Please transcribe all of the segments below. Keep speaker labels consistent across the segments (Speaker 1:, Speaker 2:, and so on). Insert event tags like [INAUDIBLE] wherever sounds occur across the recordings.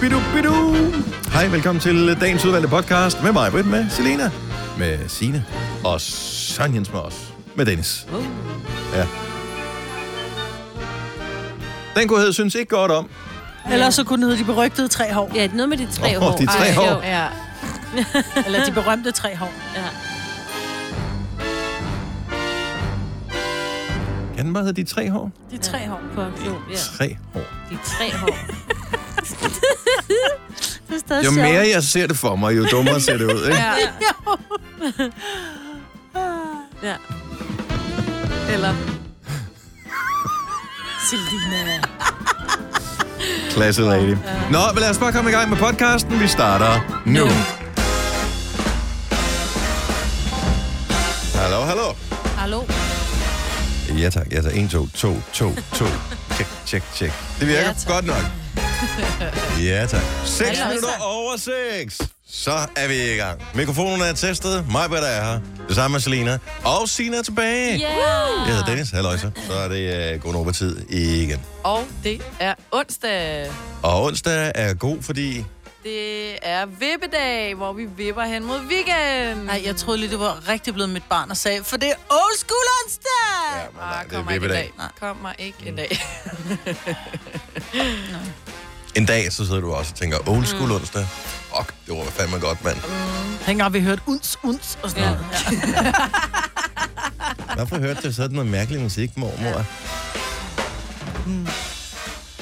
Speaker 1: Bidu, bidu. Hej, velkommen til dagens udvalgte podcast med mig, Britt, med Selena, med Sine og Sanjens med os, med Dennis. Ja. Den kunne hedde synes ikke godt om.
Speaker 2: Ellers så kunne den hedde de berygtede tre hår.
Speaker 3: Ja, noget med de tre
Speaker 1: Åh,
Speaker 3: hår.
Speaker 1: de tre
Speaker 3: Ej,
Speaker 1: hår.
Speaker 3: jo, Ja.
Speaker 2: [LAUGHS] Eller de berømte tre hår.
Speaker 3: ja.
Speaker 1: Kan den bare hedde de tre hår?
Speaker 2: De tre hår.
Speaker 3: På en flod, ja.
Speaker 1: Tre hår.
Speaker 3: De tre hår. [LAUGHS] det er stadig
Speaker 1: Jo
Speaker 3: sjovt.
Speaker 1: mere jeg ser det for mig, jo dummere ser det ud,
Speaker 2: [LAUGHS]
Speaker 1: ikke?
Speaker 3: Ja. [LAUGHS] ja. Eller...
Speaker 2: Selina.
Speaker 1: Klasse lady. Nå, men lad os bare komme i gang med podcasten. Vi starter nu. Hallo, hallo.
Speaker 3: Hallo?
Speaker 1: Ja tak, ja tak. 1, 2, 2, 2,
Speaker 3: [LAUGHS]
Speaker 1: 2. Tjek, tjek, tjek. Det virker
Speaker 3: Ja,
Speaker 1: ja,
Speaker 3: tak.
Speaker 1: godt
Speaker 3: [LAUGHS]
Speaker 1: nok. Ja tak. 6
Speaker 3: Hallo,
Speaker 1: minutter
Speaker 3: så.
Speaker 1: over 6. Så er vi i gang. Mikrofonen er testet. Mig er her. Det samme med Selina. Og Sina er tilbage.
Speaker 3: Yeah.
Speaker 1: Jeg hedder Dennis. Halløj, så. Så er det uh, god over tid igen.
Speaker 4: Og det er onsdag.
Speaker 1: Og onsdag er god, fordi...
Speaker 4: Det er vippedag, hvor vi vipper hen mod weekend.
Speaker 2: Nej, jeg troede lige, det var rigtig blevet mit barn og sagde, for det er old school onsdag!
Speaker 1: Ja, men nej, Mm.
Speaker 4: Ah,
Speaker 1: det er
Speaker 4: kommer ikke en
Speaker 1: vippedag.
Speaker 4: dag. Kommer ikke en dag.
Speaker 1: En dag, så sidder du også og tænker,
Speaker 3: Mm.
Speaker 1: old school onsdag. Fuck, det var fandme godt, mand.
Speaker 2: Dengang vi hørte uns, uns og sådan
Speaker 3: Ja.
Speaker 2: noget. Ja.
Speaker 3: [LAUGHS]
Speaker 1: Hvorfor hørte du sådan noget mærkelig musik, mormor?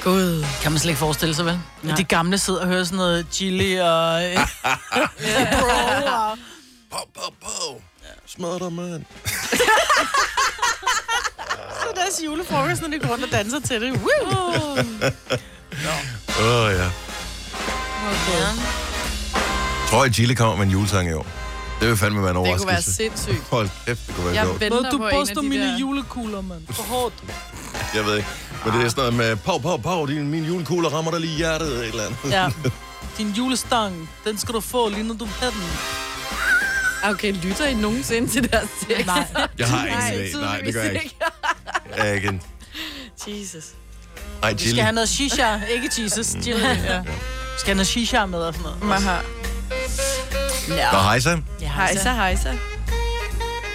Speaker 2: Gud. Kan man slet ikke forestille sig, vel? Ja. De gamle sidder og hører sådan noget chili og...
Speaker 1: [LAUGHS]
Speaker 2: øh, Bro og...
Speaker 1: Pow, pow, pow. Smad dig, mand.
Speaker 2: Så deres julefrokost, når de går rundt og danser til det. Woo!
Speaker 1: [LAUGHS] Åh, oh, ja.
Speaker 4: Okay.
Speaker 1: Tror jeg, Chile kommer med en julesang i år? Det vil fandme være en
Speaker 4: Det kunne være
Speaker 1: overraskelse.
Speaker 4: sindssygt.
Speaker 1: Hold kæft, det kunne være
Speaker 4: Jeg
Speaker 1: sjovt.
Speaker 4: venter
Speaker 2: Du
Speaker 4: på en af
Speaker 2: poster
Speaker 4: de
Speaker 2: mine
Speaker 4: der...
Speaker 2: julekugler, mand. For hårdt.
Speaker 1: Jeg ved ikke. Men det er sådan noget med, pow, pow, pow, din, min julekugle rammer dig lige i hjertet, eller et eller andet. [LAUGHS]
Speaker 2: Ja. [LAUGHS] Din julestang, den skal du få, lige når du har den.
Speaker 4: Okay, lytter I nogensinde til deres sex?
Speaker 2: Nej.
Speaker 4: [LAUGHS]
Speaker 1: Jeg har ingen idé. Nej, det gør jeg ikke.
Speaker 2: [LAUGHS]
Speaker 1: Jeg ikke. en-
Speaker 4: Jesus.
Speaker 1: Ej,
Speaker 2: Vi skal have
Speaker 1: Chile.
Speaker 2: noget shisha, ikke
Speaker 1: Mm.
Speaker 2: Jesus. Chili. Ja. Vi skal have noget shisha med og sådan noget.
Speaker 4: Maha.
Speaker 1: Nå, hej så.
Speaker 2: Ja,
Speaker 4: Hejsa, hejsa.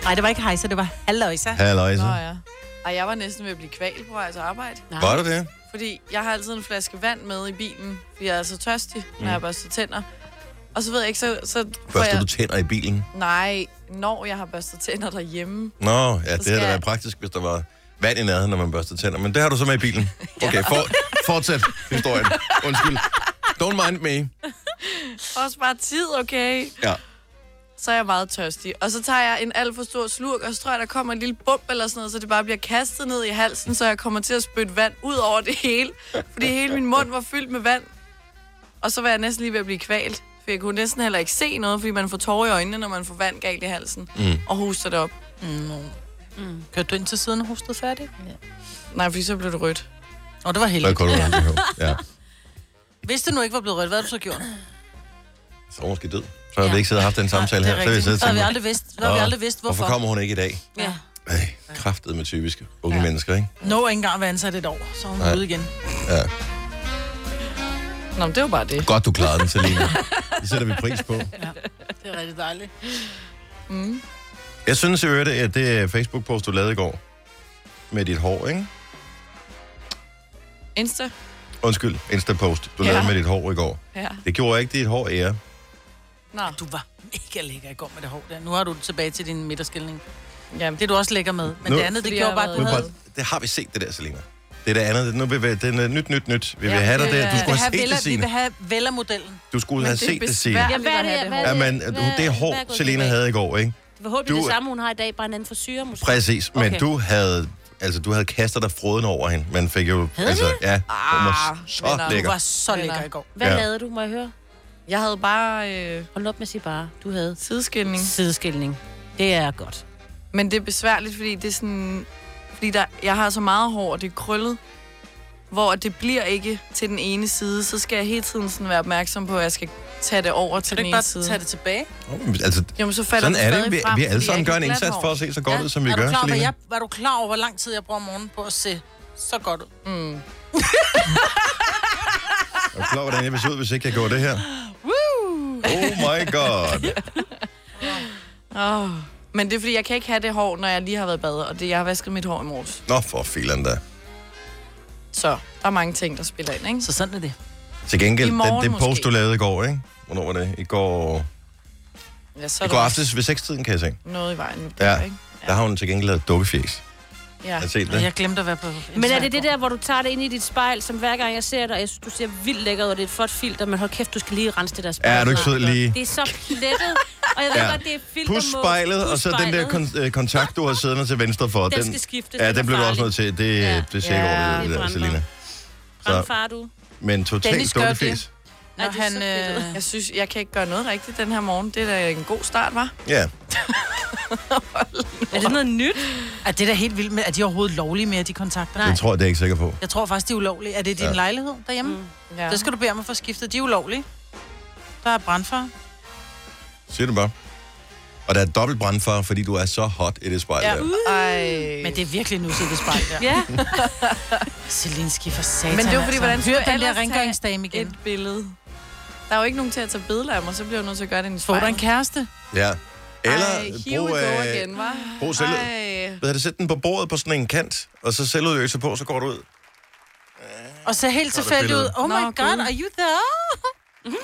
Speaker 2: Nej, det var ikke hejsa, det var halløjsa.
Speaker 1: Halløj
Speaker 4: Nå
Speaker 1: så.
Speaker 4: ja. Ej, jeg var næsten ved at blive kvalt på vej til arbejde.
Speaker 1: Var det det?
Speaker 4: Fordi jeg har altid en flaske vand med i bilen, fordi jeg er så tørstig, når jeg børster tænder. Og så ved jeg ikke, så, så får
Speaker 1: Først,
Speaker 4: jeg...
Speaker 1: Mm. du tænder i bilen.
Speaker 4: Nej, når jeg har børstet tænder derhjemme.
Speaker 1: Nå, ja, det havde da
Speaker 4: skal-
Speaker 1: været praktisk, hvis der var vand i nærheden, når man børster tænder. Men det har du så med i bilen. Okay, for, fortsæt historien. Undskyld. Don't mind me.
Speaker 4: Også bare tid, okay?
Speaker 1: Ja.
Speaker 4: Så er jeg meget tørstig. Og så tager jeg en alt for stor slurk, og så tror jeg, der kommer en lille bump eller sådan noget, så det bare bliver kastet ned i halsen, så jeg kommer til at spytte vand ud over det hele. Fordi hele min mund var fyldt med vand. Og så var jeg næsten lige ved at blive kvalt. For jeg kunne næsten heller ikke se noget, fordi man får tårer i øjnene, når man får vand galt i halsen. Mm. Og hoster det op.
Speaker 2: Mm. Kørte du ind til siden og hostede færdig?
Speaker 4: Nej, fordi så blev det rødt.
Speaker 2: Nå, det var
Speaker 1: Hvad
Speaker 2: heldigt.
Speaker 1: kunne
Speaker 2: [LAUGHS]
Speaker 1: du have det Ja.
Speaker 2: Hvis det nu ikke var blevet rødt, hvad havde du så gjort?
Speaker 1: Så er hun måske død. Så har vi ikke siddet og haft den samtale her. Så har vi siddet
Speaker 2: Så har vi
Speaker 1: og
Speaker 2: aldrig vidst, så har vi aldrig
Speaker 1: tænkt,
Speaker 2: vidst
Speaker 1: hvorfor
Speaker 2: hvorfor.
Speaker 1: kommer hun ikke i dag?
Speaker 2: Ja.
Speaker 1: Ej, kraftet med typiske unge mennesker, ikke?
Speaker 2: Nå, ikke engang at være ansat et år, så er hun
Speaker 1: Nej.
Speaker 2: ude igen.
Speaker 1: Ja.
Speaker 4: Nå, men det var bare det.
Speaker 1: [LAUGHS] Godt, du klarede den, Selina. Det sætter vi pris på.
Speaker 2: Det er rigtig dejligt.
Speaker 1: Jeg synes, jeg hørte, at det Facebook-post, du lavede i går, med dit hår, ikke?
Speaker 4: Insta?
Speaker 1: Undskyld, Insta-post, du
Speaker 4: Ja.
Speaker 1: lavede med dit hår i går.
Speaker 4: Ja.
Speaker 1: Det gjorde ikke dit hår ære.
Speaker 4: Nå.
Speaker 2: Du var mega lækker i går med det hår der. Nu har du det tilbage til din midterskilning.
Speaker 4: Jamen,
Speaker 2: Det er du også lækker med. Men
Speaker 1: Nu-
Speaker 2: det andet, det
Speaker 4: Fordi
Speaker 2: gjorde
Speaker 4: jeg
Speaker 2: bare,
Speaker 4: har
Speaker 2: at du
Speaker 1: Nu,
Speaker 4: været-
Speaker 2: havde...
Speaker 1: prøv, det har vi set, det der, Selina. Det der andet, nu vil vi, den er nyt, nyt, nyt. Vi vil
Speaker 4: Ja,
Speaker 1: have dig
Speaker 4: det
Speaker 1: der.
Speaker 4: er-
Speaker 1: Du
Speaker 2: Vi
Speaker 1: skulle
Speaker 2: vil
Speaker 1: have
Speaker 2: have
Speaker 1: set det,
Speaker 2: Vella- Vi vil
Speaker 1: Signe.
Speaker 2: have Vella modellen
Speaker 1: Du skulle have
Speaker 4: det er
Speaker 1: set det, Signe.
Speaker 4: besværligt
Speaker 3: Ja, hvad er
Speaker 4: at have
Speaker 3: det? Hvad
Speaker 1: Ja,
Speaker 3: er
Speaker 1: men det hår,
Speaker 3: hvad er gået
Speaker 1: Selina
Speaker 3: galt?
Speaker 1: havde i går, ikke?
Speaker 3: Forhåbentlig
Speaker 1: Du-
Speaker 3: det samme, hun har i dag, bare en anden forsyre måske.
Speaker 1: Præcis, men
Speaker 3: Okay.
Speaker 1: du havde... Altså, du havde kastet dig froden over hende. Man fik jo... altså, ja, hun var
Speaker 4: Ah,
Speaker 1: så
Speaker 4: venner.
Speaker 2: Du
Speaker 1: lækker.
Speaker 2: var så
Speaker 4: Venner.
Speaker 2: lækker i går.
Speaker 3: Hvad
Speaker 1: Ja.
Speaker 3: ja. lavede du, må jeg høre?
Speaker 4: Jeg havde bare øh,
Speaker 3: Hold op med at sige bare, du havde
Speaker 4: sideskilning.
Speaker 3: sideskilning. Det er godt.
Speaker 4: Men det er besværligt, fordi det er sådan... Fordi der, jeg har så meget hår, og det er krøllet, hvor det bliver ikke til den ene side. Så skal jeg hele tiden sådan være opmærksom på, at jeg skal tage det over til
Speaker 2: Kan du
Speaker 4: den
Speaker 2: ikke
Speaker 4: ene
Speaker 2: bare
Speaker 4: side.
Speaker 2: tage det tilbage?
Speaker 1: Oh, altså,
Speaker 4: Jamen, så falder
Speaker 1: sådan er det.
Speaker 4: stadig
Speaker 1: Vi,
Speaker 4: frem,
Speaker 1: vi
Speaker 4: fordi
Speaker 1: alle
Speaker 4: jeg
Speaker 1: sammen
Speaker 4: ikke
Speaker 1: gør en
Speaker 4: har glat
Speaker 1: indsats for at se så godt
Speaker 4: Ja.
Speaker 1: ud, som vi
Speaker 2: Er du,
Speaker 1: gør,
Speaker 2: klar, over, hvad
Speaker 1: Selina.
Speaker 2: jeg, er du klar over, hvor lang Mm. tid jeg bruger om morgenen på at se så godt ud?
Speaker 1: Er du klar, hvordan jeg vil se ud, hvis ikke jeg gjorde det her? Oh my god.
Speaker 4: Oh. Men det er fordi, jeg kan ikke have det hår, når jeg lige har været i bad, og det, jeg har vasket mit hår i morges.
Speaker 1: Nå, for filan da.
Speaker 4: Så der er mange ting, der spiller ind, ikke?
Speaker 2: Så sådan er det.
Speaker 1: Til gengæld,
Speaker 4: I morgen
Speaker 1: den, den post,
Speaker 4: måske.
Speaker 1: du lavede i går, ikke? Hvornår var det? I går,
Speaker 4: Ja, så er
Speaker 1: i
Speaker 4: der
Speaker 1: går
Speaker 4: også
Speaker 1: aftes ved 6-tiden, kan jeg se.
Speaker 4: noget i vejen.
Speaker 1: Ja.
Speaker 4: Der, ikke?
Speaker 1: Der har hun til gengæld lavet dukkefjes.
Speaker 4: Ja.
Speaker 1: Har I set
Speaker 2: Og
Speaker 1: det?
Speaker 2: jeg glemte at være på
Speaker 3: Men er
Speaker 2: Instagram
Speaker 3: det det
Speaker 2: i går.
Speaker 3: der, hvor du tager det ind i dit spejl, som hver gang jeg ser dig, jeg synes, du ser vildt lækker ud, og det er et flot filter, men hold kæft, du skal lige rense det der spejl.
Speaker 1: Ja, er du ikke
Speaker 3: fra.
Speaker 1: sød lige?
Speaker 3: Det er så plettet, og jeg ved
Speaker 1: Ja.
Speaker 3: godt, det er filter
Speaker 1: Pus spejlet, og så den der kon- øh, kontakt, du har siddende til venstre for.
Speaker 3: Den skal skiftes,
Speaker 1: Ja,
Speaker 3: den
Speaker 1: den
Speaker 3: er
Speaker 1: blev du også
Speaker 3: farlig.
Speaker 1: nødt til. Det,
Speaker 3: Ja.
Speaker 1: det ser ikke
Speaker 4: Ja.
Speaker 1: ja.
Speaker 3: Det er
Speaker 1: ordentligt, det der,
Speaker 3: brandvarmt.
Speaker 1: Selina. Så,
Speaker 3: Brandfar, du.
Speaker 1: men
Speaker 4: Dennis
Speaker 1: totalt
Speaker 4: gør det.
Speaker 1: dukkefjes.
Speaker 3: Ej,
Speaker 4: Når
Speaker 3: det er
Speaker 4: han,
Speaker 3: så fedt.
Speaker 4: øh, jeg synes, jeg kan ikke gøre noget rigtigt den her morgen. Det er da en god
Speaker 2: [LAUGHS]
Speaker 4: start, var.
Speaker 1: Ja.
Speaker 3: Er det noget nyt?
Speaker 2: Er det der helt vildt med, at de overhovedet lovlige med, at de kontakter?
Speaker 1: Det tror jeg, det er jeg ikke sikker på.
Speaker 2: Jeg tror faktisk, de er ulovlige. Er det din
Speaker 1: Ja.
Speaker 2: ja. lejlighed derhjemme? Mm.
Speaker 4: Ja.
Speaker 2: Så skal du bede om at få skiftet. De er ulovlige. Der er brandfar.
Speaker 1: Siger du bare. Og der er dobbelt brandfar, fordi du er så hot i det spejl.
Speaker 2: Ja.
Speaker 1: der.
Speaker 4: Ej.
Speaker 2: Men det er virkelig nu siddet spejl
Speaker 4: [LAUGHS]
Speaker 2: der. [LAUGHS]
Speaker 3: Ja.
Speaker 2: Selinski for satan.
Speaker 4: Men det er jo fordi, hvordan
Speaker 2: altså. Hør
Speaker 4: skulle jeg
Speaker 2: den der
Speaker 4: ellers tage
Speaker 2: rengøringsdame igen.
Speaker 4: et billede. Der er jo ikke nogen til at tage billeder af mig, så bliver jeg nødt til at gøre det i en
Speaker 2: Får
Speaker 4: spejl.
Speaker 2: du en kæreste?
Speaker 1: ja. Eller
Speaker 4: Ej, here we
Speaker 1: brug,
Speaker 4: go
Speaker 1: øh,
Speaker 4: igen, var.
Speaker 1: brug selv. Hvad er det? Sæt den på bordet på sådan en kant, og så selvudøse på, så går du ud.
Speaker 2: Og så helt
Speaker 1: er der
Speaker 2: tilfældigt ud.
Speaker 1: billedet.
Speaker 2: Oh my
Speaker 4: Nå,
Speaker 2: god,
Speaker 4: Gud.
Speaker 2: are you there?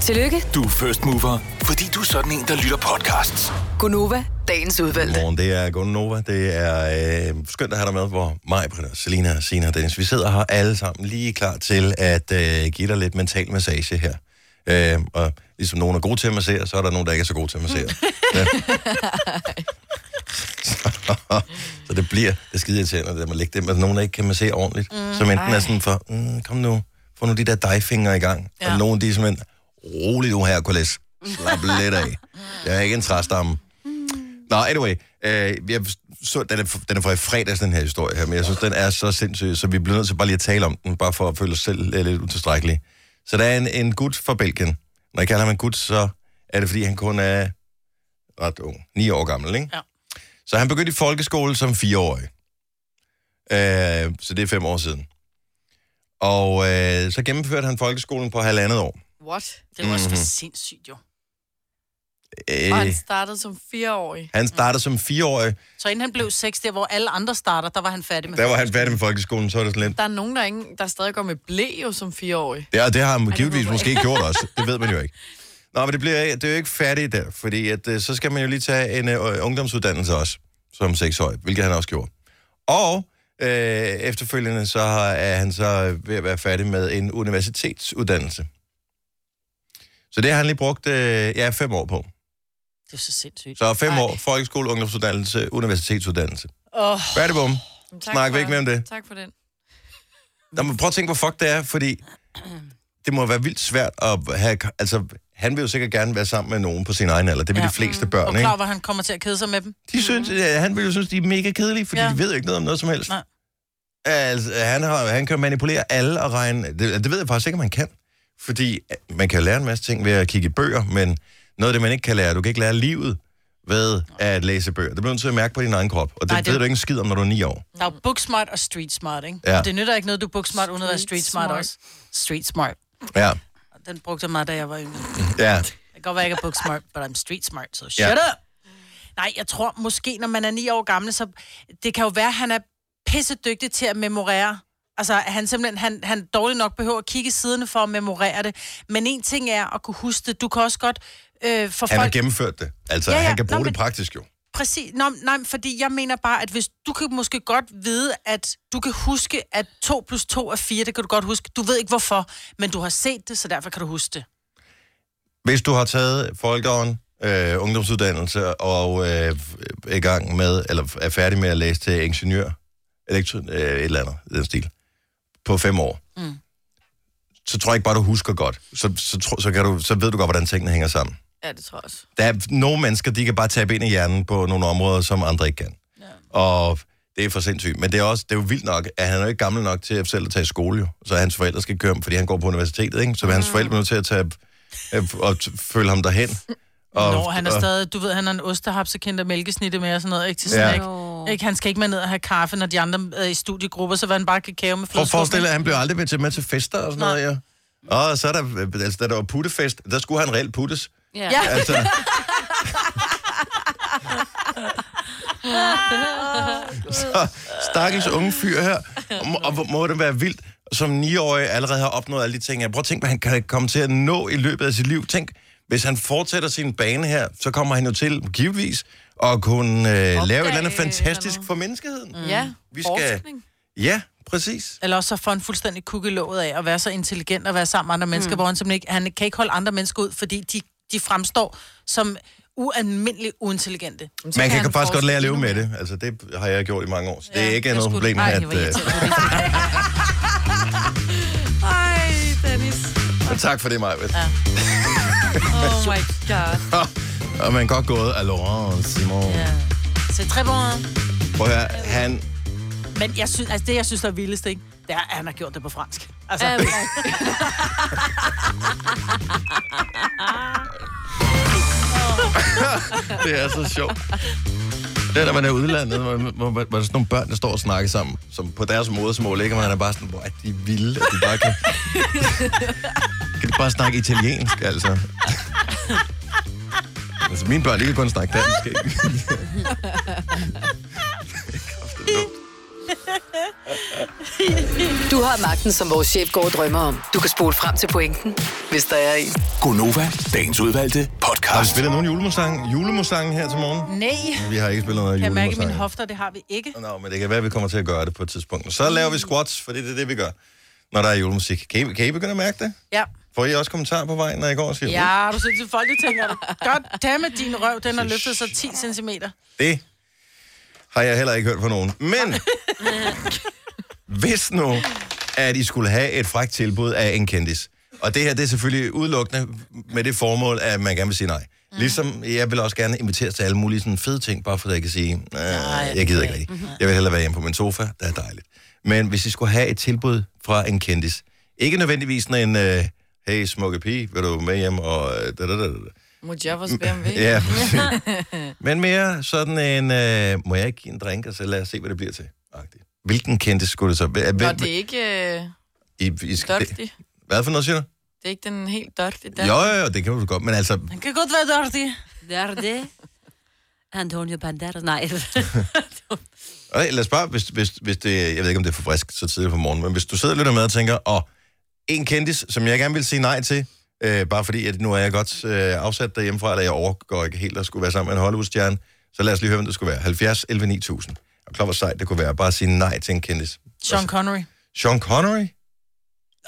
Speaker 5: Tillykke,
Speaker 6: Du er first mover, fordi du er sådan en, der lytter
Speaker 1: [LAUGHS]
Speaker 6: podcasts.
Speaker 5: Gunova, dagens udvalgte.
Speaker 1: Godmorgen, det er Gunn Nova. Det er øh, skønt at have dig med, hvor mig, Britta, Selina, Sina og Dennis, vi sidder her alle sammen lige klar til at øh, give dig lidt mental massage her. Øh, og ligesom nogen er gode til at massere, så er der nogen, der ikke er så gode til at
Speaker 4: [LAUGHS]
Speaker 1: massere. Ja. så, [LAUGHS] så det bliver det skide irriterende, det der med at lægge det, men nogen, der ikke kan massere ordentligt, mm, som enten er sådan for, mm, kom nu, få nu de der dejfingre i gang, ja. og nogen, de er simpelthen, rolig nu her, Kulis, slap lidt af. Jeg er ikke en træstamme. Nå, anyway. Øh, jeg så, den, er, den er fra i fredags, den her historie her, men jeg synes, den er så sindssyg, så vi bliver nødt til bare lige at tale om den, bare for at føle os selv øh, lidt utilstrækkelige. Så der er en, en gut fra Belgien. Når jeg kalder ham en gut, så er det, fordi han kun er ret ung. 9 år gammel, ikke?
Speaker 2: Ja.
Speaker 1: Så han begyndte i folkeskole som 4-årig. Øh, så det er fem år siden. Og øh, så gennemførte han folkeskolen på halvandet år.
Speaker 4: What?
Speaker 2: Det er jo også for
Speaker 1: Mhm.
Speaker 2: sindssygt jo.
Speaker 1: Øh,
Speaker 4: Og han startede som fireårig.
Speaker 1: han startede som 4-årig,
Speaker 2: Så inden han blev seks, der hvor alle andre starter, der var han færdig med.
Speaker 1: der var han færdig med folkeskolen, så er det sådan lidt,
Speaker 4: Der er nogen, der, ikke, der stadig går med blæ jo som fireårig.
Speaker 1: Ja, og det har han givetvis
Speaker 4: håber jeg
Speaker 1: måske gjort også. Det ved
Speaker 4: [LAUGHS]
Speaker 1: man jo ikke. Nå, men det, bliver, det er jo ikke færdigt der, fordi at, øh, så skal man jo lige tage en øh, ungdomsuddannelse også, som seksårig, hvilket han også gjorde. Og øh, efterfølgende så har- er han så ved at være færdig med en universitetsuddannelse. Så det har han lige brugt øh, ja, fem år på.
Speaker 2: Det er jo så sindssygt.
Speaker 1: Så fem Ej.
Speaker 2: Ej.
Speaker 1: år, folkeskole, ungdomsuddannelse, universitetsuddannelse.
Speaker 2: Åh,
Speaker 1: Færdig bum.
Speaker 4: Jamen,
Speaker 1: Snakker vi ikke mere om det?
Speaker 4: Tak for den.
Speaker 1: Nå, men prøv at tænke, hvor fuck det er, fordi det må være vildt svært at have... Altså, han vil jo sikkert gerne være sammen med nogen på sin egen alder. Det vil ja.
Speaker 2: Ja.
Speaker 1: de fleste
Speaker 2: og
Speaker 1: børn, ikke?
Speaker 2: klar, hvor han kommer til at kede sig med dem.
Speaker 1: De synes, øh, han vil jo synes, de er mega kedelige, fordi ja.
Speaker 2: Ja.
Speaker 1: de ved jo ikke noget om noget som helst.
Speaker 2: Nej.
Speaker 1: Altså, han, har, han kan manipulere alle og regne... Det, det ved jeg faktisk ikke, om man kan. Fordi øh, man kan jo lære en masse ting ved at kigge i bøger, men noget af det, man ikke kan lære, du kan ikke lære livet ved at læse bøger. Det bliver du nødt til at mærke på din egen krop, og det,
Speaker 2: Nej,
Speaker 1: Nej,
Speaker 2: det-
Speaker 1: det... ved du ikke en skid om, når du er ni år.
Speaker 2: Der er jo booksmart og street smart, ikke?
Speaker 1: Ja.
Speaker 2: Ja. Det nytter ikke noget, du er booksmart, uden at være street smart
Speaker 4: Street
Speaker 2: også. Street smart.
Speaker 1: Ja,
Speaker 2: Den brugte jeg meget, da jeg var yngre.
Speaker 1: ja.
Speaker 2: Det kan godt være, jeg ikke er booksmart, but I'm street smart, so shut up! Nej, jeg tror måske, når man er ni år gammel, så det kan jo være, at han er pissedygtig til at memorere. Altså, at han simpelthen, han, han dårligt nok behøver at kigge i siderne for at memorere det. Men en ting er at kunne huske det. Du kan også godt øh, for
Speaker 1: Han har
Speaker 2: folk...
Speaker 1: gennemført det. Altså, ja,
Speaker 2: Ja,
Speaker 1: ja.
Speaker 2: ja.
Speaker 1: han kan
Speaker 2: Nå,
Speaker 1: bruge Nå, det
Speaker 2: men-
Speaker 1: praktisk jo.
Speaker 2: Præcis. Nå, nej, men fordi jeg mener bare, at hvis du kan måske godt vide, at du kan huske, at 2 plus 2 er 4, det kan du godt huske. Du ved ikke hvorfor, men du har set det, så derfor kan du huske det.
Speaker 1: Hvis du har taget folkeåren, øh, ungdomsuddannelse og øh, er i gang med, eller er færdig med at læse til ingeniør, elektro, øh, et eller andet, i den stil, på fem år, mm. så tror jeg ikke bare, du husker godt. Så, så, tro, så, kan du, så ved du godt, hvordan tingene hænger sammen.
Speaker 4: Ja, det tror jeg
Speaker 2: [LAUGHS]
Speaker 4: også.
Speaker 1: Der er nogle mennesker, de kan bare tabe ind i hjernen på nogle områder, som andre ikke kan. Ja. Og det er for sindssygt. Men det er, også, det er jo vildt nok, at han er jo ikke gammel nok til at selv at tage i skole, jo. Så hans forældre skal køre ham, fordi han går på universitetet, ikke? Så mm. hans forældre er nødt til at tage øh, og t- følge ham derhen. Og,
Speaker 2: Nå, han er
Speaker 1: og-
Speaker 2: stadig, du ved, han er en ostehabsekind og mælkesnitte med og sådan noget, ikke til
Speaker 1: Ja.
Speaker 2: snack. Ja. Ikke? Han skal ikke med ned og have kaffe, når de andre er i studiegrupper, så vil han bare kakao med
Speaker 1: Prøv at
Speaker 2: flødeskum.
Speaker 1: forestille dig, at han blev aldrig med til, med til fester og sådan noget, ja. Og så er der, øh, altså, da der var puttefest, der skulle han reelt puttes.
Speaker 3: Ja.
Speaker 2: Ja.
Speaker 1: Altså, så [LAUGHS] stakkels unge fyr her, og må, og hvor må det være vildt, som 9-årig allerede har opnået alle de ting. Jeg prøver at tænke, hvad han kan komme til at nå i løbet af sit liv. Tænk, hvis han fortsætter sin bane her, så kommer han jo til, givetvis, at kunne øh, lave et eller andet fantastisk for menneskeheden. Mm.
Speaker 4: Ja,
Speaker 1: Vi skal-
Speaker 4: forskning.
Speaker 1: Ja, præcis.
Speaker 2: Eller også så får han fuldstændig kukkelåget af at være så intelligent og være sammen med andre mennesker, mm. hvor han simpelthen ikke, han kan ikke holde andre mennesker ud, fordi de, de fremstår som ualmindeligt uintelligente.
Speaker 1: Man kan,
Speaker 4: han
Speaker 1: faktisk godt lære at
Speaker 4: forske
Speaker 1: leve med det. Altså, det har jeg gjort i mange år, så det er ikke noget problem.
Speaker 3: Ej,
Speaker 1: at,
Speaker 3: det var
Speaker 1: øh,
Speaker 3: irriterende.
Speaker 4: Ej, Dennis.
Speaker 1: men øh, [LAUGHS] tak for det, Majbet. Ja.
Speaker 4: Oh my god.
Speaker 1: og man godt gået af Laurent Simon. Ja.
Speaker 2: Ja. Så tre måneder.
Speaker 1: Prøv at høre, han...
Speaker 2: Men jeg synes, altså det, jeg synes, der er vildest, ikke? det er, at han har gjort det på fransk. Altså,
Speaker 3: Ja, men-
Speaker 1: [LAUGHS] Det er så sjovt. Det er, når man er i udlandet, hvor, hvor, hvor, hvor der er sådan nogle børn, der står og snakker sammen, som på deres modersmål, ikke? Og man er bare sådan, hvor er de vilde, at de bare kan... kan de bare snakke italiensk, altså? altså, mine børn, de kan kun snakke dansk, ikke? Det er kraftigt dumt.
Speaker 5: Du har magten, som vores chef går og drømmer om. Du kan spole frem til pointen, hvis der er en.
Speaker 6: Gonova, dagens udvalgte
Speaker 1: Har vi
Speaker 6: podcast.
Speaker 1: spillet nogen julemusang, julemusang her til
Speaker 2: [LAUGHS]
Speaker 1: morgen?
Speaker 2: nej,
Speaker 1: Vi har ikke spillet noget
Speaker 2: kan jeg
Speaker 1: julemusang.
Speaker 2: mærke mine hofter, det har vi ikke.
Speaker 1: Nå, men det kan være, at vi kommer til at gøre det på et tidspunkt. Så laver vi squats, for det er det, vi gør, når der er julemusik. Kan I, kan I begynde at mærke det?
Speaker 2: Ja.
Speaker 1: Får I også kommentarer på vejen, når I går og siger, ja.
Speaker 2: Ja, du synes, at folk de tænker, God damn it, din røv, den har løftet sig 10 cm.
Speaker 1: det har jeg heller ikke hørt fra nogen. Men [LAUGHS] hvis nu, at I skulle have et frækt tilbud af en kendis, og det her det er selvfølgelig udelukkende med det formål, at man gerne vil sige nej. Ligesom jeg vil også gerne inviteres til alle mulige sådan fede ting, bare for at jeg kan sige, nej, jeg gider ikke rigtig. Jeg vil hellere være hjemme på min sofa, det er dejligt. Men hvis I skulle have et tilbud fra en kendis, ikke nødvendigvis sådan en, øh, hey smukke pige, vil du med hjem og øh, da, da, da, da.
Speaker 4: Mujavas
Speaker 1: [LAUGHS]
Speaker 4: BMW. [LAUGHS]
Speaker 1: Ja, præcis. Men mere sådan en, øh, må jeg ikke give en drink, og så lad os se, hvad det bliver til. Agtigt. Hvilken kendte skulle det så være?
Speaker 4: Nå,
Speaker 1: Hvem-
Speaker 4: det er ikke øh,
Speaker 1: I, I, skal,
Speaker 4: dirty.
Speaker 1: hvad for noget, siger du?
Speaker 4: Det er ikke den helt dirty
Speaker 1: Ja.
Speaker 4: dansk.
Speaker 1: Jo, jo, jo, det kan du godt, men altså,
Speaker 2: Den kan godt være dårlig.
Speaker 3: Det er det. Antonio Banderas. Nej.
Speaker 1: okay, lad os bare, hvis, hvis, hvis det, jeg ved ikke, om det er for frisk så tidligt på morgenen, men hvis du sidder og lytter med og tænker, åh, en kendis, som jeg gerne vil sige nej til, øh, bare fordi, at nu er jeg godt øh, afsat derhjemmefra, eller jeg overgår ikke helt at skulle være sammen med en Hollywood-stjerne, så lad os lige høre, hvem det skulle være. 70 11 9000. Og klart, hvor sejt det kunne være, bare at sige nej til en kendis.
Speaker 2: Sean Connery.
Speaker 1: Sean Connery?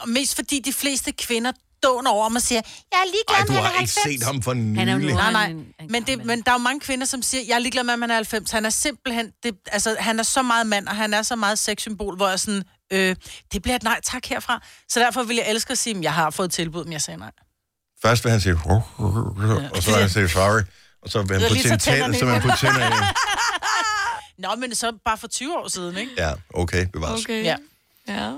Speaker 2: Og mest fordi de fleste kvinder dåner over mig og siger, jeg er ligeglad med,
Speaker 1: Ej,
Speaker 2: at
Speaker 1: du
Speaker 2: han
Speaker 1: har
Speaker 2: er 90.
Speaker 1: ikke set ham for
Speaker 3: Han er jo
Speaker 1: nylig.
Speaker 3: nu-
Speaker 2: Nej, nej.
Speaker 3: Han- han
Speaker 2: Men, det,
Speaker 3: kommer
Speaker 2: men der er jo mange kvinder, som siger, jeg er ligeglad med, om han er 90. Han er simpelthen, det, altså, han er så meget mand, og han er så meget sexsymbol, hvor jeg er sådan, øh, det bliver et nej tak herfra. Så derfor vil jeg elske at sige, at jeg har fået tilbud, men jeg sagde nej.
Speaker 1: Først vil han sige, "Hov, hov, hov", og så vil han sige, sorry. Og så vil han
Speaker 2: Det er
Speaker 1: putte
Speaker 2: lige
Speaker 1: sine
Speaker 2: så tænderne
Speaker 1: tænder,
Speaker 2: i
Speaker 1: så vil han putte tænder i.
Speaker 2: Nå, men så bare for 20 år siden, ikke?
Speaker 1: Ja, okay, bevares. Okay.
Speaker 4: Okay.
Speaker 2: Ja.
Speaker 4: ja.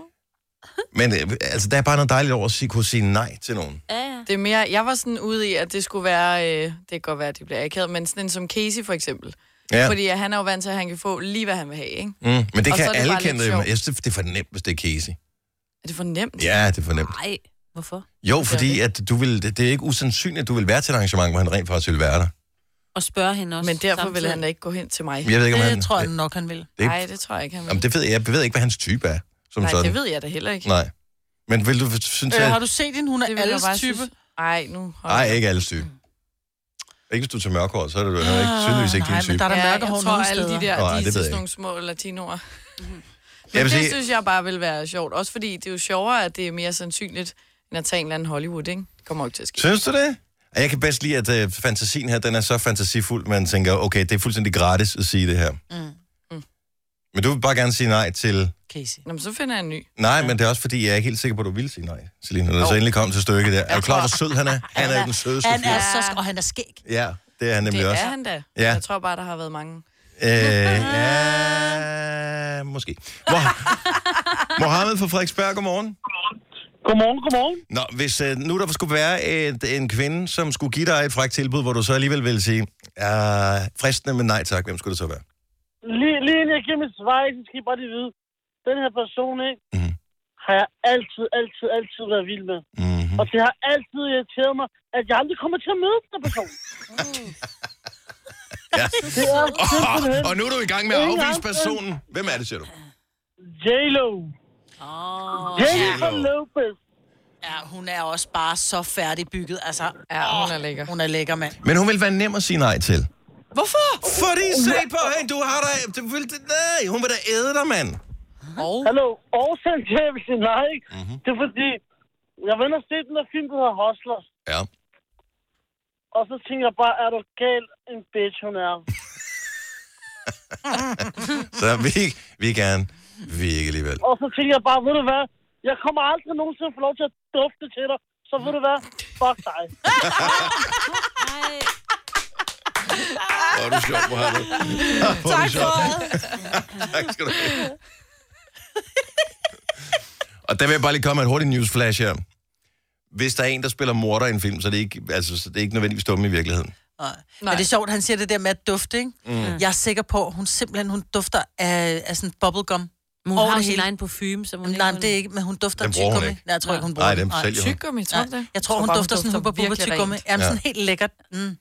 Speaker 1: Men øh, altså, der er bare noget dejligt over at sige, kunne sige nej til nogen. Mm.
Speaker 3: Ja, ja.
Speaker 4: Det er mere, jeg var sådan ude i, at det skulle være, øh, det kan godt være, at det bliver akavet, men sådan en som Casey for eksempel.
Speaker 1: Ja,
Speaker 4: Ja. Fordi at han er jo vant til, at han kan få lige, hvad han vil have, ikke?
Speaker 1: mm, men det
Speaker 4: Og så
Speaker 1: kan
Speaker 4: er det
Speaker 1: alle
Speaker 4: bare lidt
Speaker 1: kende.
Speaker 4: sjovt.
Speaker 1: Jeg synes, det det er for nemt, hvis det er Casey.
Speaker 4: Er det for nemt?
Speaker 1: Ja, det er for nemt.
Speaker 3: Nej. Hvorfor?
Speaker 1: Jo, fordi at du vil, det, det er ikke usandsynligt, at du vil være til et arrangement, hvor han rent faktisk vil være der.
Speaker 3: Og spørge hende også.
Speaker 4: Men derfor
Speaker 3: samtidig.
Speaker 4: vil han da ikke gå hen til mig.
Speaker 1: Jeg ved ikke, om han...
Speaker 2: Det tror jeg nok, han vil.
Speaker 1: det-
Speaker 4: Nej, det tror jeg ikke, han vil.
Speaker 1: Jamen, det ved jeg, jeg ved ikke, hvad hans type er, som
Speaker 4: Nej,
Speaker 1: sådan.
Speaker 4: det ved jeg da heller ikke.
Speaker 1: Nej. Men vil du synes,
Speaker 2: Øh, har
Speaker 1: at...
Speaker 2: du set hende? Hun er
Speaker 4: Det vil jeg
Speaker 2: alles
Speaker 4: bare
Speaker 2: type.
Speaker 4: synes- Ej, nu hold
Speaker 1: Nej,
Speaker 4: op.
Speaker 1: ikke alles type. Ikke hvis du tager mørkhåret, så er det jo
Speaker 4: Ah,
Speaker 1: ikke, tydeligvis ikke
Speaker 2: Ah, nej,
Speaker 1: din
Speaker 2: men
Speaker 1: type.
Speaker 2: der er der
Speaker 4: Ja, jeg
Speaker 2: mørke hår
Speaker 4: tror,
Speaker 2: nogle
Speaker 4: alle
Speaker 2: steder.
Speaker 4: de der,
Speaker 1: Nej,
Speaker 4: de er
Speaker 1: det ved jeg
Speaker 4: sådan
Speaker 1: ikke.
Speaker 4: nogle små latinoer.
Speaker 1: Jeg
Speaker 4: Men
Speaker 1: vil
Speaker 4: det
Speaker 1: sige-
Speaker 4: synes jeg bare vil være sjovt. Også fordi det er jo sjovere, at det er mere sandsynligt, end at tage en eller anden Hollywood, ikke? Det kommer jo ikke til at ske.
Speaker 1: Synes du det? Og Jeg kan bedst lide, at øh, fantasien her, den er så fantasifuld, man tænker, okay, det er fuldstændig gratis at sige det her. Mm. Mm. Men du vil bare gerne sige nej til...
Speaker 2: Casey.
Speaker 4: Nå, men så finder jeg en ny.
Speaker 1: Nej, men det er også fordi, jeg er ikke helt sikker på, at du vil sige nej, Selina. Når det så endelig kom til stykket der. Er du klar, hvor sød han er? Han er jo den sødeste
Speaker 2: Han er
Speaker 1: fyr.
Speaker 2: så sk- og han er skæg.
Speaker 1: Ja, det er han nemlig
Speaker 4: Det
Speaker 1: også.
Speaker 4: er han da.
Speaker 1: Ja.
Speaker 4: Jeg tror bare, der har været mange.
Speaker 1: Øh, ja, måske. Moh- Mohammed fra Frederiksberg, godmorgen.
Speaker 7: Godmorgen, godmorgen.
Speaker 1: Nå, hvis øh, nu der skulle være et, en kvinde, som skulle give dig et frækt tilbud, hvor du så alligevel ville sige, ja, fristende, men nej tak, hvem skulle det så være?
Speaker 7: Lige, lige inden jeg giver mit svar, så skal I bare lige vide. Den her person, ikke?
Speaker 1: Mhm.
Speaker 7: Har jeg altid, altid, altid været vild med.
Speaker 1: Mm-hmm.
Speaker 7: Og det har altid irriteret mig, at jeg aldrig kommer til at møde den her
Speaker 4: [LAUGHS]
Speaker 7: person.
Speaker 4: Oh.
Speaker 1: Ja.
Speaker 7: Det er simpelthen
Speaker 1: Oh, og nu er du i gang med at
Speaker 7: Ingen
Speaker 1: afvise
Speaker 7: afstand.
Speaker 1: personen. Hvem er det, siger du?
Speaker 7: J-Lo.
Speaker 2: Oh.
Speaker 7: Jennifer
Speaker 1: J.Lo.
Speaker 7: Lopez.
Speaker 2: Ja, hun er også bare så færdigbygget. Altså,
Speaker 4: Ja, hun er lækker.
Speaker 2: hun er lækker, mand.
Speaker 1: Men hun vil være nem at sige nej til.
Speaker 2: Hvorfor?
Speaker 1: Fordi se på hende, du har da... Du vil, nej, hun vil da æde dig, mand.
Speaker 7: Hallo. Årsagen til, at jeg vil sige nej, ikke?
Speaker 1: Mhm.
Speaker 7: Det er fordi, jeg var inde og se den der film, der hedder Hustlers.
Speaker 1: Ja.
Speaker 7: Og så tænker jeg bare, er du gal en bitch, hun
Speaker 1: [LAUGHS]
Speaker 7: er.
Speaker 1: Så vi, vi gerne. Vi ikke alligevel.
Speaker 7: Og så tænker jeg bare, ved du hvad? Jeg kommer aldrig nogensinde at få lov til at dufte til dig. Så ved du hvad? Fuck dig.
Speaker 3: Ej,
Speaker 1: Hvor er du sjov, Mohammed. Tak for Tak skal du have. Og der vil jeg bare lige komme med et hurtigt newsflash her. Hvis der er en, der spiller morder i en film, så er det ikke, altså, så er det ikke nødvendigvis dumme i virkeligheden.
Speaker 2: Nej. Men det er sjovt, han siger det der med at dufte, ikke? Mm. Jeg er sikker på, at hun simpelthen hun dufter af, af sådan bubblegum.
Speaker 3: men hun
Speaker 2: Over
Speaker 3: har jo
Speaker 2: det
Speaker 3: sin
Speaker 2: hele.
Speaker 3: egen parfume, som hun
Speaker 2: Nej, men det er ikke, men hun dufter
Speaker 3: [LAUGHS]
Speaker 2: af
Speaker 1: Den bruger hun
Speaker 2: tyggegummi.
Speaker 1: ikke.
Speaker 2: Nej, jeg tror ikke, hun bruger
Speaker 1: Nej, dem
Speaker 2: den.
Speaker 1: sælger hun.
Speaker 4: Tyggegummi, tror
Speaker 2: Nej.
Speaker 4: du det?
Speaker 2: Jeg tror, hun
Speaker 4: bare,
Speaker 2: dufter sådan hubba bubba
Speaker 4: virkelig
Speaker 2: tyggegummi.
Speaker 4: rent.
Speaker 2: Jamen,
Speaker 1: Ja.
Speaker 2: sådan helt lækkert. Mm.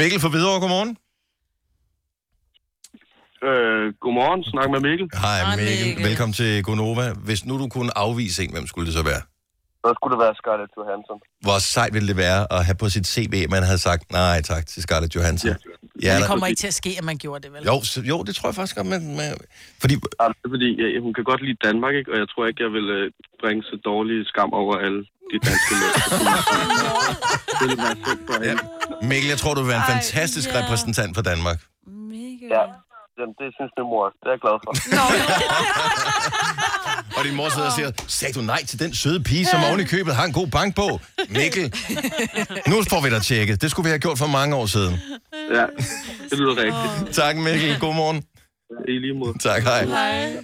Speaker 1: Mikkel fra Hvidovre, godmorgen.
Speaker 7: Øh, godmorgen. Snak med Mikkel.
Speaker 1: Hej
Speaker 2: Hej,
Speaker 1: Mikkel. Mikkel.
Speaker 2: Mikkel.
Speaker 1: Velkommen til Gonova. Hvis nu du kunne afvise en, hvem skulle det så være?
Speaker 7: Så skulle det være Scarlett Johansson.
Speaker 1: Hvor sejt ville det være at have på sit CV, at man havde sagt nej tak til Scarlett Johansson? Ja, ja
Speaker 2: Det
Speaker 1: da-
Speaker 2: kommer ikke til at ske, at man gjorde det, vel?
Speaker 1: jo, så, jo, det tror jeg faktisk godt, men... men fordi,
Speaker 7: Jamen, det er fordi, jeg, hun kan godt lide Danmark, ikke? og jeg tror ikke, jeg vil øh, bringe så dårlig skam over alle de danske mænd. det er være fedt for hende.
Speaker 1: Mikkel, jeg tror, du vil være en fantastisk
Speaker 3: ja.
Speaker 1: repræsentant for Danmark.
Speaker 3: mega.
Speaker 7: Ja. Jamen, det synes min mor også. Det er jeg glad for.
Speaker 1: Og din mor sidder og siger, sagde du nej til den søde pige, som oven i købet har en god bankbog? Mikkel, nu får vi dig tjekket. Det skulle vi have gjort for mange år siden.
Speaker 7: Ja, det lyder rigtigt.
Speaker 1: Tak Mikkel, godmorgen.
Speaker 7: I lige måde.
Speaker 1: Tak, hej.
Speaker 7: Hej.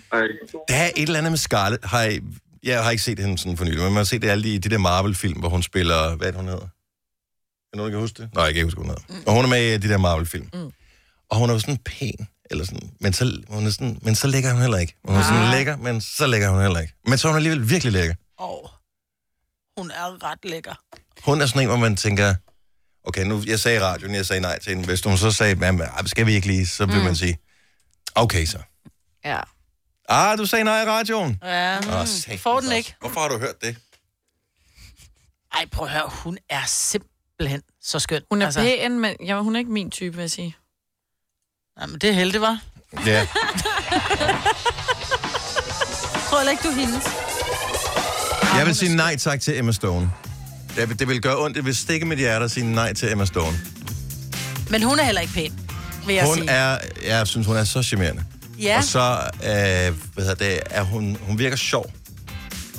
Speaker 1: Der er et eller andet med Scarlett. Har I, jeg har ikke set hende sådan for nylig, men man har set det alle de, de der Marvel-film, hvor hun spiller... Hvad er det, hun hedder? Er der nogen, der kan huske det? Nej, jeg kan ikke huske, hvad hun hedder. Og hun er med i de der Marvel-film. Mm. Og hun er jo sådan pæn, eller sådan, men så, hun er sådan, men så lækker hun heller ikke. Hun er sådan lækker, men så lækker hun heller ikke. Men så er hun alligevel virkelig lækker.
Speaker 2: Og hun er ret lækker.
Speaker 1: Hun er sådan en, hvor man tænker, okay, nu, jeg sagde i radioen, jeg sagde nej til hende. Hvis hun så sagde, jamen, ej, skal vi ikke lige, så vil mm. man sige, okay så.
Speaker 4: Ja.
Speaker 1: Ah, du sagde nej i radioen.
Speaker 2: Ja.
Speaker 1: Åh,
Speaker 2: Mm.
Speaker 1: satans
Speaker 2: Får den
Speaker 1: også.
Speaker 2: ikke?
Speaker 1: Hvorfor har du hørt det?
Speaker 2: Ej, prøv at høre, hun er simpelthen så skøn.
Speaker 4: Hun er altså. pæn, men ja, hun er ikke min type, vil jeg sige.
Speaker 2: Jamen, det er heldigt, var.
Speaker 1: Ja.
Speaker 2: Tror heller ikke, du er hendes.
Speaker 1: Jeg vil sige nej tak til Emma Stone. Det vil, det vil gøre ondt. Det vil stikke mit hjerte at sige nej til Emma Stone.
Speaker 2: Men hun er heller ikke pæn, vil jeg
Speaker 1: Hun
Speaker 2: sige.
Speaker 1: er, jeg synes, hun er så charmerende.
Speaker 2: Ja.
Speaker 1: Og så øh, hvad hedder det, er hun, hun virker sjov.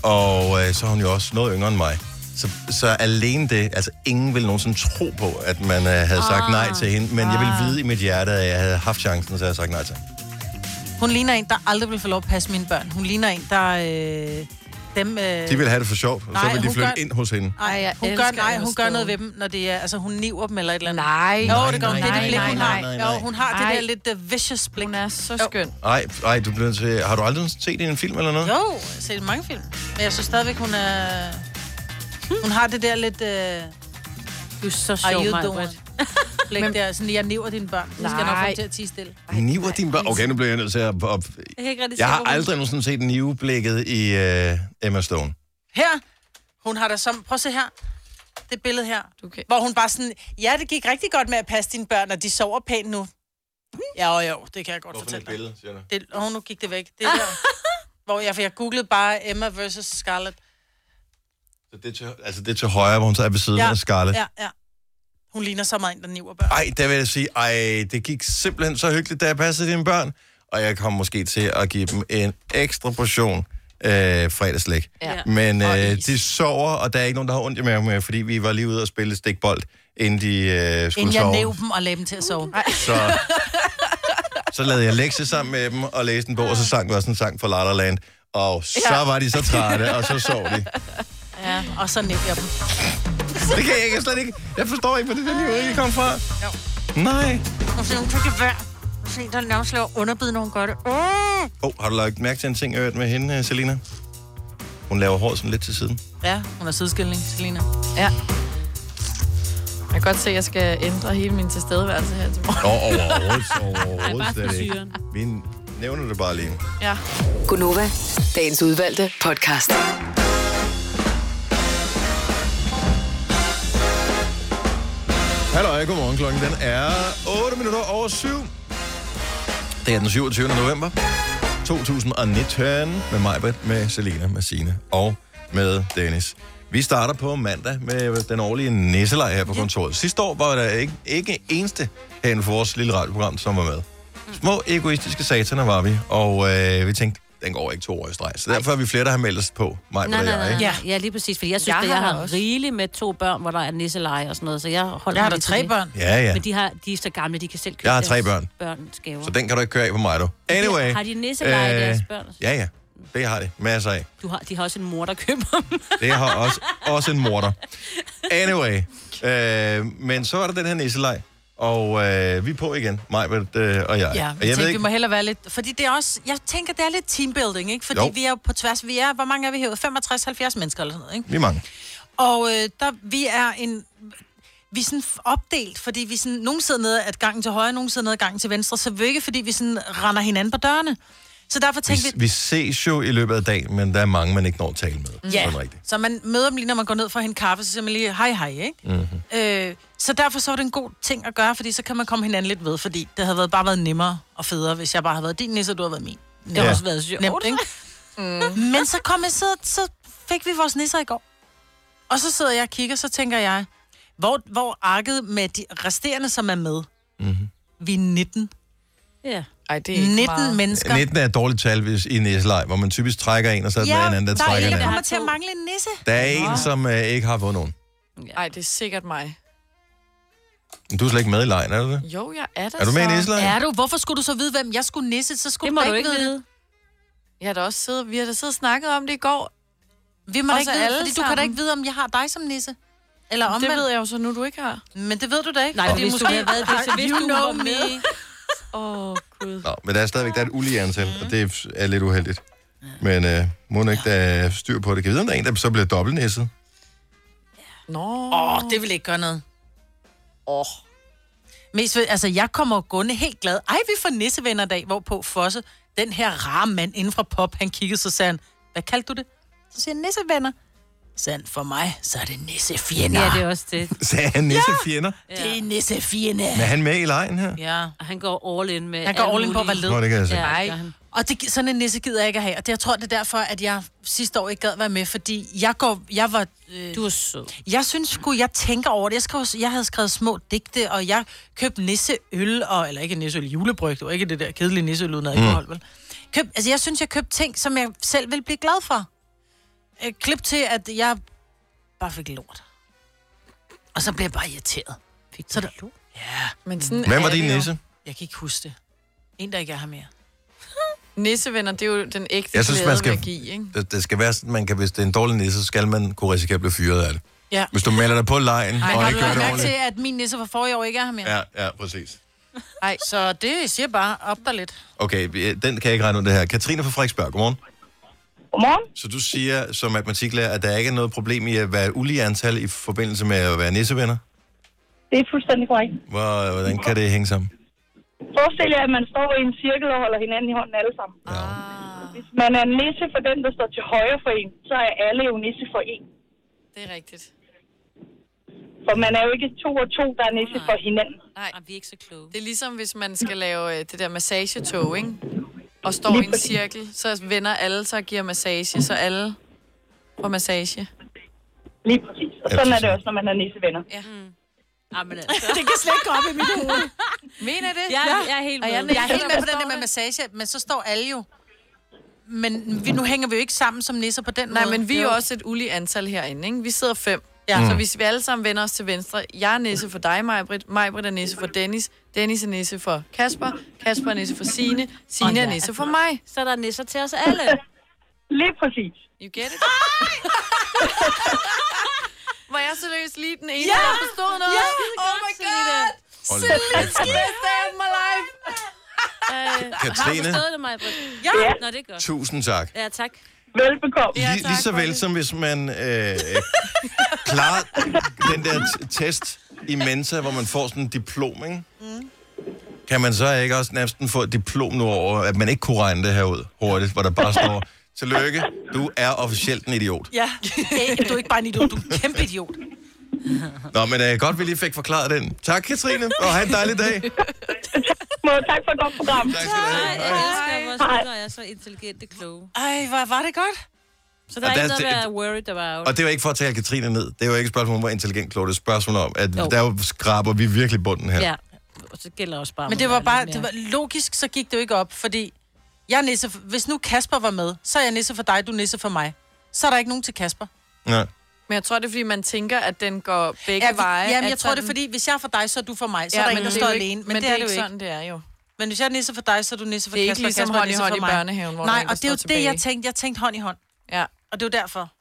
Speaker 1: Og øh, så er hun jo også noget yngre end mig. Så, så alene det, altså ingen ville nogensinde tro på, at man øh, havde sagt nej
Speaker 2: Ah.
Speaker 1: til hende. Men jeg ville vide i mit hjerte, at jeg havde haft chancen, så jeg havde sagt nej til hende.
Speaker 2: Hun ligner en, der aldrig vil få lov at passe mine børn. Hun ligner en, der... Øh, dem, øh,
Speaker 1: De ville have det for sjovt, og så
Speaker 2: Nej,
Speaker 1: ville de
Speaker 2: hun
Speaker 1: flytte
Speaker 2: gør-
Speaker 1: ind hos hende.
Speaker 2: Ej,
Speaker 4: Ej, jeg
Speaker 2: hun gør,
Speaker 4: elsker
Speaker 2: nej,
Speaker 4: Emma
Speaker 2: hun gør
Speaker 4: Stone.
Speaker 2: noget ved dem, når det er... Altså, hun niver dem eller et eller andet.
Speaker 4: Nej.
Speaker 2: Jo, det gør hun.
Speaker 1: Nej,
Speaker 2: Det er
Speaker 1: nej,
Speaker 2: det blik,
Speaker 1: nej,
Speaker 2: hun
Speaker 1: nej, nej,
Speaker 2: har.
Speaker 1: nej.
Speaker 2: Jo, hun har det
Speaker 4: Ej.
Speaker 2: der lidt uh, vicious blik.
Speaker 4: Hun er så skøn.
Speaker 1: Ej, ej, du bliver til... Har du aldrig set hende i en film eller noget?
Speaker 2: Jo, jeg har set mange film. Men jeg synes stadigvæk, hun er... Hun har det der lidt... Øh,
Speaker 3: Du er så
Speaker 2: Are
Speaker 3: sjov,
Speaker 2: you
Speaker 3: Maja.
Speaker 2: doing? Blik der, sådan, jeg niver dine børn. Nu skal jeg nok få dem til at tige stille.
Speaker 1: Niver din børn. Okay, nu bliver jeg nødt til at... at
Speaker 3: Jeg kan ikke rigtig
Speaker 1: jeg
Speaker 3: se, hvor
Speaker 1: har
Speaker 3: hun-
Speaker 1: aldrig nogensinde set niveblikket i øh, Emma Stone.
Speaker 2: Her, hun har der som... Prøv at se her. Det billede her.
Speaker 4: Okay.
Speaker 2: Hvor hun bare sådan... Ja, det gik rigtig godt med at passe dine børn, og de sover pænt nu. Ja, jo, jo, det kan jeg godt fortælle dig.
Speaker 1: siger du?
Speaker 2: Det, oh, nu gik det væk. Det der,
Speaker 3: [LAUGHS]
Speaker 2: hvor jeg, for jeg googlede bare Emma versus Scarlett.
Speaker 1: Så det er til, altså, det er til højre, hvor hun så er ved siden ja. af Scarlett. Ja.
Speaker 2: Ja, ja. Hun ligner så meget en, der niver børn.
Speaker 1: Ej, der vil jeg sige, ej, det gik simpelthen så hyggeligt, da jeg passede dine børn. Og jeg kommer måske til at give dem en ekstra portion øh, fredagslæg.
Speaker 2: Ja.
Speaker 1: Men
Speaker 2: Og
Speaker 1: øh,
Speaker 2: is.
Speaker 1: de sover, og der er ikke nogen, der har ondt i maven, fordi vi var lige ude og spille stikbold, inden de øh, skulle
Speaker 2: Inden jeg
Speaker 1: sove.
Speaker 2: næv dem og lagde dem til at sove.
Speaker 1: Så, så lavede jeg lektie sammen med dem og læste en bog, og så sang vi også en sang fra La La Land. Og så ja. var de så trætte, og så sov de.
Speaker 2: [LAUGHS] Ja, og så nævnte jeg dem.
Speaker 1: Det kan jeg ikke, jeg slet ikke. Jeg forstår ikke, hvor det der liv ikke kom fra. Nej.
Speaker 2: Og så hun kan ikke være. se, der nærmest laver underbid, når hun gør det. Uh!
Speaker 1: Oh, har du lagt mærke til en ting, jeg hørte med hende, øh, Selina? Hun laver håret sådan lidt til siden.
Speaker 2: Ja, hun har sideskilling, Selina.
Speaker 4: Ja. Jeg kan godt se, at jeg skal ændre hele min tilstedeværelse her til morgen. [LAUGHS]
Speaker 1: Nå, overhovedet,
Speaker 3: Ej,
Speaker 1: overhovedet
Speaker 3: bare
Speaker 1: slet ikke.
Speaker 3: frisyren.
Speaker 1: Vi nævner det bare lige.
Speaker 4: Ja.
Speaker 5: Gunova, dagens udvalgte podcast.
Speaker 1: Hallo, godmorgen. Klokken den er 8 minutter over 7. Det er den 27. november 2019 med Majbert, med Selina, med Sine og med Dennis. Vi starter på mandag med den årlige nisselej her på kontoret. Sidste år var der ikke, ikke eneste herinde for vores lille radioprogram, som var med. Små egoistiske sataner var vi, og øh, vi tænkte, den går ikke to år i streg. Så derfor er vi flere, der har meldt os på. Mig
Speaker 3: Nej,
Speaker 1: og
Speaker 3: nej,
Speaker 1: jeg,
Speaker 3: nej.
Speaker 1: ikke?
Speaker 3: Ja. ja, lige præcis. Fordi jeg synes,
Speaker 4: Jeg
Speaker 3: jeg at jeg
Speaker 4: har
Speaker 3: har,
Speaker 4: da også.
Speaker 3: rigeligt med to børn, hvor der er nisseleje og sådan noget. Så jeg holder
Speaker 2: Jeg har
Speaker 3: mig
Speaker 2: da
Speaker 3: lidt til
Speaker 2: tre
Speaker 3: det.
Speaker 2: børn.
Speaker 1: Ja, ja.
Speaker 3: Men de, har, de er så gamle, de kan selv købe
Speaker 1: Jeg har
Speaker 3: deres
Speaker 1: tre børn.
Speaker 3: børns gaver.
Speaker 1: Så den kan du ikke køre af Øh. på mig, du. Anyway.
Speaker 3: Har de nisseleje, deres børn?
Speaker 1: Ja, ja. Det har de. Masser af.
Speaker 3: Du har, de har også en mor, der køber dem.
Speaker 1: Det har også, også en morter. Anyway. Øh, men så var der den her nisseleg. Og øh, vi er på igen, Majbert øh, og jeg.
Speaker 2: Ja,
Speaker 1: og
Speaker 2: jeg
Speaker 1: jeg
Speaker 2: tænker, vi må hellere være lidt... Fordi det er også... Jeg tænker, det er lidt teambuilding, ikke? Fordi
Speaker 1: Jo.
Speaker 2: jo. vi er jo på tværs... Vi er... Hvor mange er vi her? 65-70 mennesker eller sådan noget, ikke?
Speaker 1: vi er mange.
Speaker 2: Og øh, der, vi er en... Vi er sådan opdelt, fordi vi sådan... Nogen sidder nede ad gangen til højre, nogen sidder nede ad gangen til venstre. Så vi er ikke, fordi vi sådan render hinanden på dørene. Så derfor tænkte
Speaker 1: Vi,
Speaker 2: vi...
Speaker 1: vi ses jo i løbet af dagen, men der er mange, man ikke når at tale med.
Speaker 2: Ja,
Speaker 1: Mm. Sådan rigtigt.
Speaker 2: så man møder dem lige, når man går ned for at hente kaffe, så siger man lige, hej hej, ikke?
Speaker 1: Mhm.
Speaker 2: Mm-hmm. Øh, så derfor så var det en god ting at gøre, fordi så kan man komme hinanden lidt ved, fordi det havde været, bare været nemmere og federe, hvis jeg bare havde været din nisse, og du havde været min.
Speaker 3: Det har
Speaker 1: Ja.
Speaker 3: også været sjovt.
Speaker 2: Nemt, ikke? Mm. Men så kom jeg, så, så fik vi vores nisser i går. Og så sidder jeg og kigger, så tænker jeg, hvor, hvor arket med de resterende, som er med? Mm-hmm.
Speaker 1: Mhm.
Speaker 2: Vi er 19.
Speaker 3: Ja.
Speaker 4: Ej, det er ikke
Speaker 2: 19
Speaker 4: meget.
Speaker 2: mennesker.
Speaker 1: 19 er et dårligt tal hvis, i en nisseleg, hvor man typisk trækker en, og så er den
Speaker 2: Ja,
Speaker 1: anden, anden, der
Speaker 2: der er
Speaker 1: trækker
Speaker 2: en, der
Speaker 1: en. anden.
Speaker 2: kommer til at mangle en nisse.
Speaker 1: Der er en, som øh, ikke har fået nogen.
Speaker 4: Ej, det er sikkert mig.
Speaker 1: Men Du er slet ikke med i lejen, er du det?
Speaker 4: Jo, jeg er der
Speaker 1: Er du med i
Speaker 4: så.
Speaker 1: en nisseleg?
Speaker 2: Er du? Hvorfor skulle du så vide, hvem jeg skulle nisse? Så skulle
Speaker 3: Det må
Speaker 2: da
Speaker 3: du ikke vide.
Speaker 4: Jeg har da også siddet, vi har da siddet og snakket om det i går.
Speaker 2: Vi må da
Speaker 4: Og
Speaker 2: ikke
Speaker 4: så
Speaker 2: vide,
Speaker 4: alle
Speaker 2: fordi du kan da
Speaker 4: sammen.
Speaker 2: ikke vide, om jeg har dig som nisse. Eller
Speaker 4: Om det
Speaker 2: omvendt.
Speaker 4: ved jeg jo så nu, du ikke har.
Speaker 2: Men det ved du da ikke.
Speaker 3: Nej,
Speaker 2: fordi
Speaker 3: hvis du havde været det, så vidste
Speaker 2: You
Speaker 3: du, hun
Speaker 2: know
Speaker 3: var med.
Speaker 2: me.
Speaker 4: Åh, oh, gud.
Speaker 1: Nå, men der er stadigvæk der er et ulige antal, og det er lidt uheldigt. Men øh, må ikke, der er styr på det. Kan vi vide, om der er en, der så bliver dobbeltnæsset?
Speaker 4: Nå.
Speaker 2: Åh, oh, det vil ikke gøre noget. Åh. Oh. Mest ved, altså, jeg kommer jo gående helt glad. Ej, vi får nissevenner i dag, hvorpå Fosse, den her rare mand inden fra pop, han kiggede, så sagde han, hvad kaldte du det? Så siger han, nissevenner. Så sagde han, for mig, så er det nissefjender.
Speaker 3: Ja,
Speaker 2: Ja,
Speaker 3: det er også det.
Speaker 1: Sagde han nissefjender? Ja.
Speaker 2: det er nissefjender.
Speaker 1: Men er han med i lejen her?
Speaker 2: Ja.
Speaker 3: Og han går all in med
Speaker 2: Han går
Speaker 3: alt
Speaker 2: all in på at
Speaker 3: muligt.
Speaker 2: være led.
Speaker 1: Nå, det kan jeg se.
Speaker 3: Ja,
Speaker 1: Ja.
Speaker 3: det
Speaker 4: Ej.
Speaker 3: gør han.
Speaker 2: Og det, sådan en nisse gider jeg ikke at have. Og det, jeg tror, det er derfor, at jeg sidste år ikke gad være med, fordi jeg, går, jeg var... Øh,
Speaker 3: Du er sød.
Speaker 2: Jeg synes sgu, jeg tænker over det. Jeg, skrev, jeg havde skrevet små digte, og jeg købte nisseøl, og, eller ikke nisseøl, julebryg. Det var ikke det der kedelige nisseøl
Speaker 1: Mm.
Speaker 2: uden alkohol, vel? Køb, altså, jeg synes, jeg købte ting, som jeg selv ville blive glad for. Øh, klip til, at jeg bare fik lort. Og så blev jeg bare irriteret. Fik så der, Ja,
Speaker 4: Men sådan
Speaker 1: Hvem var
Speaker 4: er
Speaker 1: din
Speaker 4: det jo.
Speaker 1: nisse?
Speaker 2: jeg kan ikke huske det. En, der ikke er her mere.
Speaker 4: [LAUGHS] Nissevenner, det er jo den ægte
Speaker 1: Jeg synes, man
Speaker 4: glæde
Speaker 1: skal-
Speaker 4: ved at give, ikke?
Speaker 1: Det, det skal være sådan, man kan, hvis det er en dårlig nisse, så skal man kunne risikere at blive fyret af det.
Speaker 2: Ja.
Speaker 1: Hvis du melder dig på lejen
Speaker 2: Ej,
Speaker 1: og
Speaker 2: har du
Speaker 1: ikke gør
Speaker 2: lagt
Speaker 1: det
Speaker 2: mærke til,
Speaker 1: ordentligt.
Speaker 2: at min nisse fra forrige år ikke er her mere? Ja.
Speaker 1: Ja, ja, præcis.
Speaker 2: Så det siger bare op dig lidt.
Speaker 1: [LAUGHS] Okay, vi- den kan jeg ikke regne ud det her. Katrine fra Frederiksberg, godmorgen.
Speaker 8: Godmorgen.
Speaker 1: Så du siger som matematiklærer, at der ikke er noget problem i at være et ulige antal i forbindelse med at være nissevenner?
Speaker 8: Det er fuldstændig korrekt.
Speaker 1: Hvor, hvordan kan det hænge sammen?
Speaker 8: Forestil jer, at man står i en cirkel og holder hinanden i hånden alle sammen.
Speaker 1: Ja. Ah.
Speaker 8: Hvis man er nisse for den, der står til højre for en, så er alle jo nisse for en.
Speaker 4: Det er rigtigt.
Speaker 8: For man er jo ikke to og to, der er nisse for hinanden.
Speaker 4: Nej,
Speaker 3: Ej, vi er ikke så kloge.
Speaker 4: det er ligesom, hvis man skal lave øh, det der massagetog, ikke? Og står i en cirkel, så vender alle sig og giver massage, så alle får massage.
Speaker 8: Lige præcis. Og
Speaker 1: Ja,
Speaker 8: sådan er
Speaker 1: præcis.
Speaker 8: det også, når man er nissevenner.
Speaker 1: Mm.
Speaker 3: Ej, men altså.
Speaker 2: Det kan slet ikke gå op i mit hoved.
Speaker 4: Mener I det?
Speaker 3: Jeg, jeg er helt
Speaker 4: Og
Speaker 3: med.
Speaker 4: jeg
Speaker 2: Jeg er helt med på den der med
Speaker 4: det.
Speaker 2: massage, men så står alle jo. Men vi, nu hænger vi jo ikke sammen som nisser på den
Speaker 4: Nej,
Speaker 2: måde.
Speaker 4: men vi er jo også et ulige antal herinde, ikke? Vi sidder fem.
Speaker 2: Ja.
Speaker 1: Mm.
Speaker 4: Ja. Så hvis vi alle sammen vender os til venstre, jeg er nisse for dig, Majbrit, Majbrit er nisse for Dennis, Dennis er nisse for Kasper, Kasper er nisse for Sine, Sine er nisse for mig.
Speaker 3: Så er der nisser til os alle.
Speaker 8: Lige præcis.
Speaker 4: You get it? [LAUGHS] Var jeg seriøst lige den ene, ja! der forstod noget?
Speaker 3: Ja,
Speaker 4: oh my god!
Speaker 1: Hold da.
Speaker 4: Best day of my life!
Speaker 3: Øh, Har du
Speaker 1: Katrine,
Speaker 3: forstået det, Maja?
Speaker 8: Ja.
Speaker 3: Nå, det er godt.
Speaker 1: tusind tak.
Speaker 3: Ja, tak.
Speaker 8: Velbekomme.
Speaker 1: Lige, lige så vel som hvis man øh, klarer den der t- test i Mensa, hvor man får sådan en diplom, ikke? Mm. kan man så ikke også næsten få et diplom nu over, at man ikke kunne regne det her ud hurtigt, hvor der bare står, tillykke, du er officielt en idiot.
Speaker 2: Ja, Æ, du er ikke bare en idiot, du er en kæmpe idiot.
Speaker 1: Nå, men øh, godt, vi lige fik forklaret den. Tak, Katrine, og have en dejlig dag.
Speaker 8: Må, tak for et godt program.
Speaker 1: Tak skal du
Speaker 3: Ej,
Speaker 1: have.
Speaker 3: jeg
Speaker 1: Hej.
Speaker 3: elsker, vores
Speaker 8: Hej.
Speaker 3: lyttere er så intelligente kloge.
Speaker 2: Ej, hvor var det godt.
Speaker 3: Så der
Speaker 1: Og
Speaker 3: er
Speaker 1: der-
Speaker 3: ikke noget at
Speaker 1: det-
Speaker 3: være worried about.
Speaker 1: Og det var ikke for at tale Katrine ned. Det er jo ikke et spørgsmål om, hvor intelligent klog det er. Et spørgsmål om, at jo. der skraber vi virkelig bunden her.
Speaker 3: Ja. Og så gælder også bare...
Speaker 2: Men det var bare, det var logisk, så gik det jo ikke op, fordi jeg er nisse, for- hvis nu Kasper var med, så er jeg nisse for dig, du er nisse for mig. Så er der ikke nogen til Kasper.
Speaker 1: Ja.
Speaker 4: Men jeg tror, det er, fordi man tænker, at den går begge
Speaker 2: Ja, vi,
Speaker 4: veje.
Speaker 2: jamen,
Speaker 4: at
Speaker 2: jeg tror det er,
Speaker 4: sådan-
Speaker 2: fordi hvis jeg er for dig, så er du for mig. Så
Speaker 4: Ja,
Speaker 2: er der
Speaker 4: men
Speaker 2: ingen, der
Speaker 4: det er
Speaker 2: står
Speaker 4: jo ikke-
Speaker 2: alene. Men, det, er det jo
Speaker 4: ikke
Speaker 2: ikke.
Speaker 4: sådan, det er jo.
Speaker 2: Men hvis jeg er nisse for dig, så er du nisse for
Speaker 4: Det er
Speaker 2: Kasper.
Speaker 4: ikke ligesom
Speaker 2: Kasper er
Speaker 4: hånd i
Speaker 2: nisse
Speaker 4: hånd
Speaker 2: for
Speaker 4: i
Speaker 2: mig.
Speaker 4: børnehaven, hvor der
Speaker 2: Nej,
Speaker 4: er en, der
Speaker 2: og det er jo
Speaker 4: står
Speaker 2: det, jeg
Speaker 4: tilbage.
Speaker 2: tænkte. Jeg tænkte hånd i hånd.
Speaker 4: Ja.
Speaker 2: Og det er jo derfor.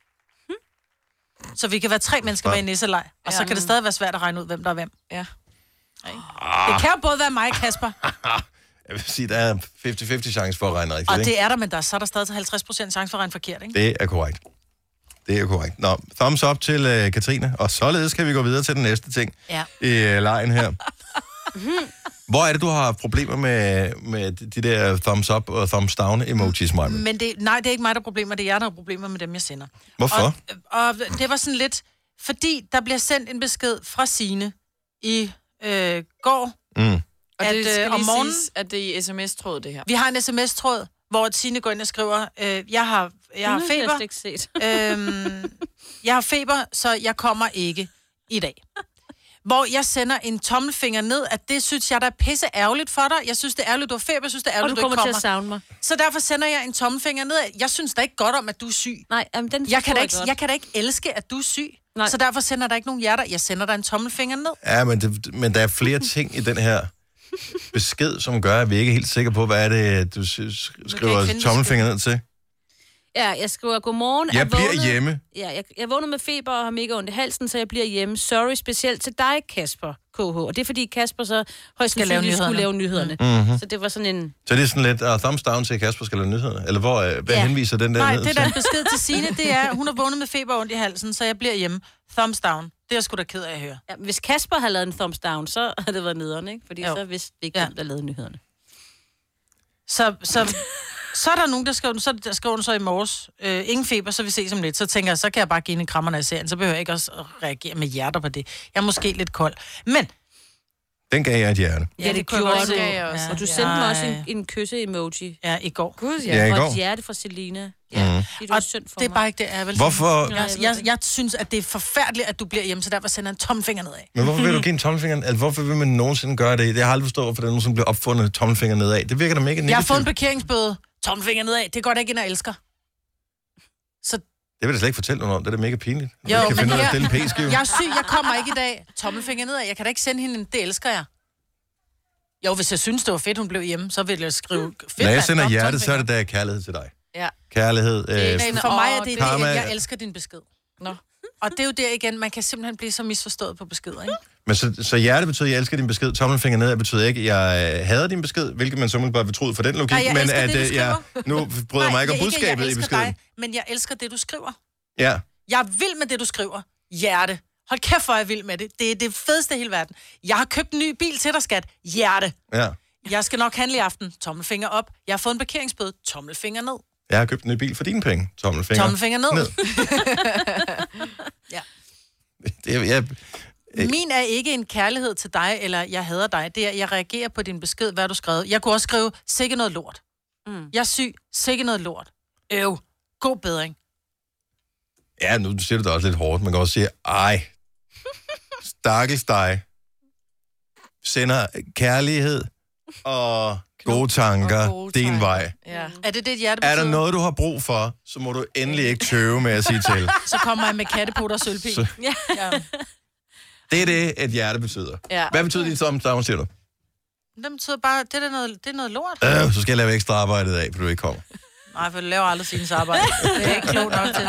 Speaker 2: Så vi kan være tre mennesker
Speaker 1: Ja.
Speaker 2: med i nisseleg, og så
Speaker 4: Hmm? Ja,
Speaker 2: kan det
Speaker 4: men-
Speaker 2: stadig være svært at regne ud, hvem der er hvem.
Speaker 4: Ja.
Speaker 2: Det kan jo både være mig og Kasper,
Speaker 1: Ah, Jeg vil sige, der er 50-50 chance for at regne rigtigt,
Speaker 2: og
Speaker 1: ikke?
Speaker 2: det er der, men der, er- så er der stadig 50% chance for at regne forkert, ikke?
Speaker 1: Det er korrekt. Det er korrekt. Nå, thumbs up til øh, Katrine, og således kan vi gå videre til den næste ting
Speaker 2: Ja.
Speaker 1: i øh, lejen
Speaker 2: [LAUGHS]
Speaker 1: her.
Speaker 4: Hmm.
Speaker 1: Hvor er det, du har problemer med, med de der thumbs up og thumbs down emojis, Maja?
Speaker 2: Men det, nej, det er ikke mig, der er problemer. Det er jer, der har problemer med dem, jeg sender.
Speaker 1: Hvorfor?
Speaker 2: Og, og det var sådan lidt... Fordi der bliver sendt en besked fra Sine i øh, går.
Speaker 1: Mm.
Speaker 4: Og
Speaker 2: At,
Speaker 4: det
Speaker 2: øh,
Speaker 4: skal
Speaker 2: om
Speaker 4: lige
Speaker 2: morgenen-
Speaker 4: siges, at det er i sms-tråd, det her.
Speaker 2: Vi har en sms-tråd, hvor Sine går ind og skriver, øh, jeg, har, jeg har
Speaker 3: Det
Speaker 2: feber,
Speaker 3: har jeg ikke set.
Speaker 2: [LAUGHS] øhm, jeg har feber, så jeg kommer ikke i dag. Hvor jeg sender en tommelfinger ned, at det synes jeg, der er pisse ærgerligt for dig. Jeg synes, det er ærgerligt, du har feber. Jeg synes, det er
Speaker 3: Og
Speaker 2: ærgerligt,
Speaker 3: du
Speaker 2: du,
Speaker 3: kommer
Speaker 2: ikke
Speaker 3: til
Speaker 2: kommer.
Speaker 3: at savne mig.
Speaker 2: Så derfor sender jeg en tommelfinger ned. at Jeg synes da ikke godt om, at du er syg.
Speaker 3: Nej, jamen, den
Speaker 2: Jeg kan, da ikke,
Speaker 3: godt.
Speaker 2: jeg kan da ikke elske, at du er syg.
Speaker 3: Nej.
Speaker 2: Nej. Så derfor sender der ikke nogen hjerter. Jeg sender dig en tommelfinger ned.
Speaker 1: Ja, men, det, men der er flere ting i den her besked, som gør, at vi ikke er helt sikre på, hvad er det, du s- s-
Speaker 2: ikke
Speaker 1: skriver
Speaker 2: finde
Speaker 1: tommelfingeren ned til.
Speaker 3: Ja, jeg skriver, godmorgen. er
Speaker 1: Jeg bliver
Speaker 3: vågnet-
Speaker 1: hjemme.
Speaker 3: Ja, jeg, jeg vågner med feber og har mega ondt i halsen, så jeg bliver hjemme. Sorry, specielt til dig, Kasper KH. Og det er fordi Kasper så højst
Speaker 2: Skal lave
Speaker 3: sandsynligt skulle lave nyhederne. Mm-hmm. Så det var sådan en...
Speaker 1: Så det er sådan lidt, uh, thumbs down til at Kasper skal lave nyhederne. Eller hvor, uh, hvad ja.
Speaker 3: Ja.
Speaker 1: henviser den der
Speaker 2: Nej,
Speaker 1: ned
Speaker 2: det
Speaker 1: til?
Speaker 2: der besked til Signe, det er, hun har vågnet med feber og ondt i halsen, så jeg bliver hjemme. Thumbs down. Det er jeg sgu da ked af at høre.
Speaker 3: Ja, hvis Kasper havde lavet en thumbs down, så havde det været nederen, ikke? Fordi
Speaker 2: Jo.
Speaker 3: jo. så vidste vi ikke,
Speaker 2: Ja.
Speaker 3: hvem der lavede nyhederne.
Speaker 2: Så, så, så er der nogen, der skriver, så der skriver hun så i morges, øh, ingen feber, så vi ses om lidt. Så tænker jeg, så kan jeg bare give hende en krammer, når jeg ser hende. Så behøver jeg ikke også at reagere med hjerter på det. Jeg er måske lidt kold. Men,
Speaker 1: Den gav jeg et hjerte.
Speaker 3: Ja, det
Speaker 2: kunne jeg
Speaker 3: gjorde
Speaker 2: godt
Speaker 3: du.
Speaker 2: se.
Speaker 4: Ja, også.
Speaker 3: Og du sendte mig også
Speaker 2: Ej.
Speaker 3: en, en kysse-emoji.
Speaker 2: Ja, i går.
Speaker 4: Gud,
Speaker 1: Ja, i
Speaker 3: og
Speaker 1: går.
Speaker 3: et hjerte fra Selina. Ja, mm. det er
Speaker 2: Og
Speaker 3: synd for
Speaker 2: det er
Speaker 3: mig.
Speaker 2: bare ikke det, jeg vil
Speaker 1: Mhm. Hvorfor,
Speaker 3: Nej,
Speaker 2: Jeg,
Speaker 3: jeg ved
Speaker 2: jeg,
Speaker 3: det.
Speaker 2: jeg, synes, at det er forfærdeligt, at du bliver hjemme, så derfor sender jeg en tomfinger nedad.
Speaker 1: Men hvorfor
Speaker 2: [LAUGHS]
Speaker 1: vil du give en tommelfinger? Altså, hvorfor vil man nogensinde gøre det? Jeg har aldrig forstået, hvorfor der er nogen, som bliver opfundet tommelfinger nedad. Det virker da mega
Speaker 2: Jeg har
Speaker 1: negativt.
Speaker 2: fået en parkeringsbøde. Tomfinger nedad. Det går da ikke ind og elsker.
Speaker 1: Det vil jeg slet ikke fortælle nogen om. Det er da mega pinligt. Jo,
Speaker 2: Jo,
Speaker 1: jeg kan
Speaker 2: men
Speaker 1: finde ud af at
Speaker 2: her-
Speaker 1: stille en p-skive.
Speaker 2: Jeg er syg, jeg kommer ikke i dag. Tommelfinger nedad. Jeg kan da ikke sende hende en. Det elsker jeg. Jo, hvis jeg synes, det var fedt, hun blev hjemme, så ville jeg skrive fedt.
Speaker 1: Når jeg
Speaker 2: mand.
Speaker 1: sender
Speaker 2: Nå,
Speaker 1: hjertet, så er
Speaker 2: tommelfinger.
Speaker 1: det da kærlighed til dig.
Speaker 4: Ja.
Speaker 1: Kærlighed.
Speaker 4: er
Speaker 1: Øh,
Speaker 4: ikke
Speaker 2: For mig er
Speaker 4: Åh,
Speaker 2: det, det
Speaker 1: karma.
Speaker 2: at jeg elsker din besked.
Speaker 4: Nå.
Speaker 2: Og det er jo der igen, man kan simpelthen blive så misforstået på beskeder, ikke?
Speaker 1: men så, så hjerte betyder, at jeg elsker din besked. Tommelfinger nedad betyder ikke, at jeg øh, hader din besked, hvilket man så bare betryde for den logik.
Speaker 2: Nej, jeg
Speaker 1: men
Speaker 2: elsker
Speaker 1: at
Speaker 2: det, du
Speaker 1: øh, jeg nu bryder jeg mig ikke om
Speaker 2: jeg at
Speaker 1: budskabet
Speaker 2: jeg
Speaker 1: i
Speaker 2: elsker
Speaker 1: beskeden.
Speaker 2: Dig, men jeg elsker det, du skriver.
Speaker 1: Ja.
Speaker 2: Jeg er vild med det, du skriver. Hjerte. Hold kæft, hvor er jeg vild med det. Det er det fedeste i hele verden. Jeg har købt en ny bil til dig, skat. Hjerte.
Speaker 1: Ja.
Speaker 2: Jeg skal nok handle i aften. Tommelfinger op. Jeg har fået en parkeringsbøde. Tommelfinger ned.
Speaker 1: Jeg har købt en ny bil for dine penge. Tommelfinger.
Speaker 2: Tommelfinger ned.
Speaker 1: Ned.
Speaker 2: ned.
Speaker 1: Det, er- jeg,
Speaker 2: [LAUGHS] Min er ikke en kærlighed til dig, eller jeg hader dig. Det er, jeg reagerer på din besked, hvad du skrev. Jeg kunne også skrive, sikke noget lort. Mm. Jeg er syg, sikke noget lort. Øv. God bedring.
Speaker 1: Ja, nu siger du det også lidt hårdt. Man kan også sige, ej, stakkels dig, sender kærlighed og gode tanker og gode
Speaker 4: gode
Speaker 1: din
Speaker 4: tanker.
Speaker 1: vej.
Speaker 4: Ja.
Speaker 2: Mm. Er det det, et hjerte
Speaker 1: Er der
Speaker 2: betyder?
Speaker 1: noget, du har brug for, så må du endelig ikke tøve med at sige til.
Speaker 2: [LAUGHS] Så kommer jeg med kattepoter og sølvpil.
Speaker 1: Så-
Speaker 2: Ja. ja.
Speaker 1: Det er det, et hjerte betyder.
Speaker 4: Ja.
Speaker 1: Hvad betyder dit thumbs down, siger du?
Speaker 2: Den betyder bare, det er da noget, det er noget lort.
Speaker 3: [LAUGHS]
Speaker 4: [LAUGHS]
Speaker 1: Øh, så skal jeg lave ekstra arbejdet af, for du ikke kommer.
Speaker 2: Nej, for du laver aldrig sines arbejde. Det er ikke klogt nok til.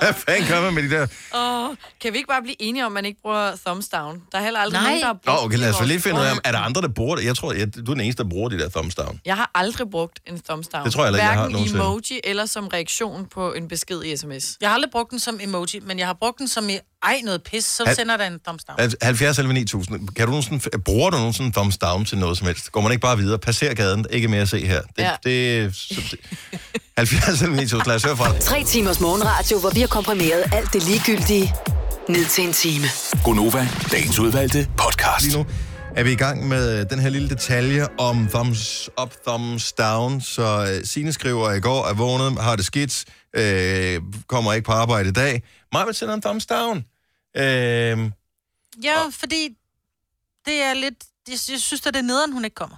Speaker 1: Hvad fanden gør man med de der?
Speaker 4: Oh, kan vi ikke bare blive enige om, at man ikke bruger thumbs down? Der er heller aldrig
Speaker 2: Nej.
Speaker 4: nogen, der har brugt
Speaker 1: Nå, okay, lad os
Speaker 4: vores-
Speaker 1: lige finde ud af, om- er der andre, der bruger det? Jeg tror, jeg, du er den eneste, der bruger de der thumbs down.
Speaker 4: Jeg har aldrig brugt en thumbs down.
Speaker 1: Det tror jeg heller ikke, jeg har
Speaker 4: Hverken
Speaker 1: nogensinde.
Speaker 4: emoji eller som reaktion på en besked i sms.
Speaker 2: Jeg har aldrig brugt den som emoji, men jeg har brugt den som i, ej, noget pis, så
Speaker 1: Al-
Speaker 2: sender den en thumbs down.
Speaker 1: Al- 70 11 9000. Kan du nogensinde, bruger du nogensinde thumbs down til noget som helst? Går man ikke bare videre? Passer gaden, ikke mere at se her. Det, ja.
Speaker 4: Ja.
Speaker 1: det, så det 70 11 9000. Lad os høre fra dig.
Speaker 5: Tre timers morgenradio, hvor vi har komprimeret alt det ligegyldige ned til en time.
Speaker 6: Gonova, dagens udvalgte podcast.
Speaker 1: Lige nu er vi i gang med øh, den her lille detalje om thumbs up, thumbs down. Så øh, Signe skriver i går, er vågnet, har det skidt, øh, kommer ikke på arbejde i dag. Maja vil sende en thumbs down. Øh,
Speaker 2: Ja, fordi det er lidt... Jeg, jeg synes, at det er nederen, hun ikke kommer.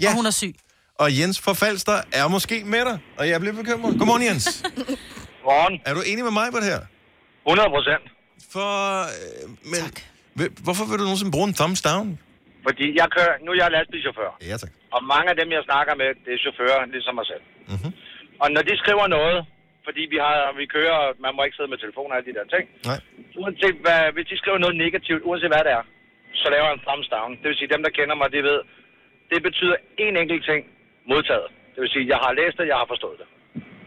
Speaker 1: Ja.
Speaker 2: Ja. Og hun er syg.
Speaker 1: og Jens fra Falster er måske med dig, og jeg bliver bekymret. Godmorgen,
Speaker 9: [LAUGHS]
Speaker 1: Jens.
Speaker 9: Morgen.
Speaker 1: er du enig med mig på det her?
Speaker 9: 100 procent.
Speaker 1: For... Øh, men, tak. Hvorfor vil du nogensinde bruge en thumbs down?
Speaker 9: Fordi jeg kører, nu er jeg lastbilchauffør,
Speaker 1: Ja, tak.
Speaker 9: og mange af dem, jeg snakker med, det er chauffører, ligesom mig selv.
Speaker 1: Mhm.
Speaker 9: Mm-hmm. Og når de skriver noget, fordi vi, har, vi kører, man må ikke sidde med telefoner og alle de der ting.
Speaker 1: Nej.
Speaker 9: Uanset hvad, hvis de skriver noget negativt, uanset hvad det er, så laver jeg en thumbs down. Det vil sige, dem, der kender mig, de ved, det betyder én enkelt ting, modtaget. Det vil sige, jeg har læst det, jeg har forstået det.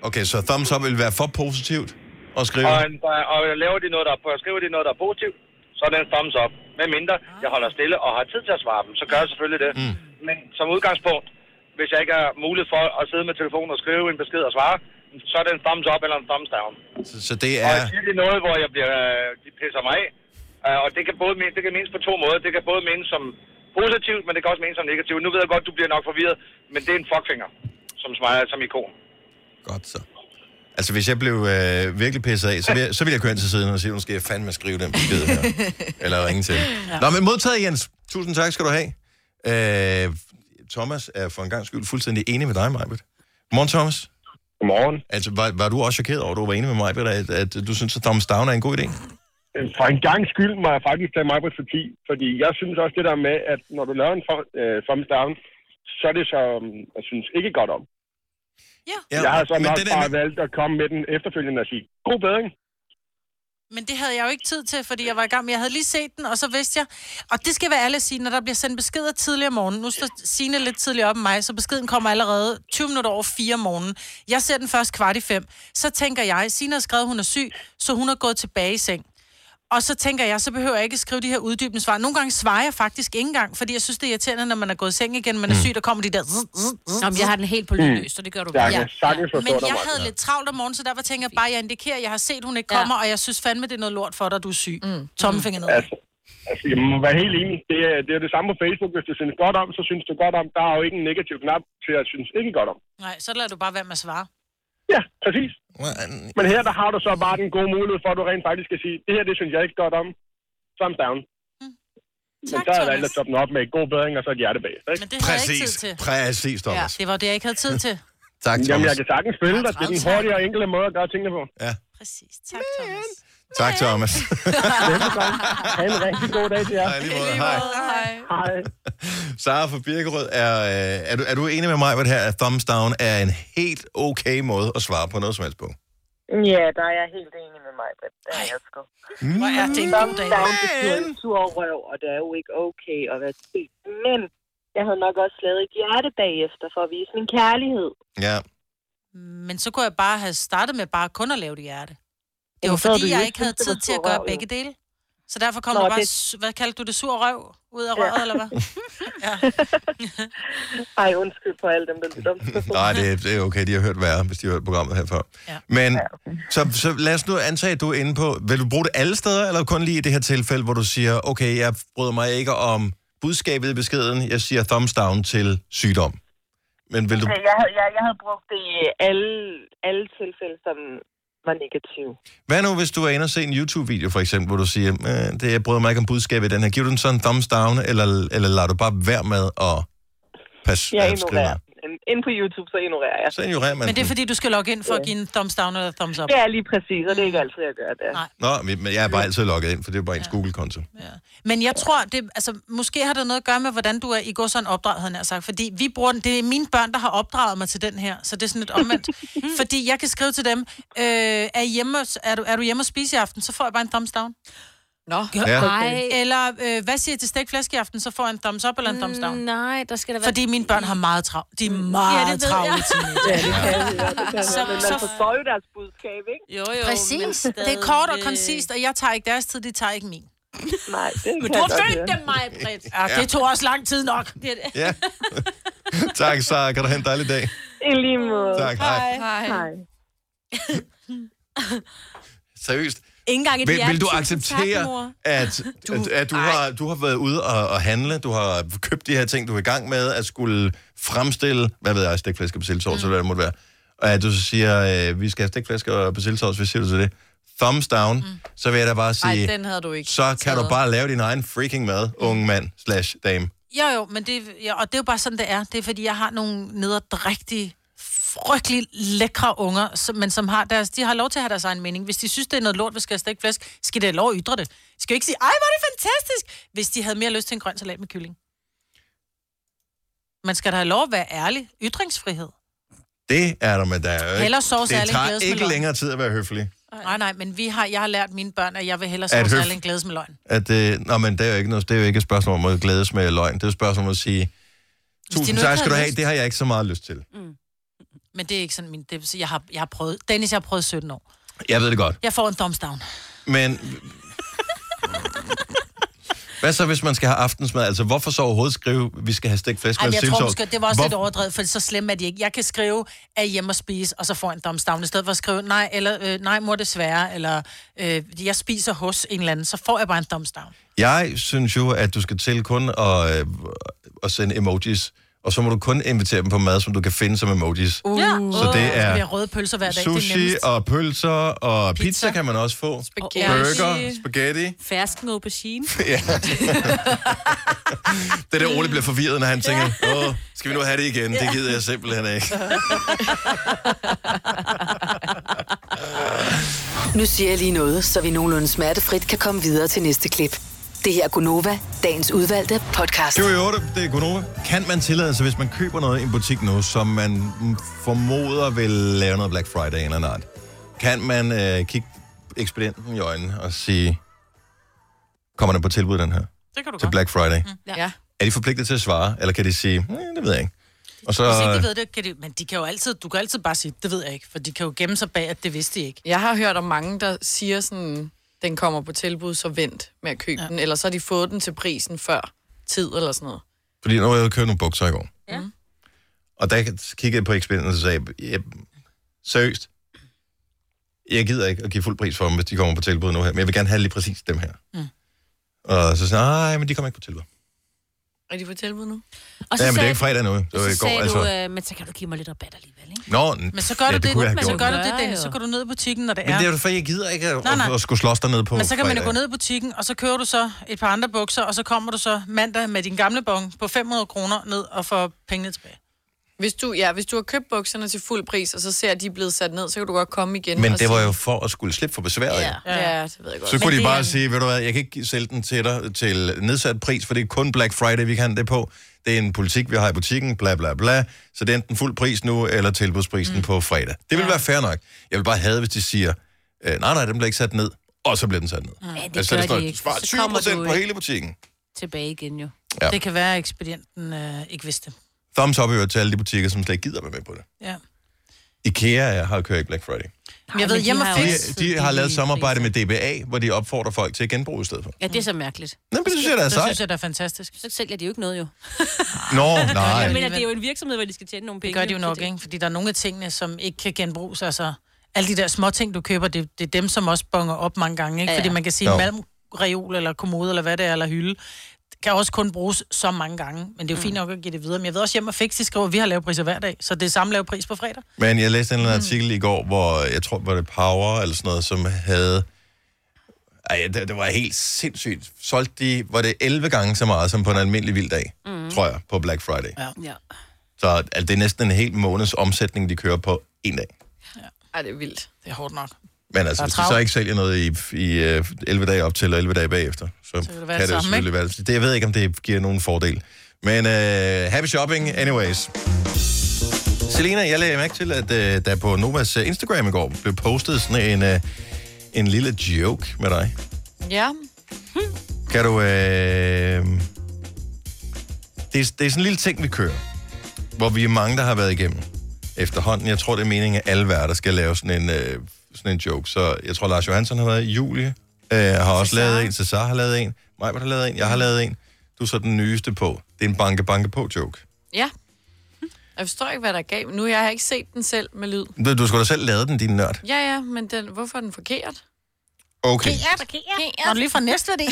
Speaker 1: Okay, så thumbs up vil være for positivt at skrive.
Speaker 9: Og, en, og laver de noget, der, er- skriver de noget, der er positivt, så er det en thumbs up. Med mindre jeg holder stille og har tid til at svare dem, så gør jeg selvfølgelig det. Mm. Men som udgangspunkt, hvis jeg ikke har mulighed for at sidde med telefonen og skrive en besked og svare, så er det en thumbs up eller en thumbs down.
Speaker 1: Så, så det
Speaker 9: Ja. Og jeg
Speaker 1: er...
Speaker 9: siger det er noget, hvor jeg bliver, øh, de pisser mig af. Øh, Og det kan, både menes, det kan menes på to måder. Det kan både menes som positivt, men det kan også menes som negativt. Nu ved jeg godt, du bliver nok forvirret, men det er en fuckfinger, som smiler som ikon.
Speaker 1: Godt så. Altså, hvis jeg blev øh, virkelig pisset af, så ville, jeg, så ville jeg køre ind til siden og sige, nu skal jeg fandme skrive den besked her. Eller ringe til. Ja. Nå, men modtaget, Jens. Tusind tak skal du have. Øh, Thomas er for en gang skyld fuldstændig enig med dig, Majbet. Godmorgen, Thomas.
Speaker 9: Godmorgen.
Speaker 1: Altså, var, var du også chokeret over, at du var enig med mig, at, at du synes, at thumbs down er en god idé?
Speaker 9: Øh, For en gang skyld må jeg faktisk tage mig på for 10, fordi jeg synes også det der med, at når du laver en thum- øh, thumbs down, så er det så, um, jeg synes ikke godt om. Ja, jeg har så
Speaker 1: men
Speaker 9: nok
Speaker 1: det der
Speaker 9: bare
Speaker 1: med-
Speaker 9: valgt at komme med den efterfølgende og sige, god bedring.
Speaker 2: Men det havde jeg jo ikke tid til, fordi jeg var i gang med, jeg havde lige set den, og så vidste jeg, og det skal være alle at sige, når der bliver sendt beskeder tidligere om morgenen, nu står Signe lidt tidligere op end mig, så beskeden kommer allerede 20 minutter over 4 om morgenen. Jeg ser den først kvart i 5, så tænker jeg, Signe har skrevet, hun er syg, så hun er gået tilbage i seng. Og så tænker jeg, så behøver jeg ikke skrive de her uddybende svar. Nogle gange svarer jeg faktisk ikke engang, fordi jeg synes, det er irriterende, når man er gået i seng igen, man er syg, der kommer de der...
Speaker 3: Mm. Nå, men jeg har den helt på lydløs, så det gør du
Speaker 9: Jeg
Speaker 3: bare.
Speaker 9: kan sagtens forstå
Speaker 2: Men
Speaker 9: dig,
Speaker 2: jeg
Speaker 9: Maja.
Speaker 2: havde lidt travlt om morgenen, så derfor tænker jeg bare, at jeg indikerer, at jeg har set, at hun ikke kommer, og jeg synes fandme, det er noget lort for dig, at du er syg. Mm. Tommelfinger ned.
Speaker 9: Altså, altså, jeg må være helt enig. Det er, det er det samme på Facebook. Hvis du synes godt om, så synes du godt om. Der er jo ikke en negativ knap til at synes ikke godt om.
Speaker 2: Nej, så lader du bare være med at svare.
Speaker 9: Ja, præcis. Men her der har du så bare den gode mulighed for, at du rent faktisk skal sige, det her det synes jeg ikke godt om. Thumbs down. Men
Speaker 2: Mm. Tak,
Speaker 9: så er der
Speaker 2: Thomas.
Speaker 9: alt at toppe den op med god bedring, og så et hjerte bag. Ikke?
Speaker 2: Men det havde jeg ikke tid
Speaker 1: Præcis,
Speaker 2: til.
Speaker 1: præcis, Thomas. Ja.
Speaker 2: Det var det, jeg ikke havde tid til.
Speaker 1: [LAUGHS] Tak, Thomas.
Speaker 9: Jamen, jeg kan sagtens følge dig. Det er den
Speaker 2: travlt.
Speaker 9: hurtige og enkle måde at gøre tingene på.
Speaker 2: Præcis. Tak, Thomas.
Speaker 1: Tak, Thomas. [LAUGHS]
Speaker 9: Ha' en rigtig god dag til jer.
Speaker 1: Hej, lige måde. Hej.
Speaker 4: Hej.
Speaker 9: Hej.
Speaker 1: Sara fra Birkerød, er, øh, er, du, er du enig med mig, hvad det her, at thumbs down er en helt okay måde at svare på noget som helst på?
Speaker 10: Ja, der er jeg helt enig med mig, men der er jeg sgu.
Speaker 2: Hvor er det en god dag.
Speaker 10: Down betyder en sur røv, og det er jo ikke okay at være sent. Men jeg havde nok også lavet et hjerte bagefter for at vise min kærlighed.
Speaker 1: Ja.
Speaker 2: Men så kunne jeg bare have startet med bare kun at lave det hjerte. Det var
Speaker 10: Jamen, så havde
Speaker 2: fordi,
Speaker 10: du
Speaker 2: jeg
Speaker 10: ikke
Speaker 2: ikke havde
Speaker 10: syntes, det
Speaker 2: tid
Speaker 10: var
Speaker 2: til
Speaker 10: sur
Speaker 2: at gøre
Speaker 10: røv, jo.
Speaker 2: begge dele. Så derfor kom
Speaker 10: Nå,
Speaker 2: der bare,
Speaker 10: det-
Speaker 2: su- hvad kaldte du det, sur røv ud af røret, eller
Speaker 1: [LAUGHS]
Speaker 2: hvad?
Speaker 10: Ej, undskyld for alle dem, der lytter.
Speaker 1: Nej, det, er- det er okay, de har hørt værre, hvis de har hørt programmet her før.
Speaker 2: Ja.
Speaker 1: Men så, så lad os nu antage, at du er inde på, vil du bruge det alle steder, eller kun lige i det her tilfælde, hvor du siger, okay, jeg bryder mig ikke om budskabet i beskeden, jeg siger thumbs down til sygdom. Men vil du,
Speaker 10: Jeg, havde, jeg, jeg havde brugt det i alle, alle tilfælde, som var negative.
Speaker 1: hvad nu, hvis du er inde og se en YouTube-video, for eksempel, hvor du siger, "Øh, det, jeg bryder mig ikke om budskabet i den her, giver du den sådan en thumbs down, eller, eller lader du bare være med at passe
Speaker 10: Jeg
Speaker 1: at skrive?
Speaker 10: ignorerer dem.
Speaker 8: inde på YouTube, så ignorerer jeg.
Speaker 1: Så ignorerer man
Speaker 2: Men det er
Speaker 1: den.
Speaker 2: fordi, du skal logge ind for at give en thumbs down eller thumbs up.
Speaker 8: Det er lige præcis, og det er ikke altid, jeg gør det.
Speaker 2: Nej.
Speaker 1: Nå, men men jeg er bare altid logget ind, for det er bare ens Google-konto.
Speaker 2: Men jeg tror, det, altså, måske har det noget at gøre med, hvordan du er i går sådan opdraget, havde jeg nær sagt. Fordi vi bruger den, det er mine børn, der har opdraget mig til den her, så det er sådan lidt omvendt. fordi jeg kan skrive til dem, øh, er, I hjemme, er, du, er du hjemme og spise i aften, så får jeg bare en thumbs down.
Speaker 4: Nå.
Speaker 1: Ja.
Speaker 3: Nej.
Speaker 2: Eller øh, hvad siger I til stegt flæsk i aften, så får jeg en thumbs up eller en thumbs down.
Speaker 3: Nej, der skal der være...
Speaker 2: Fordi mine børn har meget travlt. De
Speaker 3: [LAUGHS]
Speaker 2: er meget
Speaker 3: Ja,
Speaker 2: ja,
Speaker 3: det ved
Speaker 2: travle
Speaker 3: jeg.
Speaker 2: teenager. [LAUGHS]
Speaker 8: Så, men man
Speaker 2: Ah, så-
Speaker 8: forstår jo deres budskab, ikke?
Speaker 3: Jo, jo, men
Speaker 2: Præcis.
Speaker 3: stadig-
Speaker 2: Det er kort og koncist, og jeg tager ikke deres tid, de tager ikke min.
Speaker 8: Nej, det kan jeg
Speaker 3: Du har
Speaker 8: godt
Speaker 3: født
Speaker 8: høre.
Speaker 3: dem, mig, Britt.
Speaker 2: Ja, det tog også lang tid nok.
Speaker 3: Det er det.
Speaker 1: Ja. [LAUGHS] tak, Sara. Kan du have en dejlig dag?
Speaker 8: I lige måde.
Speaker 1: Tak, hej.
Speaker 4: Hej.
Speaker 8: Hej.
Speaker 1: Seriøst,
Speaker 3: Ingen gang et
Speaker 1: vil,
Speaker 3: hjerte.
Speaker 1: vil du
Speaker 3: Tusind Tak,
Speaker 1: acceptere,
Speaker 3: mor.
Speaker 1: at, at, at du, har, du har været ude og, og handle, du har købt de her ting, du er i gang med, at skulle fremstille, hvad ved jeg, stikflæsk og persillesovs, mm. eller hvad det måtte være, og at du så siger, øh, vi skal have stikflæsk og persillesovs, hvad siger du til det? Thumbs down, mm. så vil jeg da bare
Speaker 4: Ej,
Speaker 1: sige,
Speaker 4: den havde du ikke.
Speaker 1: så kan du
Speaker 4: taget.
Speaker 1: bare lave din egen freaking mad, unge mand slash dame.
Speaker 2: Jo, jo, men det, ja, og det er jo bare sådan, det er. Det er, fordi jeg har nogle nederdrægtige, frygtelig lækre unger, som, men som har deres, de har lov til at have deres egen mening. Hvis de synes, det er noget lort, vi skal have stegt flæsk, skal de have lov at ytre det. Skal jo ikke sige, ej, hvor er det fantastisk, hvis de havde mere lyst til en grøn salat med kylling. Man skal da have lov at være ærlig. Ytringsfrihed.
Speaker 1: Det er der med, der er jo ikke-
Speaker 2: Hellere sovs
Speaker 1: Det
Speaker 2: ærlig end
Speaker 1: tager
Speaker 2: glædes med
Speaker 1: ikke
Speaker 2: løgn.
Speaker 1: længere tid at være høflig.
Speaker 2: Nej, nej, men vi har, jeg har lært mine børn, at jeg vil hellere
Speaker 1: At
Speaker 2: sove
Speaker 1: høf-
Speaker 2: alle en glædes med løgn.
Speaker 1: At, øh, nå, men det er, jo ikke noget, det er jo ikke et spørgsmål om at glædes med løgn. Det er et spørgsmål om at sige,
Speaker 2: nu
Speaker 1: tusind
Speaker 2: ikke
Speaker 1: tak
Speaker 2: havde
Speaker 1: skal du have,
Speaker 2: lyst."
Speaker 1: det har jeg ikke så meget lyst til.
Speaker 2: Men det er ikke sådan min... Det, vil sige, jeg, har, jeg har prøvet... Dennis, jeg har prøvet 17 år.
Speaker 1: Jeg ved det godt,
Speaker 2: Jeg får en thumbs down.
Speaker 1: men... Hvad så, hvis man skal have aftensmad? Altså, hvorfor så overhovedet skrive, vi skal have stegt flæsk
Speaker 2: Ej,
Speaker 1: med
Speaker 2: men jeg tror
Speaker 1: sivsovs?
Speaker 2: måske, det var også lidt
Speaker 1: Hvor-
Speaker 2: overdrevet, for så slemme er de ikke. Jeg kan skrive, at hjemme og spise, og så får jeg en thumbs down, i stedet for at skrive, nej, eller øh, nej, mor, desværre, eller øh, jeg spiser hos en eller anden, så får jeg bare en thumbs down.
Speaker 1: Jeg synes jo, at du skal til kun at, øh, at sende emojis, og så må du kun invitere dem på mad, som du kan finde som emojis. Uh,
Speaker 2: Ja.
Speaker 1: så det
Speaker 2: Det
Speaker 1: er...
Speaker 2: bliver røde pølser hver dag, det er
Speaker 1: Sushi
Speaker 2: nemmest.
Speaker 1: og pølser og pizza, pizza
Speaker 2: Pizza.
Speaker 1: kan man også få.
Speaker 4: Spaghetti.
Speaker 1: Burger, spaghetti.
Speaker 3: Fersken aubergine.
Speaker 1: Det er der Ole bliver forvirret, når han tænker, åh, skal vi nu have det igen? Det gider jeg simpelthen ikke.
Speaker 5: Nu siger jeg lige noget, så vi nogenlunde smertefrit kan komme videre til næste klip. Det her er Gunova, dagens udvalgte podcast.
Speaker 1: 28, det er Gunova. Kan man tillade sig, hvis man køber noget i en butik nu, som man mm, formoder vil lave noget Black Friday eller noget andet, kan man øh, kigge ekspedienten i øjnene og sige, kommer den på tilbud, den her,
Speaker 2: Det kan du
Speaker 1: til
Speaker 2: godt. Mm.
Speaker 1: Black Friday?
Speaker 4: Ja.
Speaker 1: Er de forpligtet til at svare, eller kan de sige, "Mm, det ved jeg ikke. Og så, øh,
Speaker 2: Hvis ikke de ved det, kan de, men de kan jo altid, du kan altid bare sige, det ved jeg ikke, for de kan jo gemme sig bag, at det vidste de ikke.
Speaker 4: Jeg har hørt om mange, der siger sådan, den kommer på tilbud, så vent med at købe ja. den. Eller så har de fået den til prisen før tid eller sådan noget. Mm.
Speaker 1: fordi nu har jeg ude og købe nogle bukser i går.
Speaker 3: Ja.
Speaker 1: Og der kiggede jeg på ekspedienten og sagde, jeg, seriøst, jeg gider ikke at give fuld pris for dem, hvis de kommer på tilbud nu her, men jeg vil gerne have lige præcis dem her. Mm. Og så sagde jeg, nej, men de kommer ikke på tilbud.
Speaker 4: Er de på tilbud nu?
Speaker 3: Og
Speaker 1: Ja, men det er
Speaker 3: sagde-
Speaker 1: ikke fredag nu. Det var
Speaker 3: så
Speaker 1: i går,
Speaker 3: sagde
Speaker 1: altså.
Speaker 3: du, øh, men så kan du give mig lidt rabat alligevel, ikke?
Speaker 1: Nå,
Speaker 2: Men så gør ja, du det,
Speaker 1: kunne jeg
Speaker 2: men
Speaker 1: have
Speaker 2: så
Speaker 1: gjort.
Speaker 2: gør du det,
Speaker 3: Ja,
Speaker 2: Dennis,
Speaker 3: jo.
Speaker 2: så går du ned i butikken, når det
Speaker 1: Men det er
Speaker 2: er.
Speaker 1: jo for, jeg gider ikke at,
Speaker 2: Nej, nej.
Speaker 1: at, at skulle slås dernede på
Speaker 2: Men så kan man jo
Speaker 1: fredag.
Speaker 2: gå ned i butikken, og så kører du så et par andre bukser, og så kommer du så mandag med din gamle bong på 500 kroner ned og får pengene tilbage.
Speaker 4: Hvis du, ja, hvis du har købt bukserne til fuld pris, og så ser, at de er blevet sat ned, så kan du godt komme igen.
Speaker 1: Men
Speaker 4: og
Speaker 1: det var
Speaker 4: sige-
Speaker 1: jo for at skulle slippe for besværet. Ja.
Speaker 4: Ja, det ved jeg godt.
Speaker 1: Så kunne
Speaker 2: Men
Speaker 1: de
Speaker 2: det er
Speaker 1: bare
Speaker 2: en-
Speaker 1: sige, ved du hvad, jeg kan ikke sælge den til dig til nedsat pris, for det er kun Black Friday, vi kan det på. Det er en politik, vi har i butikken, bla bla bla. Så det er enten fuld pris nu, eller tilbudsprisen mm. på fredag. Det vil ja. være fair nok. Jeg vil bare have, hvis de siger, øh, nej nej, den bliver ikke sat ned, og så bliver den sat ned. Mm.
Speaker 3: Ja, det
Speaker 1: Altså,
Speaker 3: gør de
Speaker 1: det står,
Speaker 3: ikke.
Speaker 1: spar
Speaker 3: Så kommer
Speaker 1: 20
Speaker 3: du
Speaker 1: på
Speaker 3: ikke
Speaker 1: hele butikken.
Speaker 3: tilbage igen jo.
Speaker 1: Altså- Ja.
Speaker 2: Ja. Det kan være, at ekspedienten øh, ikke vidste.
Speaker 1: Thumbs up i øvrigt til alle de butikker, som slet ikke gider være med på det.
Speaker 2: Ja.
Speaker 1: IKEA er- har kørt ikke Black Friday.
Speaker 2: Men jeg ved, hjemme og
Speaker 1: De,
Speaker 2: fisk,
Speaker 1: de har lavet samarbejde med DBA, hvor de opfordrer folk til at genbruge i stedet for.
Speaker 3: Ja, det er så mærkeligt.
Speaker 1: Nå, men det synes jeg, der er
Speaker 2: det
Speaker 1: sejt.
Speaker 2: synes jeg, der er fantastisk.
Speaker 3: Så sælger de jo ikke noget jo.
Speaker 1: Nå, nej.
Speaker 3: Jeg mener, [LAUGHS] det er jo en virksomhed, hvor de skal tjene nogle
Speaker 2: Det
Speaker 3: penge.
Speaker 2: gør de jo
Speaker 3: så
Speaker 2: nok, ikke? Fordi der er nogle af tingene, som ikke kan genbruges. Altså, alle de der små ting, du køber, det, det er dem, som også bonger op mange gange, ikke?
Speaker 3: Ja, ja.
Speaker 2: Fordi man kan sige,
Speaker 1: Jo.
Speaker 2: at malmreol eller kommode, eller hvad det er, eller hylde, kan også kun bruges så mange gange. Men det er jo
Speaker 3: Mm.
Speaker 2: fint nok at give det videre. Men jeg ved også, at hjemme og fix, de skriver, at vi har lavet priser hver dag, så det er samme lavet pris på fredag.
Speaker 1: Men jeg læste en eller anden artikel i går, hvor jeg tror, var det Power eller sådan noget, som havde... Ej, det, det var helt sindssygt. Solgte de, var det 11 gange så meget som på en almindelig vild dag, mm. tror jeg, på Black Friday.
Speaker 2: Ja.
Speaker 3: Ja.
Speaker 1: Så altså, det er næsten en hel måneds omsætning, de kører på en dag.
Speaker 4: Ej, det er vildt.
Speaker 2: Det er hårdt nok.
Speaker 1: Men altså,
Speaker 2: er
Speaker 1: hvis de
Speaker 2: travlt.
Speaker 1: så ikke sælger noget i, i øh, 11 dage op til og 11 dage bagefter, så, så
Speaker 2: kan det
Speaker 1: kan det,
Speaker 2: være
Speaker 1: kan
Speaker 2: det
Speaker 1: det
Speaker 2: samme,
Speaker 1: jo selvfølgelig være det. Jeg ved ikke, om det giver nogen fordel. Men øh, happy shopping anyways. Selena, jeg lagde mærke til, at øh, der på Novas øh, Instagram i går blev postet sådan en, øh, en lille joke med dig.
Speaker 4: Ja.
Speaker 1: Kan du... Øh... Det, er, det er sådan en lille ting, vi kører, hvor vi er mange, der har været igennem efterhånden. Jeg tror, det er meningen, at alle værter skal lave sådan en, øh, sådan en joke. Så jeg tror, Lars Johansson har været i Julie. Øh, har også lavet en. Cesar har lavet en. Majbert har lavet en. Jeg har lavet en. Du er så den nyeste på. Det er en banke-banke-på-joke.
Speaker 4: Ja. Jeg forstår ikke, hvad der gav. Nu jeg har ikke set den selv med lyd.
Speaker 1: Du, du skulle da selv lave den, din nørd.
Speaker 4: Ja, ja, men den, hvorfor er den forkert?
Speaker 1: Okay.
Speaker 2: Når du lige fra næste det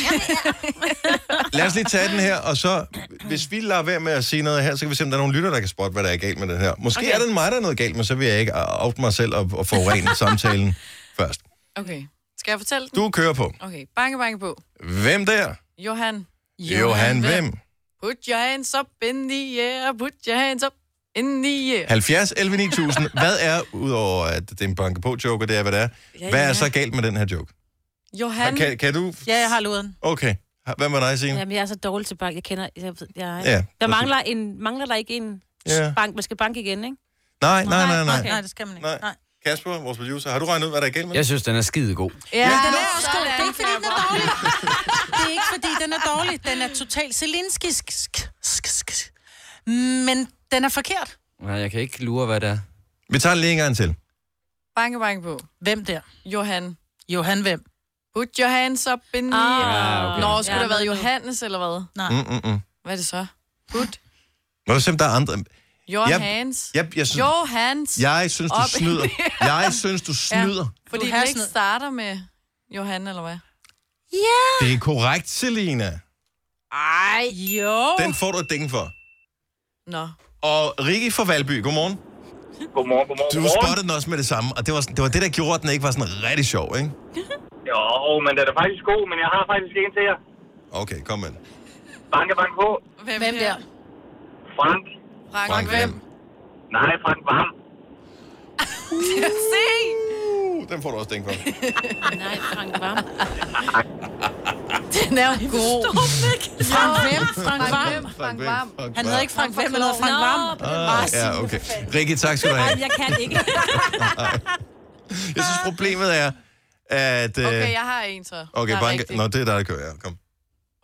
Speaker 1: Lad os lige tage den her, og så, hvis vi lader være med at sige noget her, så kan vi se, om der er nogle lytter, der kan spotte, hvad der er galt med den her. Måske okay. er det mig, der er noget galt, men så vil jeg ikke out mig selv og, og [LAUGHS] forurene samtalen først.
Speaker 4: [LAUGHS] Okay. Skal jeg fortælle den?
Speaker 1: Du kører på.
Speaker 4: Okay, banke, banke på.
Speaker 1: Hvem der?
Speaker 4: Johan.
Speaker 1: Johan, Johan hvem?
Speaker 4: Put your hands up in the air. Put your hands up in the air.
Speaker 1: 70 11 9000. Hvad er, udover at det er en banke på joke, og det er, hvad det er,
Speaker 4: Ja,
Speaker 1: hvad
Speaker 4: ja.
Speaker 1: er så galt med den her joke?
Speaker 4: Johan.
Speaker 1: Kan, kan du?
Speaker 2: Ja, jeg har luden.
Speaker 1: Okay. Hvad med dig, Signe?
Speaker 3: Jamen, jeg er så dårlig til bank. Jeg kender... Jeg, ved- jeg,
Speaker 1: Ja,
Speaker 3: ja, der
Speaker 1: præcis.
Speaker 3: mangler, en, mangler der ikke en
Speaker 1: Ja.
Speaker 3: ja. bank. Man skal banke igen, ikke?
Speaker 1: Nej, nej, nej, nej.
Speaker 2: Nej, det skal man ikke.
Speaker 1: Nej.
Speaker 2: Nej.
Speaker 1: Kasper, vores producer, har du regnet ud, hvad der er galt med
Speaker 11: Jeg synes, den er skide god.
Speaker 4: Ja,
Speaker 2: Den er også god. Det er ikke, fordi den er dårlig. [LAUGHS] Det er ikke, fordi den er dårlig. Den er totalt selinskisk. Men den er forkert.
Speaker 11: Nej, jeg kan ikke lure, hvad det er.
Speaker 1: den? Vi tager den lige en gang til.
Speaker 4: Banke, banke på.
Speaker 2: Hvem der?
Speaker 4: Johan.
Speaker 2: Johan hvem?
Speaker 4: Put your hands up in the
Speaker 3: Ah,
Speaker 4: air.
Speaker 11: okay.
Speaker 4: Nå, skulle
Speaker 3: Ja,
Speaker 4: ja, der
Speaker 3: men-
Speaker 4: været Johannes eller hvad?
Speaker 1: Mm, mm, mm.
Speaker 4: Hvad er det så? Put
Speaker 1: Hvor simpelthen der er andre...
Speaker 4: your
Speaker 1: Jeg-
Speaker 4: hands.
Speaker 1: Jeg, jeg synes,
Speaker 4: Johans.
Speaker 1: Jeg synes, du
Speaker 4: Op.
Speaker 1: snyder.
Speaker 4: [LAUGHS]
Speaker 1: Jeg synes, du snyder. Ja.
Speaker 4: Fordi den
Speaker 2: Johansen.
Speaker 4: ikke starter med Johan, eller hvad?
Speaker 1: Det er korrekt, Selina.
Speaker 2: Ej, jo.
Speaker 1: Den får du et ding for.
Speaker 4: Nå.
Speaker 1: Og Rikke fra Valby, godmorgen.
Speaker 12: Godmorgen, godmorgen,
Speaker 1: Du spottede den også med det samme, og det var, sådan, det var det, der gjorde, at den ikke var sådan rigtig sjov, ikke?
Speaker 12: Jo, men den er faktisk god, men jeg har faktisk en til jer.
Speaker 1: Okay, kom med. den.
Speaker 12: Banke, banke på.
Speaker 4: Hvem,
Speaker 2: Hvem der?
Speaker 12: Frank.
Speaker 4: Frank, Frank hvem?
Speaker 12: Nej, Frank Varm.
Speaker 4: [LAUGHS] Se!
Speaker 1: Uh, den får du også
Speaker 4: [LAUGHS]
Speaker 1: ding for.
Speaker 3: Nej, Frank Vam.
Speaker 4: Den er jo god.
Speaker 2: Frank hvem? Frank Vam.
Speaker 4: Hvem? Frank Varm.
Speaker 2: Han hedder ikke Frank hvem, han hedder Frank
Speaker 3: Nå,
Speaker 2: Vam.
Speaker 1: Ah, ja, okay. Rikke, tak skal du
Speaker 4: [LAUGHS]
Speaker 3: Ej,
Speaker 1: have.
Speaker 3: jeg kan ikke.
Speaker 1: Jeg synes, problemet er, at... øh,
Speaker 4: Okay, jeg har en så.
Speaker 1: Okay,
Speaker 4: Der er
Speaker 1: banke.
Speaker 4: rigtig.
Speaker 1: Nå, det er dig, der kører. Ja, kom.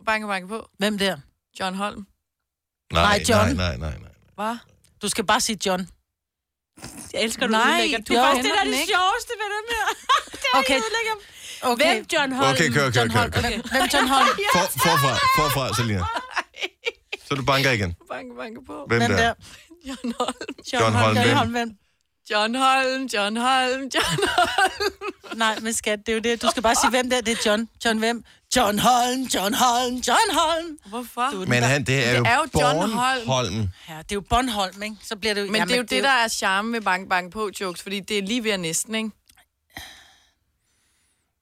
Speaker 4: Banke, banke på.
Speaker 2: Hvem der?
Speaker 4: John Holm.
Speaker 1: Nej,
Speaker 2: Nej,
Speaker 1: nej,
Speaker 2: John.
Speaker 1: nej, nej, nej.
Speaker 4: Hvad?
Speaker 2: Du skal bare sige John.
Speaker 3: Jeg elsker, du
Speaker 2: Nej,
Speaker 3: udlægger. Du
Speaker 2: jo.
Speaker 3: er faktisk det, der er
Speaker 4: Den
Speaker 3: det
Speaker 4: ikke.
Speaker 3: sjoveste ved dem
Speaker 2: [LAUGHS]
Speaker 3: her. Det er
Speaker 2: Okay.
Speaker 3: okay. udlægger.
Speaker 2: Okay.
Speaker 3: Hvem, John Holm?
Speaker 1: Okay, kør, kør,
Speaker 2: John
Speaker 1: kør.
Speaker 2: Holm.
Speaker 1: kør.
Speaker 2: Hvem- Hvem John
Speaker 1: [LAUGHS]
Speaker 2: Holm?
Speaker 1: For, forfra, forfra, Selina. Så du banker igen.
Speaker 4: Banke, banke på.
Speaker 1: Hvem
Speaker 2: Hvem
Speaker 1: der?
Speaker 2: der?
Speaker 4: [LAUGHS] John Holm.
Speaker 1: John Holm,
Speaker 2: John
Speaker 1: hvem?
Speaker 2: Holm, hvem?
Speaker 4: John Holm, John Holm, John
Speaker 2: Nej, men skat, det er jo det. Du skal bare sige, hvem der. Det er John. John hvem? John Holm, John Holm, John Holm.
Speaker 4: Hvorfor? Du,
Speaker 1: Men han, det er,
Speaker 4: det er jo John
Speaker 1: Born
Speaker 4: Holm.
Speaker 1: Holm.
Speaker 2: Ja, det er jo Bornholm, ikke? Så bliver det jo...
Speaker 4: men det er jo det, der er charme med bank, bank på jokes, fordi det er lige ved at næsten, ikke?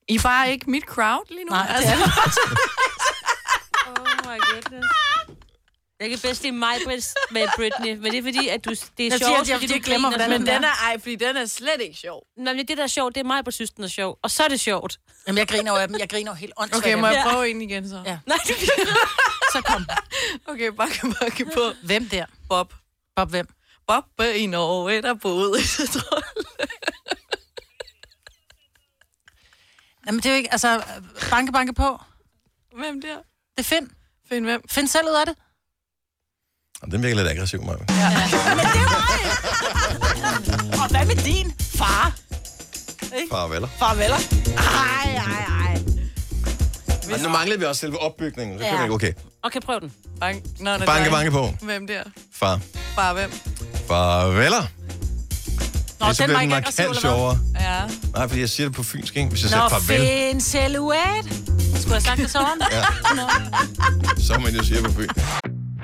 Speaker 4: I er bare ikke mit crowd lige nu.
Speaker 2: Nej, det
Speaker 4: altså,
Speaker 2: er det.
Speaker 4: [LAUGHS]
Speaker 3: Oh my goodness. Jeg kan bedst lide mig med Britney, men det er fordi, at du, det er
Speaker 2: siger,
Speaker 3: sjovt,
Speaker 2: at jeg-
Speaker 3: fordi
Speaker 2: jeg
Speaker 3: du glemmer,
Speaker 2: glemmer, hvordan
Speaker 3: hvordan
Speaker 2: den
Speaker 4: den er, ej, fordi den er slet ikke sjov.
Speaker 3: Nå, men det, der er sjovt, det er mig, synes, den er sjov. Og så er det sjovt.
Speaker 2: Jamen, jeg griner jo af dem. Jeg griner jo helt åndssvagt.
Speaker 4: Okay, må
Speaker 2: af
Speaker 4: jeg prøve en igen så?
Speaker 2: Ja.
Speaker 3: Nej, det bliver
Speaker 2: dem. Så kom.
Speaker 4: Okay, banke, banke på.
Speaker 2: Hvem der?
Speaker 4: Bob.
Speaker 2: Bob, hvem?
Speaker 4: Bob i Norge, der boede i Trolle.
Speaker 2: Jamen, det er jo ikke... Altså, banke, banke på.
Speaker 4: Hvem der?
Speaker 2: Det er Finn.
Speaker 4: Find hvem?
Speaker 2: Find selv ud af det.
Speaker 1: Og Den virker lidt aggressiv, mig.
Speaker 2: Og hvad med din far?
Speaker 1: Farveler.
Speaker 2: Farveler. Ej, ej, ej.
Speaker 1: Og nu manglede vi også selve opbygningen. Så ja.
Speaker 2: Ja.
Speaker 1: ikke, okay.
Speaker 3: Okay, prøv den.
Speaker 4: Bank. Nå, nej,
Speaker 1: Banke,
Speaker 4: nej.
Speaker 1: banke på.
Speaker 4: Hvem der?
Speaker 1: Far.
Speaker 4: Bare hvem?
Speaker 1: Farveler.
Speaker 2: Nå, den
Speaker 1: Det
Speaker 2: var
Speaker 1: bliver
Speaker 2: ikke aggressiv,
Speaker 1: markant
Speaker 2: eller hvad?
Speaker 4: Ja.
Speaker 1: sjovere. Nej, fordi jeg siger det på fynsk, ikke? Hvis jeg
Speaker 2: Nå,
Speaker 1: siger farvel,
Speaker 2: find selv ud af det. Skulle jeg have sagt det sådan?
Speaker 1: så må jeg sige det på fyn.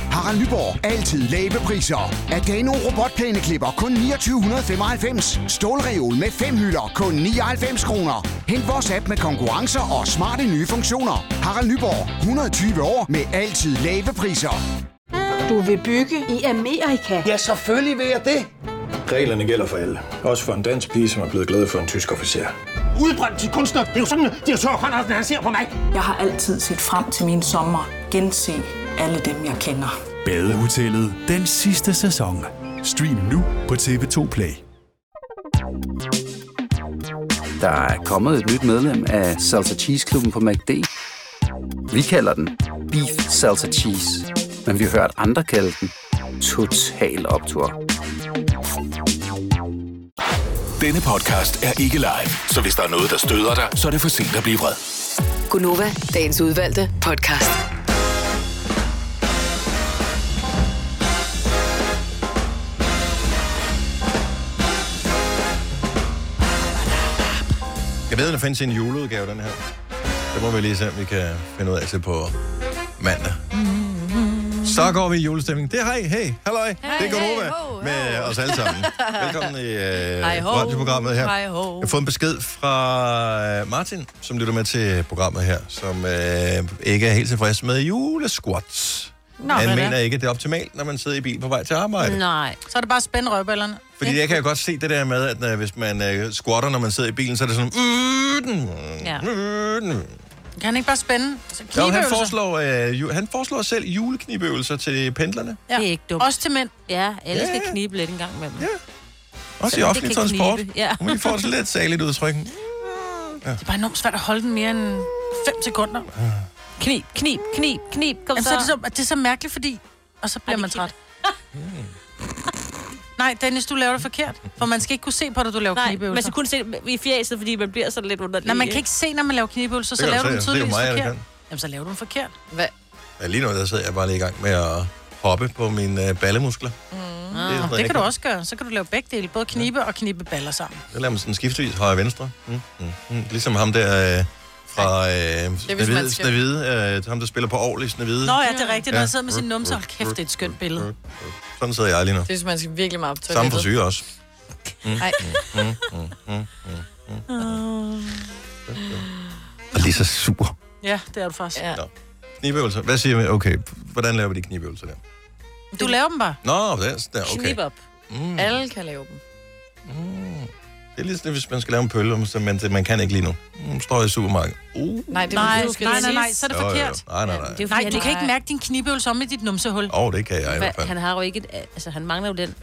Speaker 13: Harald Nyborg. Altid lave priser. Adano robotplæneklipper kun 2995. Stålreol med fem hylder kun 99 kroner. Hent vores app med konkurrencer og smarte nye funktioner. Harald Nyborg. 120 år med altid lave priser.
Speaker 14: Du vil bygge i Amerika? Ja, selvfølgelig vil jeg det.
Speaker 15: Reglerne gælder for alle. Også for en dansk pige, som er blevet glad for en tysk officer.
Speaker 14: Udbrændt til kunstner. Det er jo sådan, at de har Conradsen, han ser på mig. Jeg har altid set frem til min sommer. Gense alle dem, jeg kender.
Speaker 16: Badehotellet den sidste sæson. Stream nu på TV2 Play.
Speaker 17: Der er kommet et nyt medlem af Salsa Cheese Klubben på MACD. Vi kalder den Beef Salsa Cheese, men vi har hørt andre kalde den Total Optor.
Speaker 6: Denne podcast er ikke live, så hvis der er noget, der støder dig, så er det for sent at blive vred.
Speaker 5: Gunova, dagens udvalgte podcast.
Speaker 1: Jeg ved, der findes en juleudgave, den her. Det må vi lige se, om vi kan finde ud af til på mandag. Så går vi i julestemning. Det er hej, hey, halløj. det er Gunova med os alle sammen. Velkommen i
Speaker 18: Hej,
Speaker 1: øh,
Speaker 18: ho.
Speaker 1: radioprogrammet her.
Speaker 18: Hej,
Speaker 1: Jeg
Speaker 18: ho.
Speaker 1: har fået en besked fra øh, Martin, som lytter med til programmet her, som øh, ikke er helt tilfreds med julesquats.
Speaker 2: Nå,
Speaker 1: Han
Speaker 2: hvad da?
Speaker 1: mener ikke, det er optimalt, når man sidder i bil på vej til arbejde.
Speaker 2: Nej. Så er det bare at spænde røvballerne.
Speaker 1: Fordi jeg kan jo godt se det der med, at øh, hvis man øh, squatter, når man sidder i bilen, så er det sådan... Mm,
Speaker 2: Ja.
Speaker 1: mm,
Speaker 2: Kan han ikke bare spænde? Så
Speaker 1: Jo, han,
Speaker 2: knibeøvelser.
Speaker 1: foreslår, øh, ju- han foreslår selv juleknibøvelser til pendlerne.
Speaker 3: Ja. Det er ikke dumt.
Speaker 2: Også til mænd.
Speaker 3: Ja, alle
Speaker 2: Ja,
Speaker 3: skal
Speaker 2: ja.
Speaker 3: knibe lidt en gang med dem. Ja.
Speaker 1: Også
Speaker 3: Selvom
Speaker 1: i
Speaker 3: det
Speaker 1: offentlig
Speaker 3: kan
Speaker 1: transport.
Speaker 3: knibe, ja.
Speaker 1: Ja. Vi får et lidt særligt udtryk.
Speaker 2: Det er bare enormt svært at holde den mere end 5 sekunder.
Speaker 3: Knib, knib, knib, knib. Kom
Speaker 2: Jamen, så.
Speaker 3: så.
Speaker 2: er det, så, det er så mærkeligt, fordi... Og så bliver man træt. Nej, Dennis, du laver det forkert. For man skal ikke kunne se på dig, du laver
Speaker 3: Nej,
Speaker 2: knibeøvelser.
Speaker 3: man skal kun se det i fjæset, fordi man bliver sådan lidt underlig.
Speaker 2: Nej, man kan ikke se, når man laver knibeøvelser,
Speaker 1: Det
Speaker 2: så
Speaker 1: kan
Speaker 2: laver
Speaker 1: du
Speaker 2: du den
Speaker 1: se, det er jo
Speaker 2: tydeligvis
Speaker 1: mig, der
Speaker 2: forkert.
Speaker 1: kan.
Speaker 2: Jamen, så laver du den forkert.
Speaker 4: Hvad?
Speaker 1: Ja, lige nu der sidder jeg bare lige i gang med at hoppe på mine øh, ballemuskler. sådan,
Speaker 2: Mm. Det,
Speaker 1: jeg
Speaker 2: kan
Speaker 1: kan.
Speaker 2: du også gøre. Så kan du lave begge dele. Både knibe og knibe baller sammen.
Speaker 1: Så lader man sådan skiftevis højre og venstre. Mm, mm, mm. Ligesom ham der øh, fra øh,
Speaker 2: man
Speaker 1: Snevide,
Speaker 2: skal-
Speaker 1: Snevide øh, ham der spiller på Aarhus i Snevide.
Speaker 2: Nå ja, det er rigtigt. Når jeg sidder med sin numse, hold kæft, det er et skønt billede.
Speaker 1: Sådan sidder jeg lige nu.
Speaker 4: Det er, man skal virkelig meget på
Speaker 1: Samme
Speaker 4: toilettet.
Speaker 1: frisyr også. Mm,
Speaker 4: Ej.
Speaker 1: mm, mm, mm, mm,
Speaker 2: Ah.
Speaker 1: mm. Ah. Og lige så sur.
Speaker 2: Ja, det er du faktisk. Ja.
Speaker 1: Knibøvelser. Hvad siger vi? Okay, hvordan laver vi de knibøvelser der?
Speaker 2: Du laver dem bare.
Speaker 1: Nå, det er, der, okay.
Speaker 4: op.
Speaker 1: Mm.
Speaker 4: Alle kan lave dem.
Speaker 1: Det er ligesom, hvis man skal lave en pølle, som man, man kan ikke lige nu. Mm, står jeg i supermarkedet. Uh.
Speaker 4: Nej, det er
Speaker 2: nej,
Speaker 4: fordi, du skal
Speaker 2: nej, nej, nej,
Speaker 4: tisse.
Speaker 2: så er det
Speaker 1: Jo, jo, jo.
Speaker 2: forkert.
Speaker 1: Nej, nej, nej.
Speaker 2: Det er jo, nej, du kan ikke mærke din knibeøvelse om i dit numsehul.
Speaker 1: Åh, oh, det kan jeg i hvert
Speaker 3: Hva,
Speaker 1: fald.
Speaker 3: han har jo ikke... Et, altså, han mangler jo den.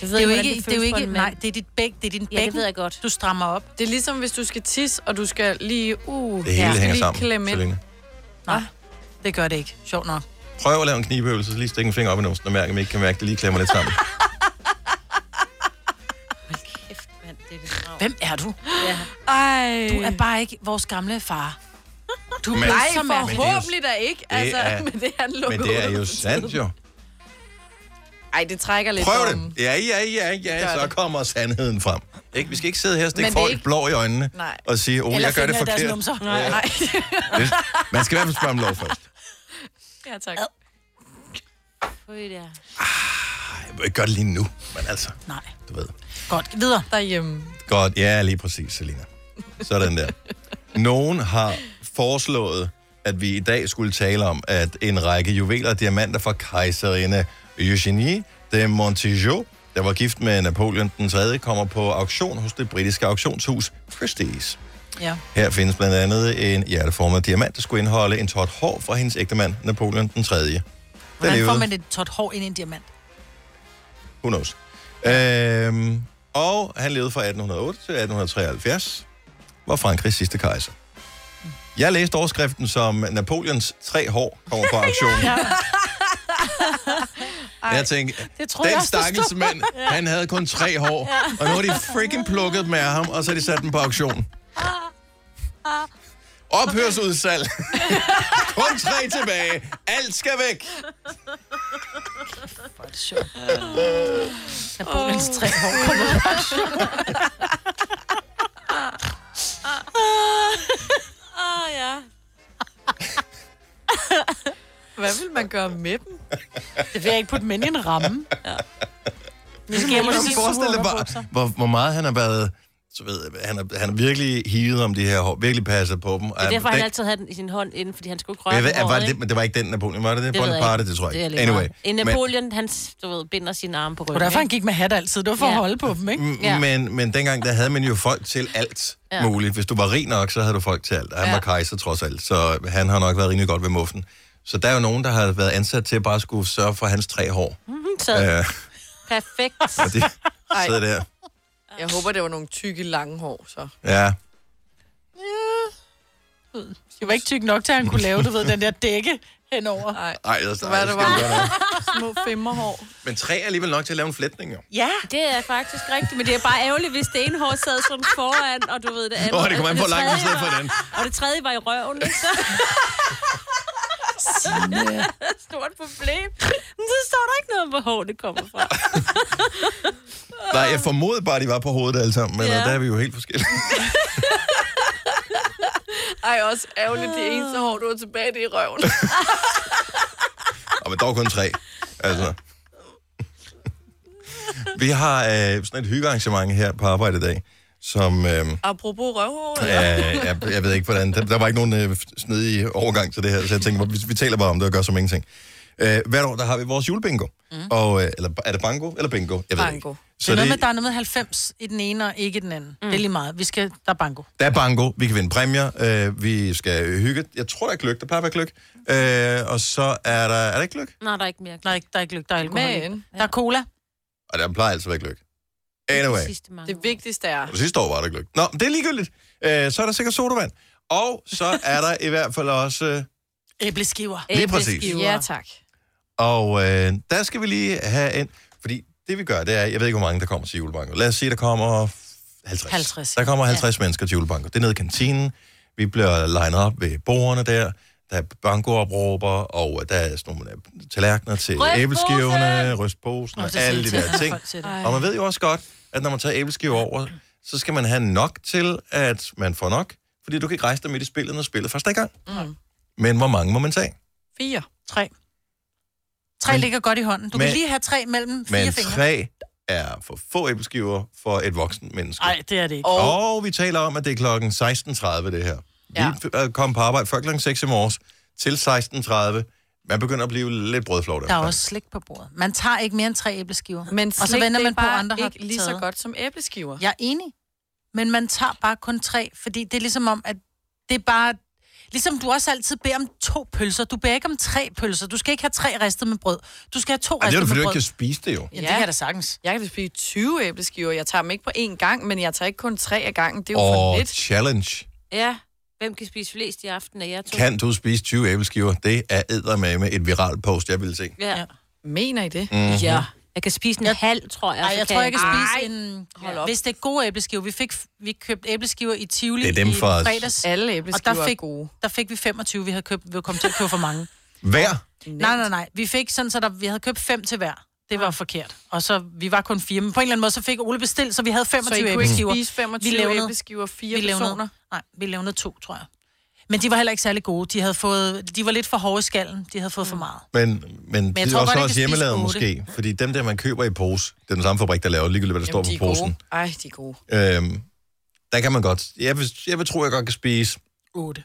Speaker 2: Det, er jo ikke, det, er jo
Speaker 3: føles for
Speaker 2: ikke,
Speaker 3: en mand.
Speaker 2: nej, det er dit bæk, det er din
Speaker 3: Ja, det
Speaker 2: bækken.
Speaker 3: ved jeg
Speaker 2: godt. Du strammer op.
Speaker 4: Det er ligesom, hvis du skal tisse, og du skal lige... Uh,
Speaker 1: Det hele
Speaker 4: ja.
Speaker 1: hænger
Speaker 4: lige
Speaker 1: sammen,
Speaker 4: Klemme ind.
Speaker 1: Selina.
Speaker 2: Nej, det gør det ikke. Sjovt nok.
Speaker 1: Prøv at lave en knibeøvelse, så lige stikke en finger op i numsen og mærke, at man ikke kan mærke, at det lige klemmer lidt
Speaker 4: [LAUGHS]
Speaker 1: sammen.
Speaker 2: Hvem er du?
Speaker 3: Ja.
Speaker 2: Ej. Du er bare ikke vores gamle far. Du
Speaker 1: Men-
Speaker 2: er
Speaker 1: Nej,
Speaker 2: blevet så mærkelig.
Speaker 4: Forhåbentlig da ikke,
Speaker 1: Det
Speaker 4: altså,
Speaker 1: er-
Speaker 4: [LAUGHS] men det er han
Speaker 1: Men
Speaker 4: lukket
Speaker 1: det er
Speaker 4: ud.
Speaker 1: jo sandt, jo.
Speaker 4: Ej, det trækker lidt
Speaker 1: Prøv
Speaker 4: på ham.
Speaker 1: det. Ja, ja, ja, ja, så kommer sandheden frem. Ikke? Vi skal ikke sidde her og stikke
Speaker 4: Men det er
Speaker 1: folk
Speaker 4: ikke-
Speaker 1: blå i øjnene
Speaker 4: Nej.
Speaker 1: og sige, oh, jeg gør det forkert.
Speaker 4: Nej, nej.
Speaker 1: Man skal i hvert fald spørge om lov
Speaker 4: [LAUGHS]
Speaker 1: først.
Speaker 4: ja, tak.
Speaker 3: Ja.
Speaker 1: Jeg vil ikke gøre det lige nu, men altså.
Speaker 2: Nej.
Speaker 1: Du ved.
Speaker 2: Godt, videre.
Speaker 4: Derhjemme.
Speaker 1: Godt, ja, lige præcis, Selina. Sådan der. Nogen har foreslået, at vi i dag skulle tale om, at en række juveler og diamanter fra kejserinde Eugenie de Montijo, der var gift med Napoleon den 3., kommer på auktion hos det britiske auktionshus Christie's.
Speaker 2: Ja.
Speaker 1: Her findes blandt andet en hjerteformet diamant, der skulle indeholde en tot hår fra hendes ægtemand Napoleon den 3. Der
Speaker 2: Hvordan får
Speaker 1: levede-
Speaker 2: man et tot hår ind i en diamant?
Speaker 1: Who knows? Øhm, og han levede fra 1808 til 1873, var Frankrigs sidste kejser. Jeg læste overskriften som Napoleons tre hår kommer på
Speaker 2: [LAUGHS]
Speaker 1: auktionen. ja. Jeg tænkte,
Speaker 2: det troede jeg
Speaker 1: den
Speaker 2: også, der stod.
Speaker 1: stakkels
Speaker 2: [LAUGHS]
Speaker 1: mand, han havde kun tre hår,
Speaker 2: Ja.
Speaker 1: og nu har de freaking plukket med ham, og så har de sat dem på auktion.
Speaker 2: Ah,
Speaker 1: Ophørsudsalg. [LAUGHS] kun tre tilbage. Alt skal væk.
Speaker 2: Hvor er det sjovt. Napoleons tre hår kommer på pension.
Speaker 3: Ah, ja.
Speaker 4: Hvad vil man gøre med dem?
Speaker 2: Det vil jeg ikke putte dem ind i en ramme. Ja. Ligesom
Speaker 1: Kan du forestille dig, hvor, hvor, hvor meget han har været... Så ved jeg, han har, han har virkelig hivet om de her hår, virkelig passet på dem.
Speaker 3: Det er derfor, han altid havde den i sin hånd inden, fordi han skulle ikke røre
Speaker 1: jeg ved,
Speaker 3: ved,
Speaker 1: var det, men det var ikke den Napoleon, var det det? det Bonaparte, det tror jeg ikke. Anyway.
Speaker 3: En
Speaker 1: men-
Speaker 3: Napoleon, men... han du ved, binder sine arme på ryggen.
Speaker 2: Og derfor han gik med hat altid. Det var for at holde på dem, ikke?
Speaker 1: [LAUGHS] Mm, Men, men dengang, der havde man jo folk til alt
Speaker 2: Ja.
Speaker 1: ja. muligt. Hvis du var rig nok, så havde du folk til alt. Han
Speaker 2: Ja.
Speaker 1: ja. var kejser trods alt, så han har nok været rimelig godt ved muffen. Så der er jo nogen, der har været ansat til at bare skulle sørge for hans tre hår.
Speaker 3: Mhm, Så
Speaker 1: Øh,
Speaker 3: perfekt.
Speaker 1: og de
Speaker 4: Ej.
Speaker 1: sidder der.
Speaker 4: Jeg håber, det var nogle tykke, lange hår, så.
Speaker 1: Ja.
Speaker 2: Det var ikke tyk nok til, at han kunne lave, du ved, den der dække henover.
Speaker 4: Nej.
Speaker 1: Ej, ellers,
Speaker 4: Hvad det
Speaker 1: skal vi gøre noget.
Speaker 4: var? Små femmerhår.
Speaker 1: Men tre er alligevel nok til at lave en flætning, jo.
Speaker 2: Ja.
Speaker 3: Det er faktisk rigtigt, men det er bare ærgerligt, hvis det ene hår sad sådan foran, og du ved det andet.
Speaker 1: Åh, det kommer an på,
Speaker 3: og [LAUGHS]
Speaker 1: hvor langt man
Speaker 3: tredje
Speaker 1: sidder for
Speaker 3: var-
Speaker 1: den.
Speaker 3: Og det tredje var i røven, ikke? Så...
Speaker 1: Signe.
Speaker 3: [LAUGHS] Stort problem. Men så står der ikke noget om, hvor hår det kommer fra.
Speaker 1: Nej, jeg formodede bare, at de var på hovedet alle sammen, men
Speaker 4: Ja.
Speaker 1: ja. der er vi jo helt forskellige.
Speaker 4: Ej, også ærgerligt, det eneste hår, du har tilbage, det er i røven.
Speaker 1: Og men dog kun tre. Altså. Vi har øh, sådan et hyggearrangement her på arbejde i dag, som... Øh,
Speaker 4: Apropos røvhår,
Speaker 1: Ja, jeg, jeg ved ikke, hvordan. Der, der var ikke nogen øh, snedig overgang til det her, så jeg tænkte, vi, vi taler bare om det og gør som ingenting. Øh, hvert år, der har vi vores julebingo. Mm. Og, øh, eller, er det bango eller bingo? Jeg ved det
Speaker 2: Bango.
Speaker 1: Ikke.
Speaker 2: Så det
Speaker 1: Så
Speaker 2: er noget
Speaker 1: det,
Speaker 2: med, der er noget med 90 i den ene og ikke i den anden. Mm. Det er lige meget. Vi skal, der er banko.
Speaker 1: der er bango, vi kan vinde præmier, øh, vi skal hygge. Jeg tror, der er gløk, der plejer at være gløk. Øh, og så er der... Er der ikke gløk?
Speaker 3: Nej, der er ikke mere.
Speaker 2: Nej, der er ikke lykke. Der er alkohol. Men. Der er cola.
Speaker 1: Og der plejer altid at være gløk. Anyway.
Speaker 4: Det vigtigste er...
Speaker 1: Og sidste år var der gløk. Nå, men det er ligegyldigt. Øh, så er der sikkert sodavand. Og så er der i hvert fald også... Øh,
Speaker 2: Æbleskiver.
Speaker 1: Lige præcis.
Speaker 4: Ja, tak.
Speaker 1: og øh, der skal vi lige have en... Fordi det vi gør, det er... Jeg ved ikke, hvor mange der kommer til julebanko. Lad os sige, der kommer 50.
Speaker 2: 50,
Speaker 1: Der kommer 50 ja. mennesker til julebanko. Det er nede i kantinen. Vi bliver legnet op ved bordene der. Der er bankoopråber, og der er sådan nogle øh, tallerkener til
Speaker 6: Rystposen!
Speaker 1: æbleskiverne, rystposen
Speaker 6: Nå,
Speaker 1: og
Speaker 6: det
Speaker 1: alle de
Speaker 6: siger
Speaker 1: der
Speaker 6: til.
Speaker 1: ting.
Speaker 6: Folk siger det.
Speaker 1: Og man ved jo også godt, at når man tager æbleskiver over, så skal man have nok til, at man får nok. Fordi du kan ikke rejse dig midt i spillet, når spillet først er i gang.
Speaker 2: Mm.
Speaker 1: Men hvor mange må man tage?
Speaker 2: Fire. Tre. Tre
Speaker 1: Men-
Speaker 2: ligger godt i hånden. Du
Speaker 1: men-
Speaker 2: kan lige have tre mellem fire
Speaker 1: Men
Speaker 2: fingre.
Speaker 1: tre er for få æbleskiver for et voksen menneske.
Speaker 2: Nej, det er det ikke.
Speaker 1: Og... og vi taler om, at det er klokken 16.30 det her. Ja. Vi øh, kom på arbejde før klokken 6 i morges til 16.30. Man begynder at blive lidt brødflot.
Speaker 2: Der er også slik på bordet. Man tager ikke mere end tre æbleskiver.
Speaker 4: Men
Speaker 2: og så
Speaker 4: slik,
Speaker 2: venter
Speaker 4: det er
Speaker 2: man på, at
Speaker 4: bare
Speaker 2: andre har
Speaker 4: ikke lige så
Speaker 2: taget.
Speaker 4: godt som æbleskiver.
Speaker 2: Jeg er enig. Men man tager bare kun tre, fordi det er ligesom om, at det er bare... Ligesom du også altid beder om to pølser. Du beder ikke om tre pølser. Du skal ikke have tre ristet med brød. Du skal have to
Speaker 1: Ej, det er
Speaker 2: ristet
Speaker 1: jo fordi,
Speaker 2: med
Speaker 1: du ikke
Speaker 2: brød.
Speaker 1: kan spise det jo.
Speaker 2: Ja, det kan jeg da sagtens.
Speaker 4: Jeg kan da spise 20 æbleskiver. Jeg tager dem ikke på én gang, men jeg tager ikke kun tre af gangen. Det er jo for
Speaker 1: Og
Speaker 4: lidt.
Speaker 1: challenge.
Speaker 3: Ja, hvem kan spise flest i aften af jer to?
Speaker 1: Kan du spise 20 æbleskiver? Det er eddermame et viralt post, jeg vil se.
Speaker 3: Ja. ja.
Speaker 4: Mener I det?
Speaker 1: Mhm.
Speaker 3: Ja. Jeg kan spise en jeg... halv, tror jeg.
Speaker 2: Ej,
Speaker 3: så
Speaker 2: jeg tror, jeg kan
Speaker 3: Ej.
Speaker 2: spise en... Hvis det er gode æbleskiver. Vi, fik, vi købte æbleskiver i Tivoli
Speaker 1: Det er dem
Speaker 2: i
Speaker 1: for os.
Speaker 2: fredags.
Speaker 4: Alle æbleskiver
Speaker 2: og der
Speaker 4: er
Speaker 2: fik,
Speaker 4: gode.
Speaker 2: Der fik vi 25, vi havde købt. Vi kom til at købe for mange.
Speaker 1: Hver?
Speaker 2: Nej, nej, nej. Vi fik sådan, så der, vi havde købt fem til hver. Det var
Speaker 4: Ah.
Speaker 2: forkert. Og så, vi var kun fire. Men på en eller anden måde, så fik Ole bestilt, så vi havde 25
Speaker 4: Så I kunne ikke
Speaker 2: æbleskiver.
Speaker 4: spise 25 æbleskiver, fire
Speaker 2: vi levnede,
Speaker 4: personer?
Speaker 2: Nej, vi levnede to, tror jeg. Men de var heller ikke særlig gode. De, havde fået, de var lidt for hårde i skallen. De havde fået
Speaker 4: Mm.
Speaker 2: for meget.
Speaker 1: Men, men, men
Speaker 2: jeg
Speaker 1: det er
Speaker 2: tror godt,
Speaker 1: også,
Speaker 2: jeg
Speaker 1: også
Speaker 2: kan spise
Speaker 1: hjemmelavet
Speaker 2: otte.
Speaker 1: måske. Fordi dem der, man køber i pose, det er den samme fabrik, der laver det, ligegyldigt, hvad der står på posen.
Speaker 4: Ej, de er gode.
Speaker 1: Øhm, der kan man godt. Jeg vil, jeg vil tro, jeg godt kan spise
Speaker 2: 8.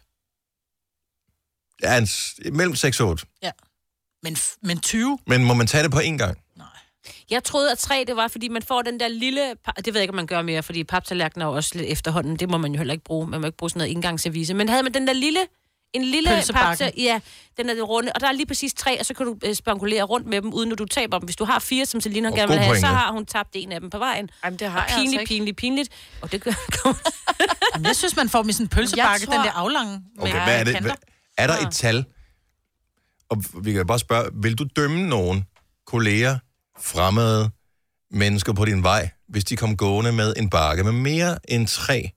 Speaker 1: ja, en, s- mellem 6 og 8.
Speaker 2: Ja. Men, f- men 20?
Speaker 1: Men må man tage det på én gang?
Speaker 3: Jeg troede, at tre, det var, fordi man får den der lille... pa- Det ved jeg ikke, om man gør mere, fordi paptallerkener er jo også lidt efterhånden. Det må man jo heller ikke bruge. Man må ikke bruge sådan noget engangsservice. Men havde man den der lille... En lille
Speaker 2: Pølsebakken.
Speaker 3: papta- ja, den er det runde, og der er lige præcis tre, og så kan du øh, spankulere rundt med dem, uden at du taber dem. Hvis du har fire, som Selina
Speaker 2: Og
Speaker 3: gerne vil
Speaker 2: god
Speaker 3: have, så
Speaker 2: pointe.
Speaker 3: har hun tabt en af dem på vejen.
Speaker 4: Jamen, det
Speaker 2: har
Speaker 3: og
Speaker 2: jeg altså
Speaker 3: pinligt,
Speaker 2: ikke.
Speaker 3: pinligt, pinligt, pinligt. Og det gør
Speaker 2: Jeg synes, man får dem i sådan en pølsebakke,
Speaker 3: Jeg tror-
Speaker 2: den der aflange. med
Speaker 1: Okay, hvad er det?
Speaker 2: kanter.
Speaker 1: Hvad, er der et tal? Og vi kan bare spørge, vil du dømme nogen kolleger, fremmede mennesker på din vej, hvis de kom gående med en bakke med mere end tre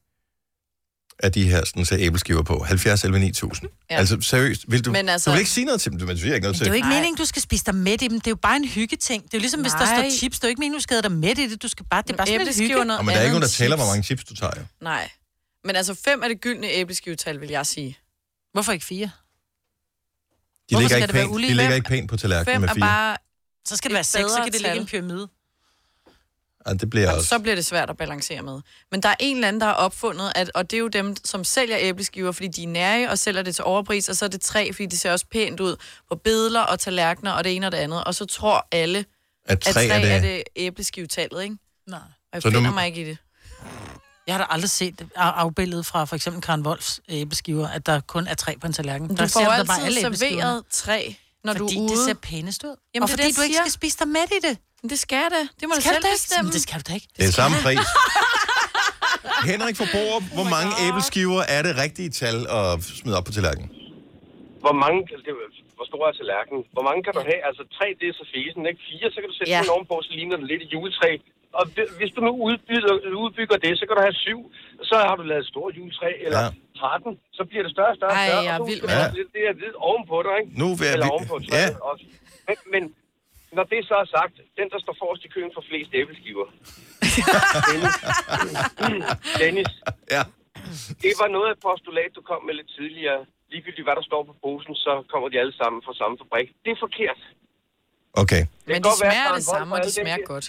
Speaker 1: af de her sådan, så æbleskiver på? 70 11 9000.
Speaker 2: Ja.
Speaker 1: Ja. Altså seriøst, vil du,
Speaker 2: Men altså-
Speaker 1: altså, du vil ikke sige noget til dem, men du siger ikke noget
Speaker 2: Men
Speaker 1: til
Speaker 2: det er jo ikke
Speaker 1: dem.
Speaker 2: meningen, du skal spise dig mæt i dem. Det er jo bare en hyggeting. Det er jo ligesom, hvis der
Speaker 4: Nej.
Speaker 2: står chips. Det er jo ikke meningen, du skal have dig mæt i det. Du skal bare, det er bare sådan lidt hygge.
Speaker 4: æbleskiver noget
Speaker 1: Og men der er ikke nogen, der
Speaker 4: andet
Speaker 1: tæller,
Speaker 4: chips.
Speaker 1: hvor mange chips du tager. jo.
Speaker 4: Nej. Men altså, fem er det gyldne æbleskivetal, vil jeg sige.
Speaker 2: Hvorfor ikke fire?
Speaker 1: De
Speaker 2: Hvorfor
Speaker 1: ligger,
Speaker 2: skal
Speaker 1: ikke
Speaker 2: det være
Speaker 1: pænt, de
Speaker 2: ulige?
Speaker 1: ligger
Speaker 2: Fem-
Speaker 1: ikke pænt på tallerkenen med fire. Bare...
Speaker 2: Så skal det være seks, så kan det ligge i en pyramide.
Speaker 1: Ja, det bliver
Speaker 4: Og
Speaker 1: også...
Speaker 4: så bliver det svært at balancere med. Men der er en eller anden, der har opfundet, at, og det er jo dem, som sælger æbleskiver, fordi de er nære og sælger det til overpris, og så er det træ, fordi det ser også pænt ud på billeder og tallerkener og det ene og det andet. Og så tror alle,
Speaker 1: At træ
Speaker 4: at
Speaker 1: er
Speaker 4: træ
Speaker 1: det-
Speaker 4: er det æbleskivetallet, ikke?
Speaker 2: Nej.
Speaker 4: Og jeg
Speaker 1: Så nu-
Speaker 4: finder mig ikke i det.
Speaker 2: Jeg har da aldrig set det af- afbilledet fra for eksempel Karen Wolfs øh, æbleskiver, at der kun er tre på en tallerken.
Speaker 4: Du
Speaker 2: der
Speaker 4: får
Speaker 2: ser du da
Speaker 4: altid
Speaker 2: æbleskiverne.
Speaker 4: serveret træ, når
Speaker 2: fordi
Speaker 4: du er ude.
Speaker 2: det ser pænest ud.
Speaker 4: Jamen,
Speaker 2: og
Speaker 4: det er
Speaker 2: fordi
Speaker 4: det, jeg
Speaker 2: du ikke
Speaker 4: siger.
Speaker 2: skal spise dig mæt i det.
Speaker 4: Men det skal det. Det må du
Speaker 2: Skal
Speaker 4: selv
Speaker 2: da ikke?
Speaker 4: bestemme.
Speaker 2: Men det skal du da ikke.
Speaker 1: Det er samme pris. [LAUGHS] Henrik fra Borup,
Speaker 4: Oh
Speaker 1: hvor mange æbleskiver er det rigtige tal at smide op på tallerkenen?
Speaker 12: Hvor mange, altså, det, hvor stor er tallerkenen? Hvor mange kan du have? Altså tre, det er så fesen, ikke? Fire, så kan du sætte
Speaker 4: Ja.
Speaker 12: ja. ovenpå, så ligner den lidt et juletræ. Og hvi- hvis du nu udbygger, udbygger det, så kan du have syv. Så har du lavet et stort juletræ, eller
Speaker 1: Ja.
Speaker 12: ja. 13. Så bliver det større og større. og
Speaker 4: Ej,
Speaker 12: større,
Speaker 4: jeg er
Speaker 12: og så
Speaker 4: vild
Speaker 12: skal
Speaker 1: med
Speaker 12: du
Speaker 1: det.
Speaker 12: også lidt det her hvid ovenpå dig, ikke?
Speaker 1: Nu vil jeg-
Speaker 12: Eller ovenpå
Speaker 1: ja.
Speaker 12: træet også. Men, men når det så er sagt, den, der står forrest i køen for flest æbleskiver.
Speaker 1: [LAUGHS]
Speaker 12: Dennis. Dennis.
Speaker 1: Ja.
Speaker 12: Det var noget af et postulat, du kom med lidt tidligere. Ligegyldigt hvad der står på posen, så kommer de alle sammen fra samme fabrik. Det er forkert.
Speaker 1: Okay.
Speaker 12: Det
Speaker 4: Men
Speaker 12: kan
Speaker 4: de
Speaker 12: godt være,
Speaker 4: smager det
Speaker 12: at der er en
Speaker 4: samme,
Speaker 12: vold
Speaker 4: og
Speaker 12: for
Speaker 4: det
Speaker 12: alle dem
Speaker 4: smager
Speaker 12: der.
Speaker 4: godt.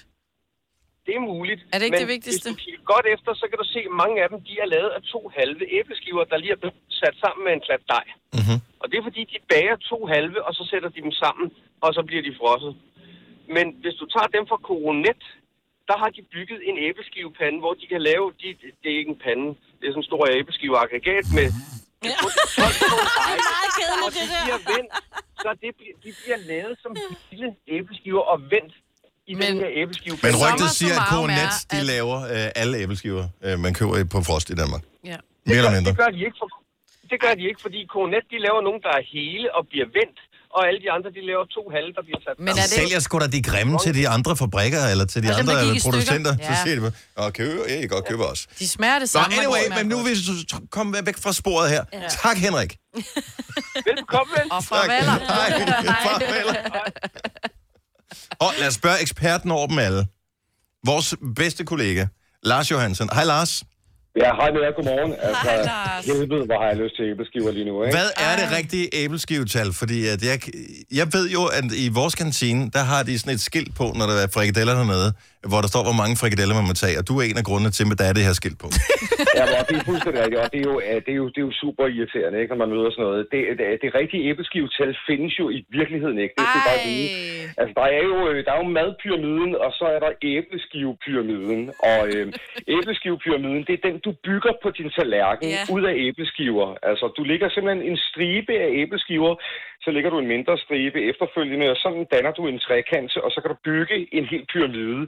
Speaker 12: Det er muligt.
Speaker 4: Er det ikke
Speaker 12: men
Speaker 4: det vigtigste?
Speaker 12: Hvis du kigger godt efter, så kan du se, at mange af dem de er lavet af to halve æbleskiver, der lige er blevet sat sammen med en klat dej.
Speaker 1: Mm-hmm.
Speaker 12: Og det er fordi, de bager to halve, og så sætter de dem sammen, og så bliver de frosset. Men hvis du tager dem fra Coronet, der har de bygget en æbleskivepande, hvor de kan lave... De, det er ikke en pande, det er sådan en stor æbleskiveaggregat med... med
Speaker 3: [LAUGHS] Det er meget kedeligt, det der.
Speaker 12: bliver vendt, så det, bliver- de bliver lavet som lille æbleskiver og vendt i men, den her æbleskive.
Speaker 1: Men rygtet siger, at K-Net, de laver øh, alle æbleskiver, øh, man køber på frost i Danmark.
Speaker 3: Ja.
Speaker 1: Mere eller mindre.
Speaker 12: Det gør de ikke, for, det gør de ikke fordi K-Net, de laver nogen, der er hele og bliver vendt, og alle de andre, de laver to halve, der bliver sat
Speaker 4: [LAUGHS] Men Altså,
Speaker 1: De sælger sgu da de grimme til de andre fabrikker, eller til de
Speaker 12: Og dem, der
Speaker 1: andre
Speaker 12: gik i stykker.
Speaker 1: producenter.
Speaker 4: Ja.
Speaker 1: Så siger de bare, "Nå, køber, ja, I kan godt købe os.
Speaker 4: De smager det
Speaker 1: Nå,
Speaker 4: samme. og det
Speaker 1: anyway,
Speaker 4: smager
Speaker 1: men nu
Speaker 4: godt.
Speaker 1: vil du komme væk fra sporet her.
Speaker 4: Ja.
Speaker 1: Tak, Henrik.
Speaker 12: Velkommen.
Speaker 4: Og farveler.
Speaker 1: [LAUGHS] Hej. Og lad os spørge eksperten over dem alle. Vores bedste kollega, Lars Johansen. Hej, Lars.
Speaker 18: [LAUGHS] Ja, hej med jer. Godmorgen. Altså,
Speaker 1: Hej, Lars.
Speaker 18: helvede, hvor har jeg lyst til æbleskiver lige nu, ikke?
Speaker 1: Hvad er det rigtige æbleskivetal? Fordi at jeg, jeg ved jo, at i vores kantine, der har de sådan et skilt på, når der er frikadeller dernede, hvor der står, hvor mange frikadeller man må tage. Og du er en af grundene til, at der er det her skilt på.
Speaker 18: Ja, men det er fuldstændig rigtigt, og det er jo, øh, det er jo, det er jo super irriterende, ikke, når man møder sådan noget. Det, det, det rigtige æbleskivetal findes jo i virkeligheden ikke. Det skal jeg bare vide. Altså, der er, jo, øh, der er jo madpyramiden, og så er der æbleskivepyramiden. Og øh, æbleskivepyramiden, det er den, du bygger på din tallerken
Speaker 19: Ja.
Speaker 18: yeah. ud af æbleskiver. Altså, du ligger simpelthen en stribe af æbleskiver, så ligger du en mindre stribe efterfølgende, og sådan danner du en trekant, og så kan du bygge en hel pyramide.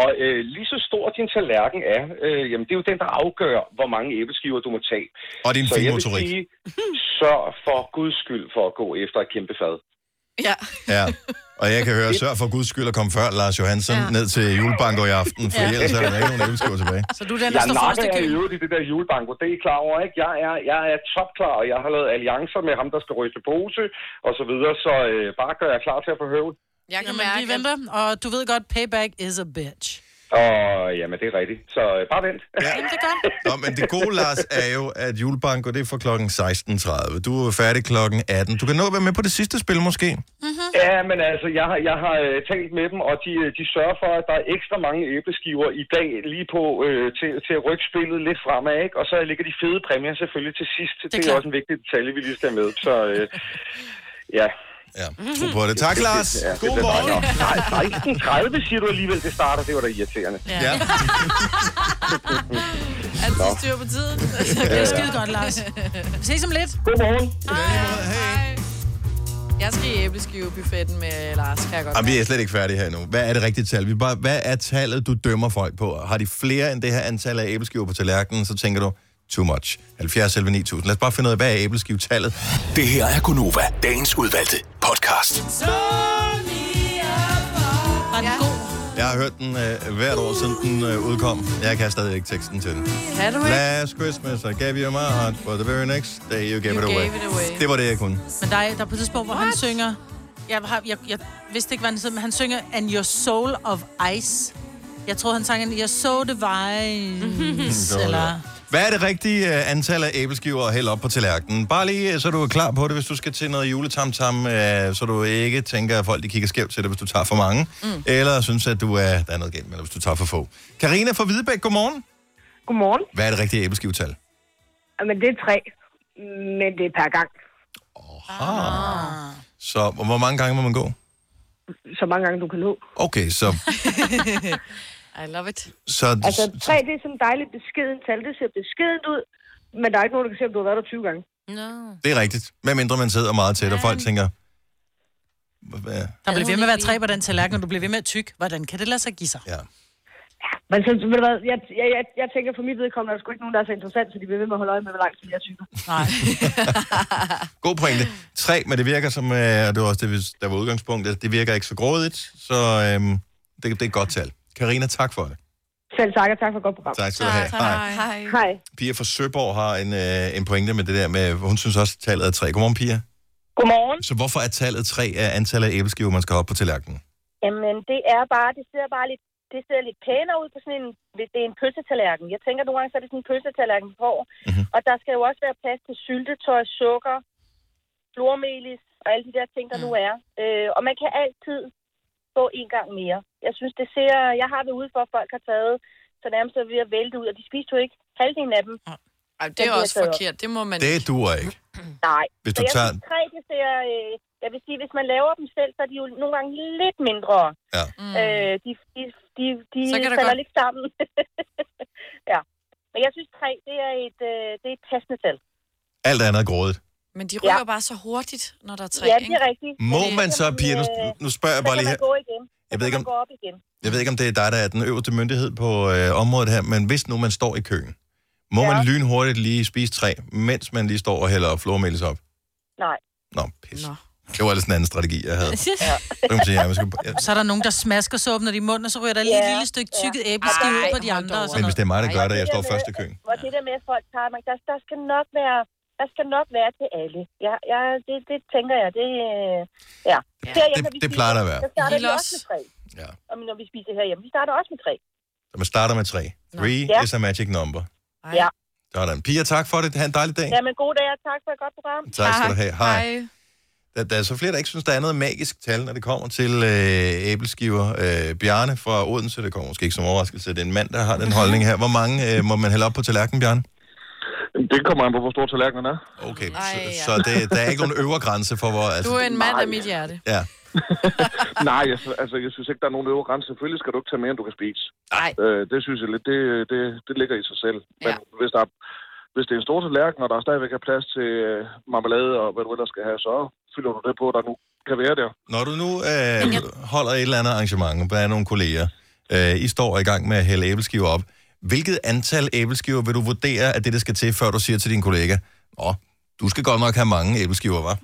Speaker 18: Og øh, lige så stor din tallerken er, øh, jamen, det er jo den, der afgør, hvor mange æbleskiver du må tage.
Speaker 1: Og din
Speaker 18: så jeg vil
Speaker 1: finmotorik.
Speaker 18: sige, sørg for guds skyld for at gå efter et kæmpe fad.
Speaker 4: Ja.
Speaker 1: Ja. Og jeg kan høre, sørg for guds skyld at komme før Lars Johansen ja. ned til julebanko i aften, for
Speaker 18: Ja.
Speaker 1: ellers er
Speaker 18: [LAUGHS]
Speaker 1: der ikke nogen æbleskiver tilbage.
Speaker 2: [LAUGHS] Så du er den,
Speaker 18: jeg
Speaker 2: der står forrest i
Speaker 18: Jeg
Speaker 2: køen.
Speaker 18: i øvrigt i det der julebanko, det er I klar over, ikke? Jeg er, jeg er topklar, og jeg har lavet alliancer med ham, der skal ryste pose, og så videre, så øh, bare gør jeg klar til at få høvl.
Speaker 4: Jeg
Speaker 2: kan Jamen, mærke... vi venter, og du ved godt, payback is a bitch.
Speaker 18: Og jamen, det er rigtigt. Så øh, bare vent.
Speaker 1: Ja.
Speaker 2: Jamen, det er godt.
Speaker 1: Nå, men det gode, Lars, er jo, at julebanko, det er fra klokken 16.30. Du er færdig klokken 18. Du kan nå at være med på det sidste spil, måske.
Speaker 18: Mm-hmm. Ja, men altså, jeg har, jeg har øh, talt med dem, og de, øh, de sørger for, at der er ekstra mange æbleskiver i dag lige på øh, til, til at rykke spillet lidt fremad, ikke? Og så ligger de fede præmier selvfølgelig til sidst. Det er, det er også en vigtig detalje, vi lige skal have med. Så øh, ja.
Speaker 1: Ja, tro på det. Tak, Lars. God morgen.
Speaker 18: Nej, 16.30 siger du alligevel, det starter. Det var da irriterende.
Speaker 1: Ja.
Speaker 18: Nå.
Speaker 4: [LAUGHS] Altid styr på
Speaker 1: [LAUGHS]
Speaker 4: tiden.
Speaker 2: Det er skide godt, Lars. Vi ses om lidt.
Speaker 18: Godmorgen.
Speaker 4: Hej. Jeg skal i æbleskivebuffetten med Lars, kan jeg godt
Speaker 1: Jamen, vi
Speaker 4: mærke.
Speaker 1: er slet ikke færdige her endnu. Hvad er det rigtige tal? Vi bare, hvad er tallet, du dømmer folk på? Har de flere end det her antal af æbleskiver på tallerkenen, så tænker du, too much. 70 11 9000. Lad os bare finde ud af, hvad er æbleskivetallet? Det her er Gunova, dagens udvalgte podcast.
Speaker 2: Var den god?
Speaker 1: Jeg har hørt den øh, hvert år, siden den øh, udkom. Jeg kan stadig ikke teksten til den.
Speaker 4: Kan du ikke?
Speaker 1: Last Christmas, I gave you my heart, but the very next day you gave,
Speaker 4: You
Speaker 1: it, away.
Speaker 4: gave it away.
Speaker 1: Det var det, jeg kunne.
Speaker 2: Men der er, der er på et tidspunkt, hvor han synger... Jeg, har, jeg, jeg vidste ikke, hvad han hed, men han synger And Your Soul of Ice. Jeg troede, han sang, And Your Soul Divine.
Speaker 1: [LAUGHS] Det var det.
Speaker 2: eller...
Speaker 1: Hvad er det rigtige øh, antal af æbleskiver at hælde op på tallerkenen? Bare lige, øh, så du er klar på det, hvis du skal til noget juletamtam, øh, så du ikke tænker, at folk de kigger skævt til dig, hvis du tager for mange. Mm. Eller synes, at du er, der er noget galt med dig, hvis du tager for få. Karina fra Hvidebæk, godmorgen.
Speaker 19: Godmorgen.
Speaker 1: Hvad er det rigtige æbleskivetal?
Speaker 19: Jamen, det er tre, men det er per gang.
Speaker 1: Ah. Så hvor mange gange må man gå?
Speaker 19: Så mange gange, du kan nå.
Speaker 1: Okay, så,
Speaker 4: I love it.
Speaker 1: så
Speaker 19: Altså, tre, det er sådan et dejligt beskedent tal. Det ser beskedent ud, men der er ikke nogen, der kan se, om du har været der 20 gange.
Speaker 3: No.
Speaker 1: det er rigtigt. Med mindre man sidder meget tæt, og folk tænker... Hvad?
Speaker 2: Der blev ved med at være tre på den tallerken, og du blev ved med at tykke. Hvordan kan det lade sig give sig?
Speaker 1: Ja.
Speaker 19: Men så, ved du hvad, jeg, jeg, jeg, jeg tænker for mit vedkommende, er der sgu ikke nogen, der er så interessant, så de bliver ved med at holde øje med, hvor lang tid jeg tykker.
Speaker 2: Nej.
Speaker 1: God pointe. Tre, men det virker som, øh, og det var også det, vi- der var udgangspunktet, det virker ikke så grådigt, så øhm, det, det er et godt tal. Karina, tak for det.
Speaker 19: Selv tak, og tak for et godt program.
Speaker 1: Tak skal du have. Hej.
Speaker 19: Hej. Hej.
Speaker 1: Pia fra Søborg har en, øh, en pointe med det der med, hun synes også, at tallet er tre. Godmorgen, Pia.
Speaker 19: Godmorgen.
Speaker 1: Så hvorfor er tallet tre af antallet af æbleskiver, man skal have op på tallerkenen?
Speaker 10: Jamen, det er bare, det ser bare lidt, det ser lidt pænere ud på sådan en, hvis det er en pølsetallerken. Jeg tænker nogle gange, så er det sådan en pølsetallerken på, mm-hmm. og der skal jo også være plads til syltetøj, sukker, flormelis og alle de der ting, der mm. nu er. Øh, og man kan altid få en gang mere. Jeg synes, det ser, jeg har det ude for, at folk har taget, så nærmest er ved at vælte ud, og de spiste jo ikke halvdelen af dem.
Speaker 4: Ej, det er også forkert. Det må man ikke.
Speaker 1: Det duer ikke.
Speaker 10: Nej.
Speaker 1: Hvis
Speaker 10: så
Speaker 1: du
Speaker 10: jeg
Speaker 1: tager-
Speaker 10: synes, tre, det ser, øh, jeg vil sige, hvis man laver dem selv, så er de jo nogle gange lidt mindre.
Speaker 1: Ja.
Speaker 10: Øh, de, de, de, de
Speaker 4: Mm. Så kan det
Speaker 10: falder
Speaker 4: godt-
Speaker 10: lidt sammen. [LAUGHS] ja. Men jeg synes, tre, det er et, øh, det er et passende tal.
Speaker 1: Alt andet er grådigt.
Speaker 4: Men de rykker
Speaker 10: Ja.
Speaker 4: ja. bare så hurtigt, når der er tre,
Speaker 10: ja, det
Speaker 4: ikke?
Speaker 10: er rigtigt.
Speaker 1: Må
Speaker 10: Men
Speaker 1: man
Speaker 10: det
Speaker 1: så,
Speaker 10: kan
Speaker 1: Pia, nu,
Speaker 10: øh,
Speaker 1: nu spørger jeg
Speaker 10: så
Speaker 1: bare
Speaker 10: kan
Speaker 1: lige her.
Speaker 10: man gå igen. Så
Speaker 1: Jeg ved
Speaker 10: kan
Speaker 1: ikke,
Speaker 10: man
Speaker 1: om-
Speaker 10: gå op igen.
Speaker 1: Jeg ved ikke, om det er dig, der er den øverste myndighed på øh, området her, men hvis nu man står i køen, må ja. man lynhurtigt lige spise tre, mens man lige står og hælder flormelis op?
Speaker 10: Nej.
Speaker 1: Nå, pis. Nå. Det var ellers en anden strategi, jeg havde. Så
Speaker 2: [LAUGHS] Ja.
Speaker 1: kan man sige, ja, man skal... ja.
Speaker 2: Så er der nogen, der smasker så åbner de munden, og så ryger der lige et
Speaker 10: Ja,
Speaker 2: lille stykke
Speaker 10: ja.
Speaker 2: tykket æbleskive ud på de andre. Og sådan
Speaker 1: Men hvis det er mig, der
Speaker 2: noget.
Speaker 1: gør det, og jeg står først i køen.
Speaker 10: Og det der med, at folk tager mig, der, der skal nok være... Der skal nok være til alle. Ja, ja det, det tænker jeg. Det, øh, ja. Herhjemme,
Speaker 1: Det-
Speaker 10: når vi
Speaker 1: det plejer der at være.
Speaker 10: Så starter vi
Speaker 4: Lille
Speaker 10: også
Speaker 4: os.
Speaker 10: med tre.
Speaker 1: Ja.
Speaker 10: Og når vi spiser herhjemme, vi starter også med tre.
Speaker 1: Så man starter med tre. Three
Speaker 10: Ja.
Speaker 1: ja. is a magic number.
Speaker 10: Ja.
Speaker 1: Sådan. Pia, tak for det. Ha' en dejlig dag.
Speaker 10: ja, men god dag, og tak for et godt program.
Speaker 1: Tak skal du have. Hej. Der, der er så flere, der ikke synes, der er noget magisk tal, når det kommer til øh, æbleskiver. Øh, Bjarne fra Odense, det kommer måske ikke som overraskelse, det er en mand, der har den holdning her. Hvor mange øh, må man hælde op på tallerkenen, Bjarne?
Speaker 7: Det kommer an på, hvor stor tallerkenen er.
Speaker 1: Okay, Ej, ja. Så det, der er ikke nogen øvre grænse for, hvor...
Speaker 4: Du
Speaker 1: Altså,
Speaker 4: er en mand af mit hjerte.
Speaker 1: ja.
Speaker 7: [LAUGHS] Nej, jeg, altså, jeg synes ikke, der er nogen øvre grænse. Selvfølgelig skal du ikke tage mere, end du kan spise.
Speaker 4: Nej.
Speaker 7: Øh, det synes jeg lidt, det, det, det ligger i sig selv. Men ja. hvis, der er, hvis det er en stor tallerken, og der stadigvæk er plads til øh, marmelade og hvad du ellers skal have, så fylder du det på, der nu kan være der.
Speaker 1: Når du nu øh, holder et eller andet arrangement blandt nogle kolleger, øh, I står i gang med at hælde æbleskiver op, hvilket antal æbleskiver vil du vurdere, at det, det skal til, før du siger til din kollega, Nå, du skal godt nok have mange æbleskiver, var?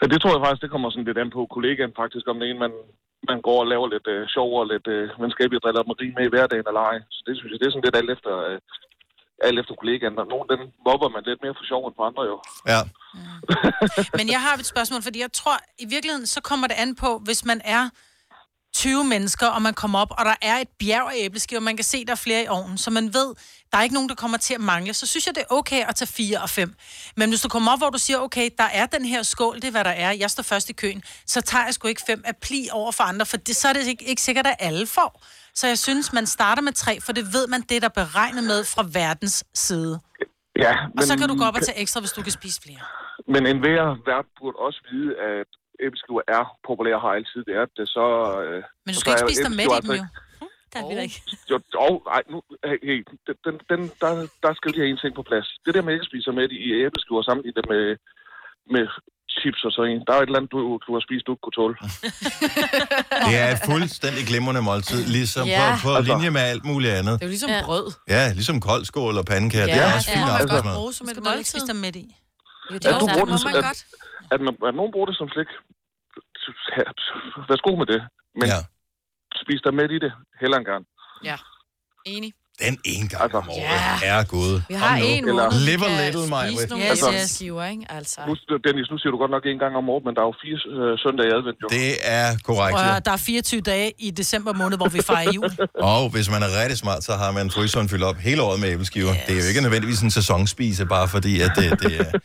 Speaker 7: Ja, det tror jeg faktisk, det kommer sådan lidt an på kollegaen faktisk, om det er en, man, man går og laver lidt øh, sjov og lidt øh, venskabelige driller med rim med i hverdagen eller ej. Så det synes jeg, det er sådan lidt alt efter, øh, alt efter kollegaen. Der- Nogle dem mobber man lidt mere for sjov end for andre jo.
Speaker 1: Ja.
Speaker 2: Men jeg har et spørgsmål, fordi jeg tror, i virkeligheden, så kommer det an på, hvis man er 20 mennesker, og man kommer op, og der er et bjerg af æbleskiver, man kan se, der er flere i ovnen, så man ved, der er ikke nogen, der kommer til at mangle, så synes jeg, det er okay at tage fire og fem. Men hvis du kommer op, hvor du siger, okay, der er den her skål, det er, hvad der er, jeg står først i køen, så tager jeg sgu ikke fem af pli over for andre, for det, så er det ikke, ikke sikkert, at alle får. Så jeg synes, man starter med tre, for det ved man, det er der beregnet med fra verdens side.
Speaker 7: Ja,
Speaker 2: Og så kan du gå op og tage ekstra, hvis du kan spise flere.
Speaker 7: Men en hver vært burde også vide, at æbleskiver er populære har altid været det, så... Øh,
Speaker 2: Men du
Speaker 7: så
Speaker 2: skal ikke
Speaker 7: er
Speaker 2: spise dig mæt
Speaker 7: æbleskiver
Speaker 2: i dem
Speaker 7: altså
Speaker 2: jo. Der er vi da ikke.
Speaker 7: Jo, og, ej, nu, hey, hey, den- den, den, der, der skal lige have en ting på plads. Det der med, at ikke spiser med i æbleskiver sammenlignet med, med chips og sådan en. Der er et eller andet, du, du har spist, du ikke kunne tåle.
Speaker 1: Det er et fuldstændig glimrende måltid, ligesom
Speaker 7: Ja.
Speaker 1: ja. på, på
Speaker 7: Altså.
Speaker 1: linje med alt muligt andet.
Speaker 4: Det er jo ligesom ja. brød.
Speaker 1: Ja, ligesom koldskål og pandekager, ja, det er også
Speaker 4: Det
Speaker 1: fint
Speaker 4: må man godt
Speaker 1: aftensmad.
Speaker 4: bruge som et
Speaker 2: Skal man ikke
Speaker 4: måltid.
Speaker 2: spise dig midt i?
Speaker 4: Jo,
Speaker 7: At, du bruger
Speaker 4: må
Speaker 7: den,
Speaker 4: man
Speaker 7: at,
Speaker 4: godt.
Speaker 7: at, man, at nogen bruger det som slik. Ja, Værsgo med det. Men ja. spis dig med i det. Heller en gang.
Speaker 4: Ja. Enig.
Speaker 1: Den ene gang
Speaker 7: Altså.
Speaker 1: om året er god.
Speaker 4: Vi har en måned, vi
Speaker 1: Live a
Speaker 4: kan
Speaker 1: little, Maja.
Speaker 4: spise nogle
Speaker 1: Altså,
Speaker 4: yes, yes. skiver, ikke? Altså.
Speaker 7: Nu, Dennis, nu siger du godt nok en gang om året, men der er jo fire øh, søndage i advent, jo.
Speaker 1: Det er korrekt.
Speaker 2: Og der er 24 dage i december måned, hvor vi fejrer jul.
Speaker 1: Og hvis man er rigtig smart, så har man fryseren fyldt op hele året med æbleskiver. Yes. Det er jo ikke nødvendigvis en sæsonspise, bare fordi, at det, det er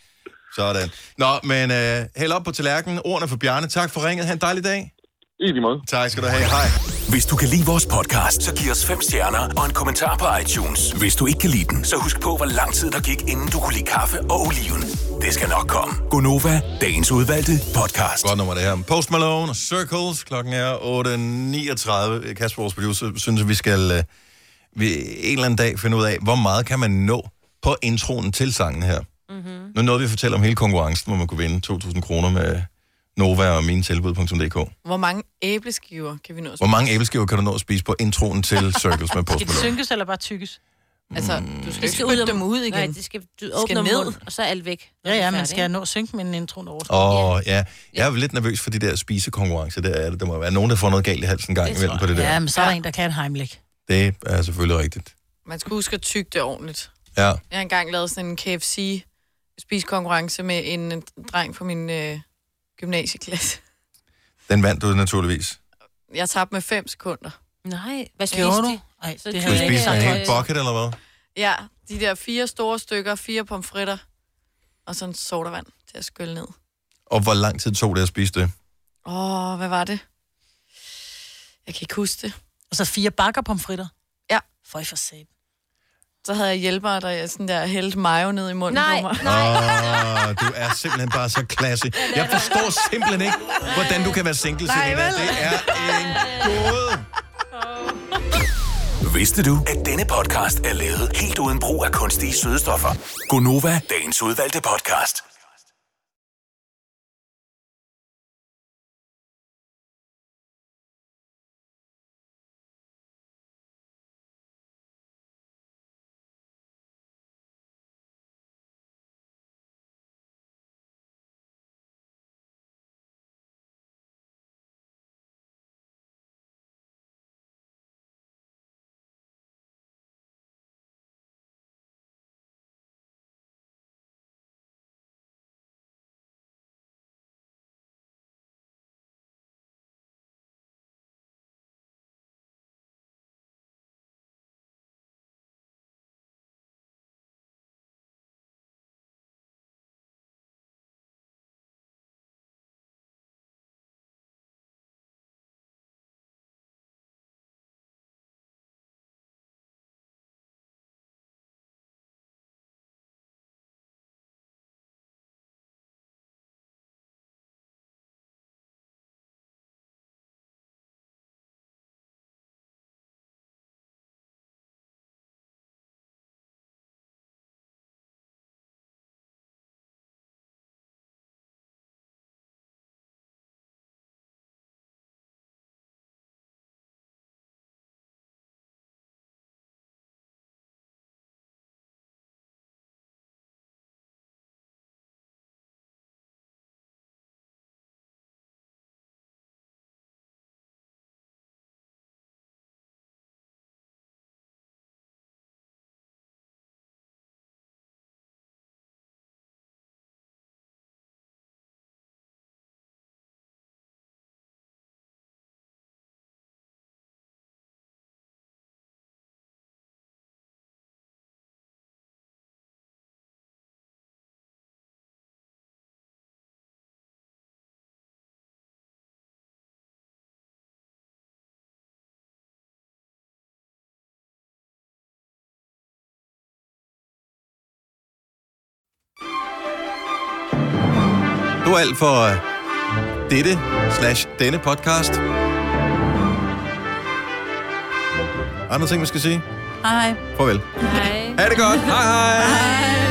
Speaker 1: sådan. Nå, men øh, held op på tallerkenen. Ordene for Bjarne. Tak for ringet. Ha' en dejlig dag.
Speaker 7: I lige måde.
Speaker 1: Tak skal du have. Hej.
Speaker 6: Hvis du kan lide vores podcast, så giv os fem stjerner og en kommentar på iTunes. Hvis du ikke kan lide den, så husk på, hvor lang tid der gik, inden du kunne lide kaffe og oliven. Det skal nok komme.
Speaker 1: Gonova, dagens udvalgte podcast. Godt nummer det her. Post Malone og Circles. Klokken er 8.39. Kasper, vores producer, synes, at vi skal øh, vi en eller anden dag finde ud af, hvor meget kan man nå på introen til sangen her. Mm-hmm. Nu nåede vi at fortælle om hele konkurrencen, hvor man kunne vinde 2.000 kroner med Nova og mintilbud.dk.
Speaker 4: Hvor mange æbleskiver kan vi nå at
Speaker 1: Hvor mange æbleskiver kan du nå at spise på introen
Speaker 4: [LAUGHS]
Speaker 1: til Circles med Post
Speaker 2: Skal det
Speaker 1: Malone?
Speaker 2: synkes eller bare tykkes?
Speaker 4: Altså,
Speaker 1: mm.
Speaker 4: du
Speaker 2: Det
Speaker 4: skal,
Speaker 2: skal
Speaker 4: skal
Speaker 2: ud
Speaker 4: ud
Speaker 2: om-
Speaker 4: dem ud igen.
Speaker 2: Nej, det skal-
Speaker 4: du
Speaker 2: åbner munden,
Speaker 4: og så er alt væk.
Speaker 2: Ja, ja, man skal nå at synke med en intro over.
Speaker 1: Og ja, jeg er lidt nervøs for de der spisekonkurrencer. Der, er det. der må være nogen, der får noget galt i halsen en gang imellem på det der.
Speaker 2: Ja, men så er der en, der kan et heimlæg.
Speaker 1: Det er selvfølgelig rigtigt.
Speaker 4: Man skal huske at tygge det ordentligt.
Speaker 1: Ja.
Speaker 4: Jeg har engang lavet sådan en KFC spiskonkurrence med en dreng fra min øh, gymnasieklasse.
Speaker 1: Den vandt du naturligvis.
Speaker 4: Jeg tabte med 5 sekunder. Nej,
Speaker 3: hvad
Speaker 2: spiste Gjorde de? du? Ej, det
Speaker 1: Du spiser en hel bucket, eller hvad?
Speaker 4: Ja, de der fire store stykker, fire pomfritter og sådan sodavand til at skylle ned.
Speaker 1: Og hvor lang tid tog det at spise det?
Speaker 4: Åh, hvad var det? Jeg kan ikke huske det.
Speaker 2: Og så fire bakker pomfritter?
Speaker 4: Ja.
Speaker 2: For i for satan.
Speaker 4: Så havde jeg hjælpere, der jeg sådan der hældte mayo ned i munden
Speaker 3: Nej,
Speaker 4: på mig.
Speaker 1: Åh, oh, du er simpelthen bare så klasse. Jeg forstår simpelthen ikke, hvordan du kan være single,
Speaker 4: Nej,
Speaker 1: Selena.
Speaker 4: vel?
Speaker 1: Det er en gåde.
Speaker 6: Vidste du, at denne podcast er lavet helt uden brug af kunstige sødestoffer?
Speaker 1: Gonova,
Speaker 6: Dagens udvalgte podcast.
Speaker 1: Du er alt for øh, dette slash denne podcast. Andre ting, man skal sige?
Speaker 2: Hej.
Speaker 1: Farvel.
Speaker 2: Hej.
Speaker 1: Ha' det godt. Hej hej.
Speaker 2: Hej.